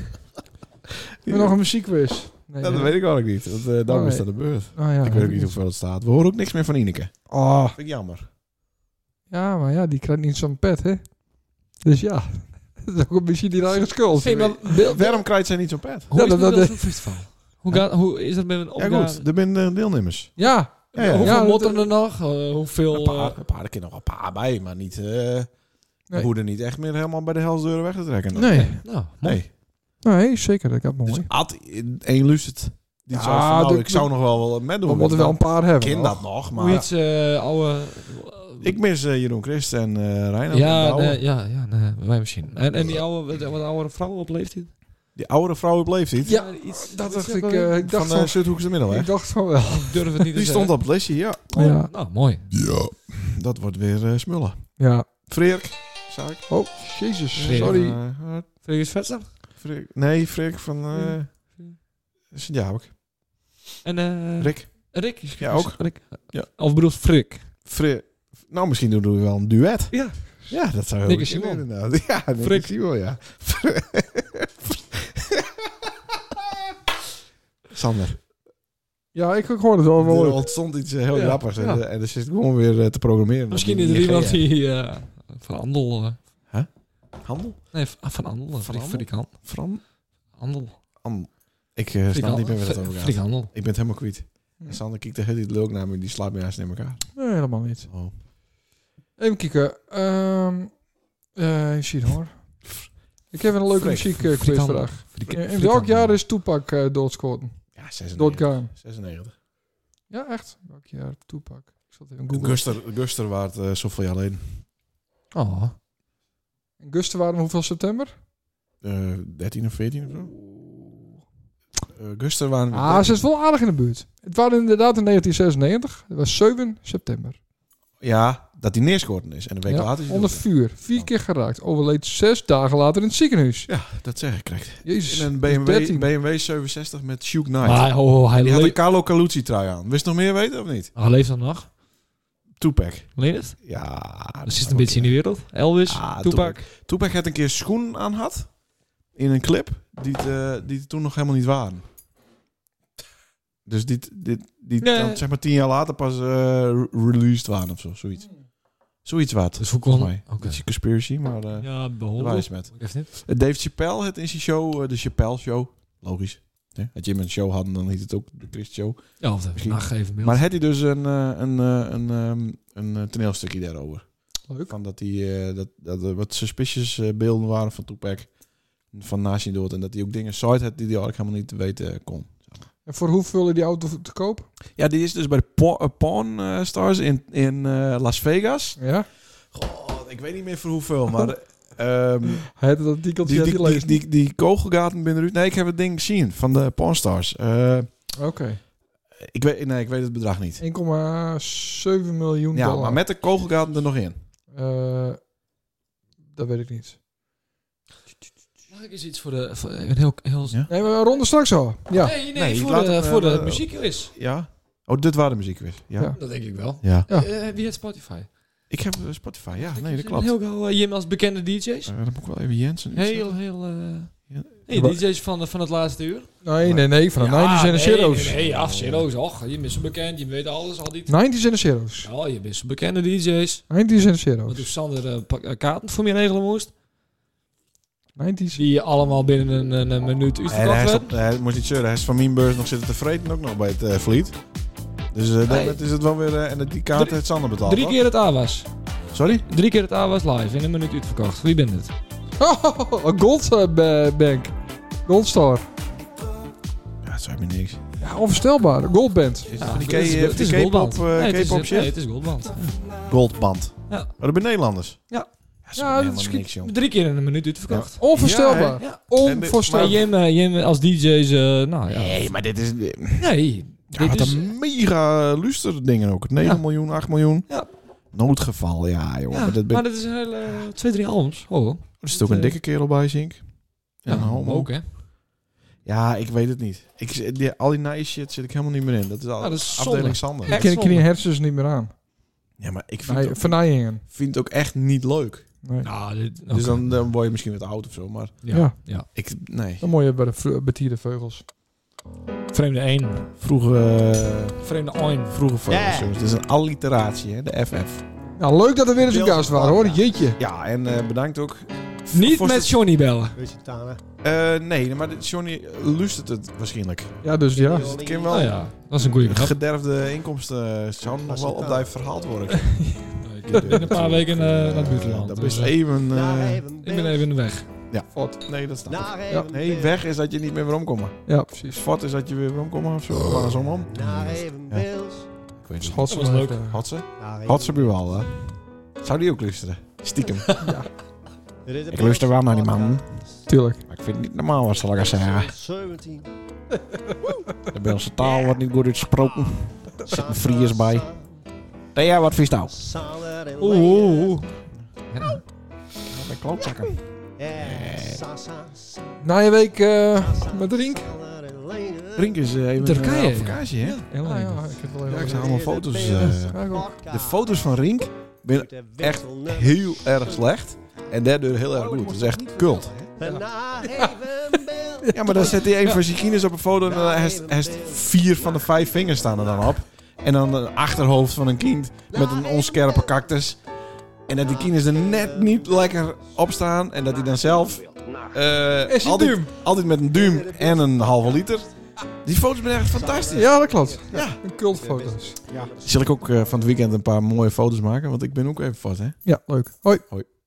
Speaker 2: Hebben we nog een muziekquiz? Nee,
Speaker 1: Ja, <laughs> dat
Speaker 2: hè?
Speaker 1: weet ik wel ook niet. Want eh, dan
Speaker 2: Oh,
Speaker 1: is
Speaker 2: nee.
Speaker 1: dat de beurt.
Speaker 2: Ah, ja,
Speaker 1: ik weet ook niet hoeveel het staat. We horen ook niks meer van Ineke.
Speaker 2: Ah,
Speaker 1: Vind ik jammer.
Speaker 2: ja, maar ja, die krijgt niet zo'n pet, hè? Dus ja, <laughs> dat is ook een beetje die eigen schuld.
Speaker 5: Hey, maar Bill-
Speaker 1: Waarom krijgt zij niet zo'n pet?
Speaker 5: Hoe is
Speaker 2: dat-
Speaker 5: dat,
Speaker 2: dat-
Speaker 5: dat, festival? <laughs> Hoe, gaat, hoe is dat met een
Speaker 1: Ja
Speaker 5: opgave?
Speaker 1: goed, er zijn eh, deelnemers.
Speaker 2: Ja,
Speaker 1: Ja, ja.
Speaker 5: Hoeveel
Speaker 2: Ja,
Speaker 5: motten
Speaker 2: dat-
Speaker 5: er nog? Eh,
Speaker 1: Een
Speaker 5: hoeveel... eh,
Speaker 1: paar, een paar, er kunnen nog een paar bij, maar niet... eh
Speaker 2: eh, Nee.
Speaker 1: We hoeven niet echt meer helemaal bij de helsdeuren weg te trekken. dan.
Speaker 2: nee.
Speaker 5: eh, nou, mooi.
Speaker 1: Nee.
Speaker 2: Nee, zeker, dat gaat mooi.
Speaker 1: Dus Ad, één lustert. Die
Speaker 2: Ja,
Speaker 1: zou van, nou,
Speaker 2: de-
Speaker 1: ik zou nog wel wat met doen.
Speaker 2: we moeten wel een paar hebben.
Speaker 1: kind
Speaker 2: hoor.
Speaker 1: dat nog,
Speaker 5: Hoe
Speaker 1: maar...
Speaker 5: iets eh oude...
Speaker 1: Ik mis eh, Jeroen Christ en eh Reinhard. en de
Speaker 5: ja,
Speaker 1: oude.
Speaker 5: nee, ja, ja, nee, wij misschien. En, en die oude, wat, wat oudere vrouwen op leeftijd?
Speaker 1: Die oude vrouw op leeftijd.
Speaker 2: Ja, iets, dat dacht ik. eh, ik, dacht
Speaker 1: van
Speaker 2: van,
Speaker 1: de Zuidhoekse
Speaker 2: ik
Speaker 1: Middelweg.
Speaker 2: dacht van wel.
Speaker 5: Ik durf het
Speaker 1: Die
Speaker 5: niet te
Speaker 1: stond
Speaker 5: zeggen.
Speaker 1: op het lesje, ja.
Speaker 2: Ja.
Speaker 5: Nou, mooi.
Speaker 1: Ja. Dat wordt weer eh, smullen.
Speaker 2: ja.
Speaker 1: Freerk, zou ik?
Speaker 2: Oh, jezus.
Speaker 5: Freer.
Speaker 2: Sorry.
Speaker 1: Eh,
Speaker 5: Vind je het vet dan?
Speaker 1: Frik- nee, Frik van... eh Sint-Jabek.
Speaker 5: En eh,
Speaker 1: Rick.
Speaker 5: Rick is
Speaker 1: Ja, ook.
Speaker 5: Rick.
Speaker 1: Ja.
Speaker 5: Of bedoelt Frik.
Speaker 1: Fri- nou, misschien doen we wel een duet.
Speaker 5: Ja.
Speaker 1: Ja, dat zou heel
Speaker 5: Nick
Speaker 1: goed
Speaker 5: en
Speaker 1: kunnen,
Speaker 5: Simon.
Speaker 1: inderdaad. <laughs> Ja, Nick
Speaker 5: Frik.
Speaker 1: en Simon, ja. <laughs> Sander,
Speaker 2: Ja, ik, ik hoorde het al wel.
Speaker 1: er ontstond iets eh, heel
Speaker 5: Ja,
Speaker 1: grappigs. En,
Speaker 5: ja.
Speaker 1: eh, En er zit gewoon weer eh, te programmeren. op
Speaker 5: Misschien
Speaker 1: die
Speaker 5: is er iemand
Speaker 1: IGN.
Speaker 5: die eh, van Andel... eh,
Speaker 1: Handel?
Speaker 5: nee, van ah, Van Andel.
Speaker 1: Van
Speaker 5: Frik,
Speaker 1: Andel?
Speaker 5: Frik Han-
Speaker 1: Fran?
Speaker 5: Andel.
Speaker 1: Am- Ik eh snap
Speaker 5: Frik
Speaker 1: niet
Speaker 5: Andel.
Speaker 1: meer waar het over
Speaker 5: Frik
Speaker 1: gaat.
Speaker 5: Andel.
Speaker 1: Ik ben het helemaal kwijt.
Speaker 5: Hmm.
Speaker 1: En Sander kijkt de hele tijd leuk naar me. Die slaat me juist in elkaar.
Speaker 2: Nee, helemaal niet.
Speaker 1: Oh.
Speaker 2: Even kijken. Ehm eh even zien hoor. Ik heb een leuke
Speaker 1: Freek,
Speaker 2: muziek eh, quizvraag.
Speaker 5: Frik-
Speaker 2: In in
Speaker 5: Frik
Speaker 2: welk
Speaker 5: Andel.
Speaker 2: jaar is Tupac eh doodgeschoten?
Speaker 1: Ja, 96.
Speaker 2: Doodgaan.
Speaker 1: 96.
Speaker 2: Ja, echt? Welk jaar Tupac? Ik zat even googlen.
Speaker 1: Guster, Guster waard eh, zoveel jaar geleden.
Speaker 5: Oh.
Speaker 2: Ah. In Gusten waren we hoeveel september?
Speaker 1: Eh, 13 of 14 of zo. Eh, Guster waren...
Speaker 2: Ah, ze is wel aardig in de buurt. Het waren inderdaad in 1996. Het was 7 september.
Speaker 1: Ja, dat hij neerschoten is. En een week
Speaker 2: Ja,
Speaker 1: later is hij
Speaker 2: onder
Speaker 1: dood.
Speaker 2: vuur. Vier keer geraakt. Overleed zes dagen later in het
Speaker 1: <laughs>
Speaker 2: ziekenhuis.
Speaker 1: Dat zeg ik correct.
Speaker 2: Jezus.
Speaker 1: In een
Speaker 2: dat is
Speaker 1: BMW,
Speaker 2: 13.
Speaker 1: BMW 67 met Shook Knight.
Speaker 5: Dus Maar oh, oh, hij,
Speaker 1: die had
Speaker 5: le-
Speaker 1: een Carlo Calucci trui aan. Wist je nog meer weten of niet?
Speaker 5: Oh, hij leeft dan nog.
Speaker 1: Tupac.
Speaker 5: Leen het?
Speaker 1: Ja.
Speaker 5: Dat zit een beetje in de wereld. Elvis,
Speaker 1: Ah,
Speaker 5: Tupac.
Speaker 1: Tupac had een keer schoenen aan had. In een clip. Die, het, eh, die toen nog helemaal niet waren. Dus die, die, die
Speaker 5: Nee.
Speaker 1: dan, zeg maar tien jaar later pas eh, re- released waren of zo. Zoiets. Zoiets wat.
Speaker 5: Hmm. Dus hoe
Speaker 1: Volgens
Speaker 5: kon...
Speaker 1: mij.
Speaker 5: Oké.
Speaker 1: Beetje conspiracy, maar eh
Speaker 5: Ja,
Speaker 1: daar
Speaker 5: behoorlijk.
Speaker 1: waren ze met.
Speaker 5: Ik even niet.
Speaker 1: Eh, Dave Chappelle het in zijn show, eh, de Chappelle Show. Logisch. hè. Als je hem een show had, dan heet het ook de Chris Show.
Speaker 5: Ja, of de
Speaker 1: Misschien.
Speaker 5: nacht even beeld.
Speaker 1: Maar had hij dus een, eh, een, eh, een, ehm, een eh, toneelstukje daarover.
Speaker 2: Leuk.
Speaker 1: Van dat, hij, eh, dat, dat er wat suspicious eh, beelden waren van Tupac. Van naast je dood. En dat hij ook dingen site had die hij eigenlijk helemaal niet te weten eh, kon.
Speaker 2: En voor hoeveel is die auto te koop?
Speaker 1: Ja, die is dus bij de Pawn, eh, Pawn, eh, Stars in, in eh, Las Vegas.
Speaker 2: Ja.
Speaker 1: Goh, ik weet niet meer voor hoeveel, <laughs> maar... ehm,
Speaker 2: Hij had het artikeltje
Speaker 1: die,
Speaker 2: had
Speaker 1: die,
Speaker 2: hij
Speaker 1: die,
Speaker 2: lezen.
Speaker 1: die, die kogelgaten binnenuit... Nee, ik heb het ding gezien van de Pawn Stars. Eh,
Speaker 2: Oké.
Speaker 1: Ik weet, nee, ik weet het bedrag niet.
Speaker 2: 1,7 miljoen
Speaker 1: Ja,
Speaker 2: dollar.
Speaker 5: eh,
Speaker 1: maar met de kogelgaten er nog in.
Speaker 2: Eh, dat weet ik niet.
Speaker 5: Mag ik eens iets voor de... Voor, een heel, heel...
Speaker 1: Ja.
Speaker 2: Nee, maar we ronden straks al. Ja.
Speaker 5: Nee, nee,
Speaker 1: Nee, ik
Speaker 5: voor,
Speaker 1: laat
Speaker 5: de,
Speaker 1: hem,
Speaker 5: voor de
Speaker 1: eh,
Speaker 5: muziekquiz.
Speaker 1: Ja. Oh, dit waren de muziekquiz. Ja.
Speaker 2: Ja.
Speaker 1: ja.
Speaker 5: Dat denk ik wel.
Speaker 2: Ja.
Speaker 5: Eh, wie heeft Spotify?
Speaker 1: Ik heb eh, Spotify. Ja, nee,
Speaker 5: Ik
Speaker 1: dat klopt.
Speaker 5: Heel gauw eh, Jim als bekende DJ's.
Speaker 1: Eh, dan moet ik wel even Jensen.
Speaker 5: Heel, heel... eh
Speaker 1: Ja.
Speaker 5: Hey, DJ's van, van het laatste uur.
Speaker 2: Nee, nee, nee. Van de 90s en de Zero's.
Speaker 5: Nee, nee, af Zero's. Och, je bent zo bekend. Je weet alles al die...
Speaker 2: 90s en de Zero's.
Speaker 5: Ja, je bent zo bekende DJ's.
Speaker 1: Oh.
Speaker 2: 90s en de
Speaker 5: Wat doet
Speaker 2: Zero's.
Speaker 5: Sander eh, pak- eh, kaarten voor me regelen moest?
Speaker 2: 90s.
Speaker 5: Die je allemaal binnen een, een, een minuut
Speaker 1: En hij,
Speaker 5: uitverkocht
Speaker 1: is
Speaker 5: werd.
Speaker 1: op, hij moet niet zeuren. Hij is van mijn beurs nog zitten te vreten ook nog bij het eh, Vliet. Dus eh,
Speaker 5: Nee.
Speaker 1: dat is het wel weer... eh, en die kaart
Speaker 5: Drie-
Speaker 1: heeft Sander betaald,
Speaker 5: Drie
Speaker 1: hoor.
Speaker 5: keer het A was.
Speaker 1: Sorry?
Speaker 5: Drie keer het A was live in een minuut uitverkocht. Wie bent het?
Speaker 2: <laughs> Oh, een gold eh, ba- bank. Goldstar.
Speaker 1: Ja, dat zei me niks.
Speaker 2: Ja, onvoorstelbaar. Goldband.
Speaker 1: Is het
Speaker 5: Ja,
Speaker 1: van die
Speaker 5: het is-
Speaker 1: K- eh,
Speaker 5: het
Speaker 1: van
Speaker 5: is
Speaker 1: die K-pop
Speaker 5: Goldband.
Speaker 1: eh,
Speaker 5: Nee, het is-
Speaker 1: K-pop
Speaker 5: Nee,
Speaker 1: shit?
Speaker 5: het is Goldband.
Speaker 1: Goldband.
Speaker 5: Ja.
Speaker 1: Maar dat zijn Nederlanders.
Speaker 5: Ja.
Speaker 2: Ja,
Speaker 1: Ja, dat
Speaker 2: dat
Speaker 1: is
Speaker 2: is
Speaker 1: niks, joh.
Speaker 5: Drie keer in een minuut uitverkocht.
Speaker 1: Ja,
Speaker 2: Onvoorstelbaar.
Speaker 5: Ja. Maar
Speaker 2: Onvoorstelbaar.
Speaker 5: Jim, eh, Jim als DJ's, eh nou ja.
Speaker 1: Nee, maar dit is...
Speaker 5: Nee.
Speaker 1: Ja,
Speaker 5: dit
Speaker 1: wat
Speaker 5: is,
Speaker 1: een mega lusterdingen ook. 9
Speaker 5: Dus- Ja.
Speaker 1: miljoen, 8 miljoen.
Speaker 5: Ja.
Speaker 1: Noodgeval, ja joh.
Speaker 5: ja,
Speaker 1: maar dat ben-
Speaker 5: maar dit is een hele... eh, twee, drie albums. Oh.
Speaker 1: er zit ook een
Speaker 5: eh,
Speaker 1: dikke kerel bij, zink. En een homo.
Speaker 5: Ook, hè.
Speaker 1: Ja, ik weet het niet. Ik, die, al die nice shit zit ik helemaal niet meer in. Dat is al
Speaker 5: Ja, dat is zonde.
Speaker 1: afdeling Sander.
Speaker 5: Ja.
Speaker 2: Ik ken ik die hersens niet meer aan.
Speaker 1: Ja, maar ik vind,
Speaker 2: Nee,
Speaker 1: het, ook,
Speaker 2: Vernijingen.
Speaker 1: vind het ook echt niet leuk.
Speaker 2: Nee.
Speaker 5: Nou, dit,
Speaker 1: Dus dan, dan word je misschien wat oud of zo. Maar
Speaker 5: Ja.
Speaker 2: Ja.
Speaker 5: ja.
Speaker 1: ik, nee.
Speaker 2: Dan moet je bij de vro- betierde vleugels.
Speaker 5: Vreemde 1.
Speaker 1: Vroeger, eh,
Speaker 5: Vreemde 1.
Speaker 1: vroeger van
Speaker 3: Ja.
Speaker 1: jongens. Het is een alliteratie, hè, de FF.
Speaker 2: Nou, leuk dat er weer eens een
Speaker 3: Beelze
Speaker 2: gast waren hoor.
Speaker 3: Parma.
Speaker 2: Jeetje.
Speaker 1: Ja, en eh, bedankt ook.
Speaker 5: Niet
Speaker 1: Voor-
Speaker 5: met Johnny bellen.
Speaker 3: Lusitana.
Speaker 1: Eh, nee, maar dit- Johnny lustert het waarschijnlijk.
Speaker 2: Ja, dus ja.
Speaker 1: Dus het kan wel...
Speaker 5: Nou ja, dat is een goede grap.
Speaker 1: Gederfde inkomsten zouden nog wel op die verhaald worden.
Speaker 5: Ik ben <laughs> in een paar weken eh, naar het buitenland.
Speaker 1: Dat is
Speaker 5: dus, eh,
Speaker 1: even... eh,
Speaker 3: Naar even
Speaker 5: ik ben even in de weg.
Speaker 2: Fort.
Speaker 1: nee, dat snap ik.
Speaker 3: Naar even
Speaker 1: Nee, weg is dat je niet meer weer omkomt.
Speaker 2: Ja, precies.
Speaker 1: Svat is dat je weer weer omkomt of zo. Of andersom om.
Speaker 3: Naar even
Speaker 1: Ja.
Speaker 3: Bills.
Speaker 1: Ik weet het
Speaker 2: Schotse
Speaker 5: Dat was leuk.
Speaker 2: maar, eh,
Speaker 1: Had ze?
Speaker 3: Naar even
Speaker 1: Had ze bij wel, hè? Zou die ook luisteren? Stiekem.
Speaker 3: Dit is de
Speaker 1: Ik luister wel naar die man.
Speaker 3: podcast.
Speaker 2: Tuurlijk.
Speaker 1: Maar ik vind het niet normaal wat zal ik zeggen.
Speaker 3: 17.
Speaker 1: De Belgische taal wordt niet goed uitgesproken. Er zit een Fries bij.
Speaker 3: Sa-
Speaker 1: Thea, wat vies nou?
Speaker 3: Saler en
Speaker 1: oh.
Speaker 5: Oeh, oeh, oeh.
Speaker 1: Ja, mijn klootzakken.
Speaker 3: Eh, sa, sa, sa,
Speaker 2: Na je week eh,
Speaker 3: sa,
Speaker 2: met Rink.
Speaker 3: sa, la, la, la, la.
Speaker 1: Brink is eh, even
Speaker 5: Turkije,
Speaker 1: eh, op vakantie, hè?
Speaker 5: Heel
Speaker 2: Ah,
Speaker 5: leuk.
Speaker 2: ja, ik heb wel
Speaker 1: Ja, ik
Speaker 2: even...
Speaker 1: zag allemaal foto's. eh.
Speaker 2: Ja, ik ook.
Speaker 1: de foto's van Rink zijn echt heel erg slecht. En daardoor heel erg goed. Het is echt kult.
Speaker 3: Daarna even bel.
Speaker 1: Ja, maar dan zet hij een van zijn kines op een foto en dan heeft heeft vier van de vijf vingers staan er dan op. En dan een achterhoofd van een kind met een onscherpe cactus. En dat die kines er net niet lekker op staan. En dat hij dan zelf eh,
Speaker 2: Is hij
Speaker 1: altijd,
Speaker 2: duim?
Speaker 1: altijd met een duim en een halve liter. Die foto's zijn echt fantastisch.
Speaker 2: Ja, dat klopt.
Speaker 1: Ja.
Speaker 2: Een cultfoto's.
Speaker 1: Zal ik ook eh, van het weekend een paar mooie foto's maken? Want ik ben ook even vast, hè?
Speaker 2: Ja, leuk. Hoi.
Speaker 1: Hoi.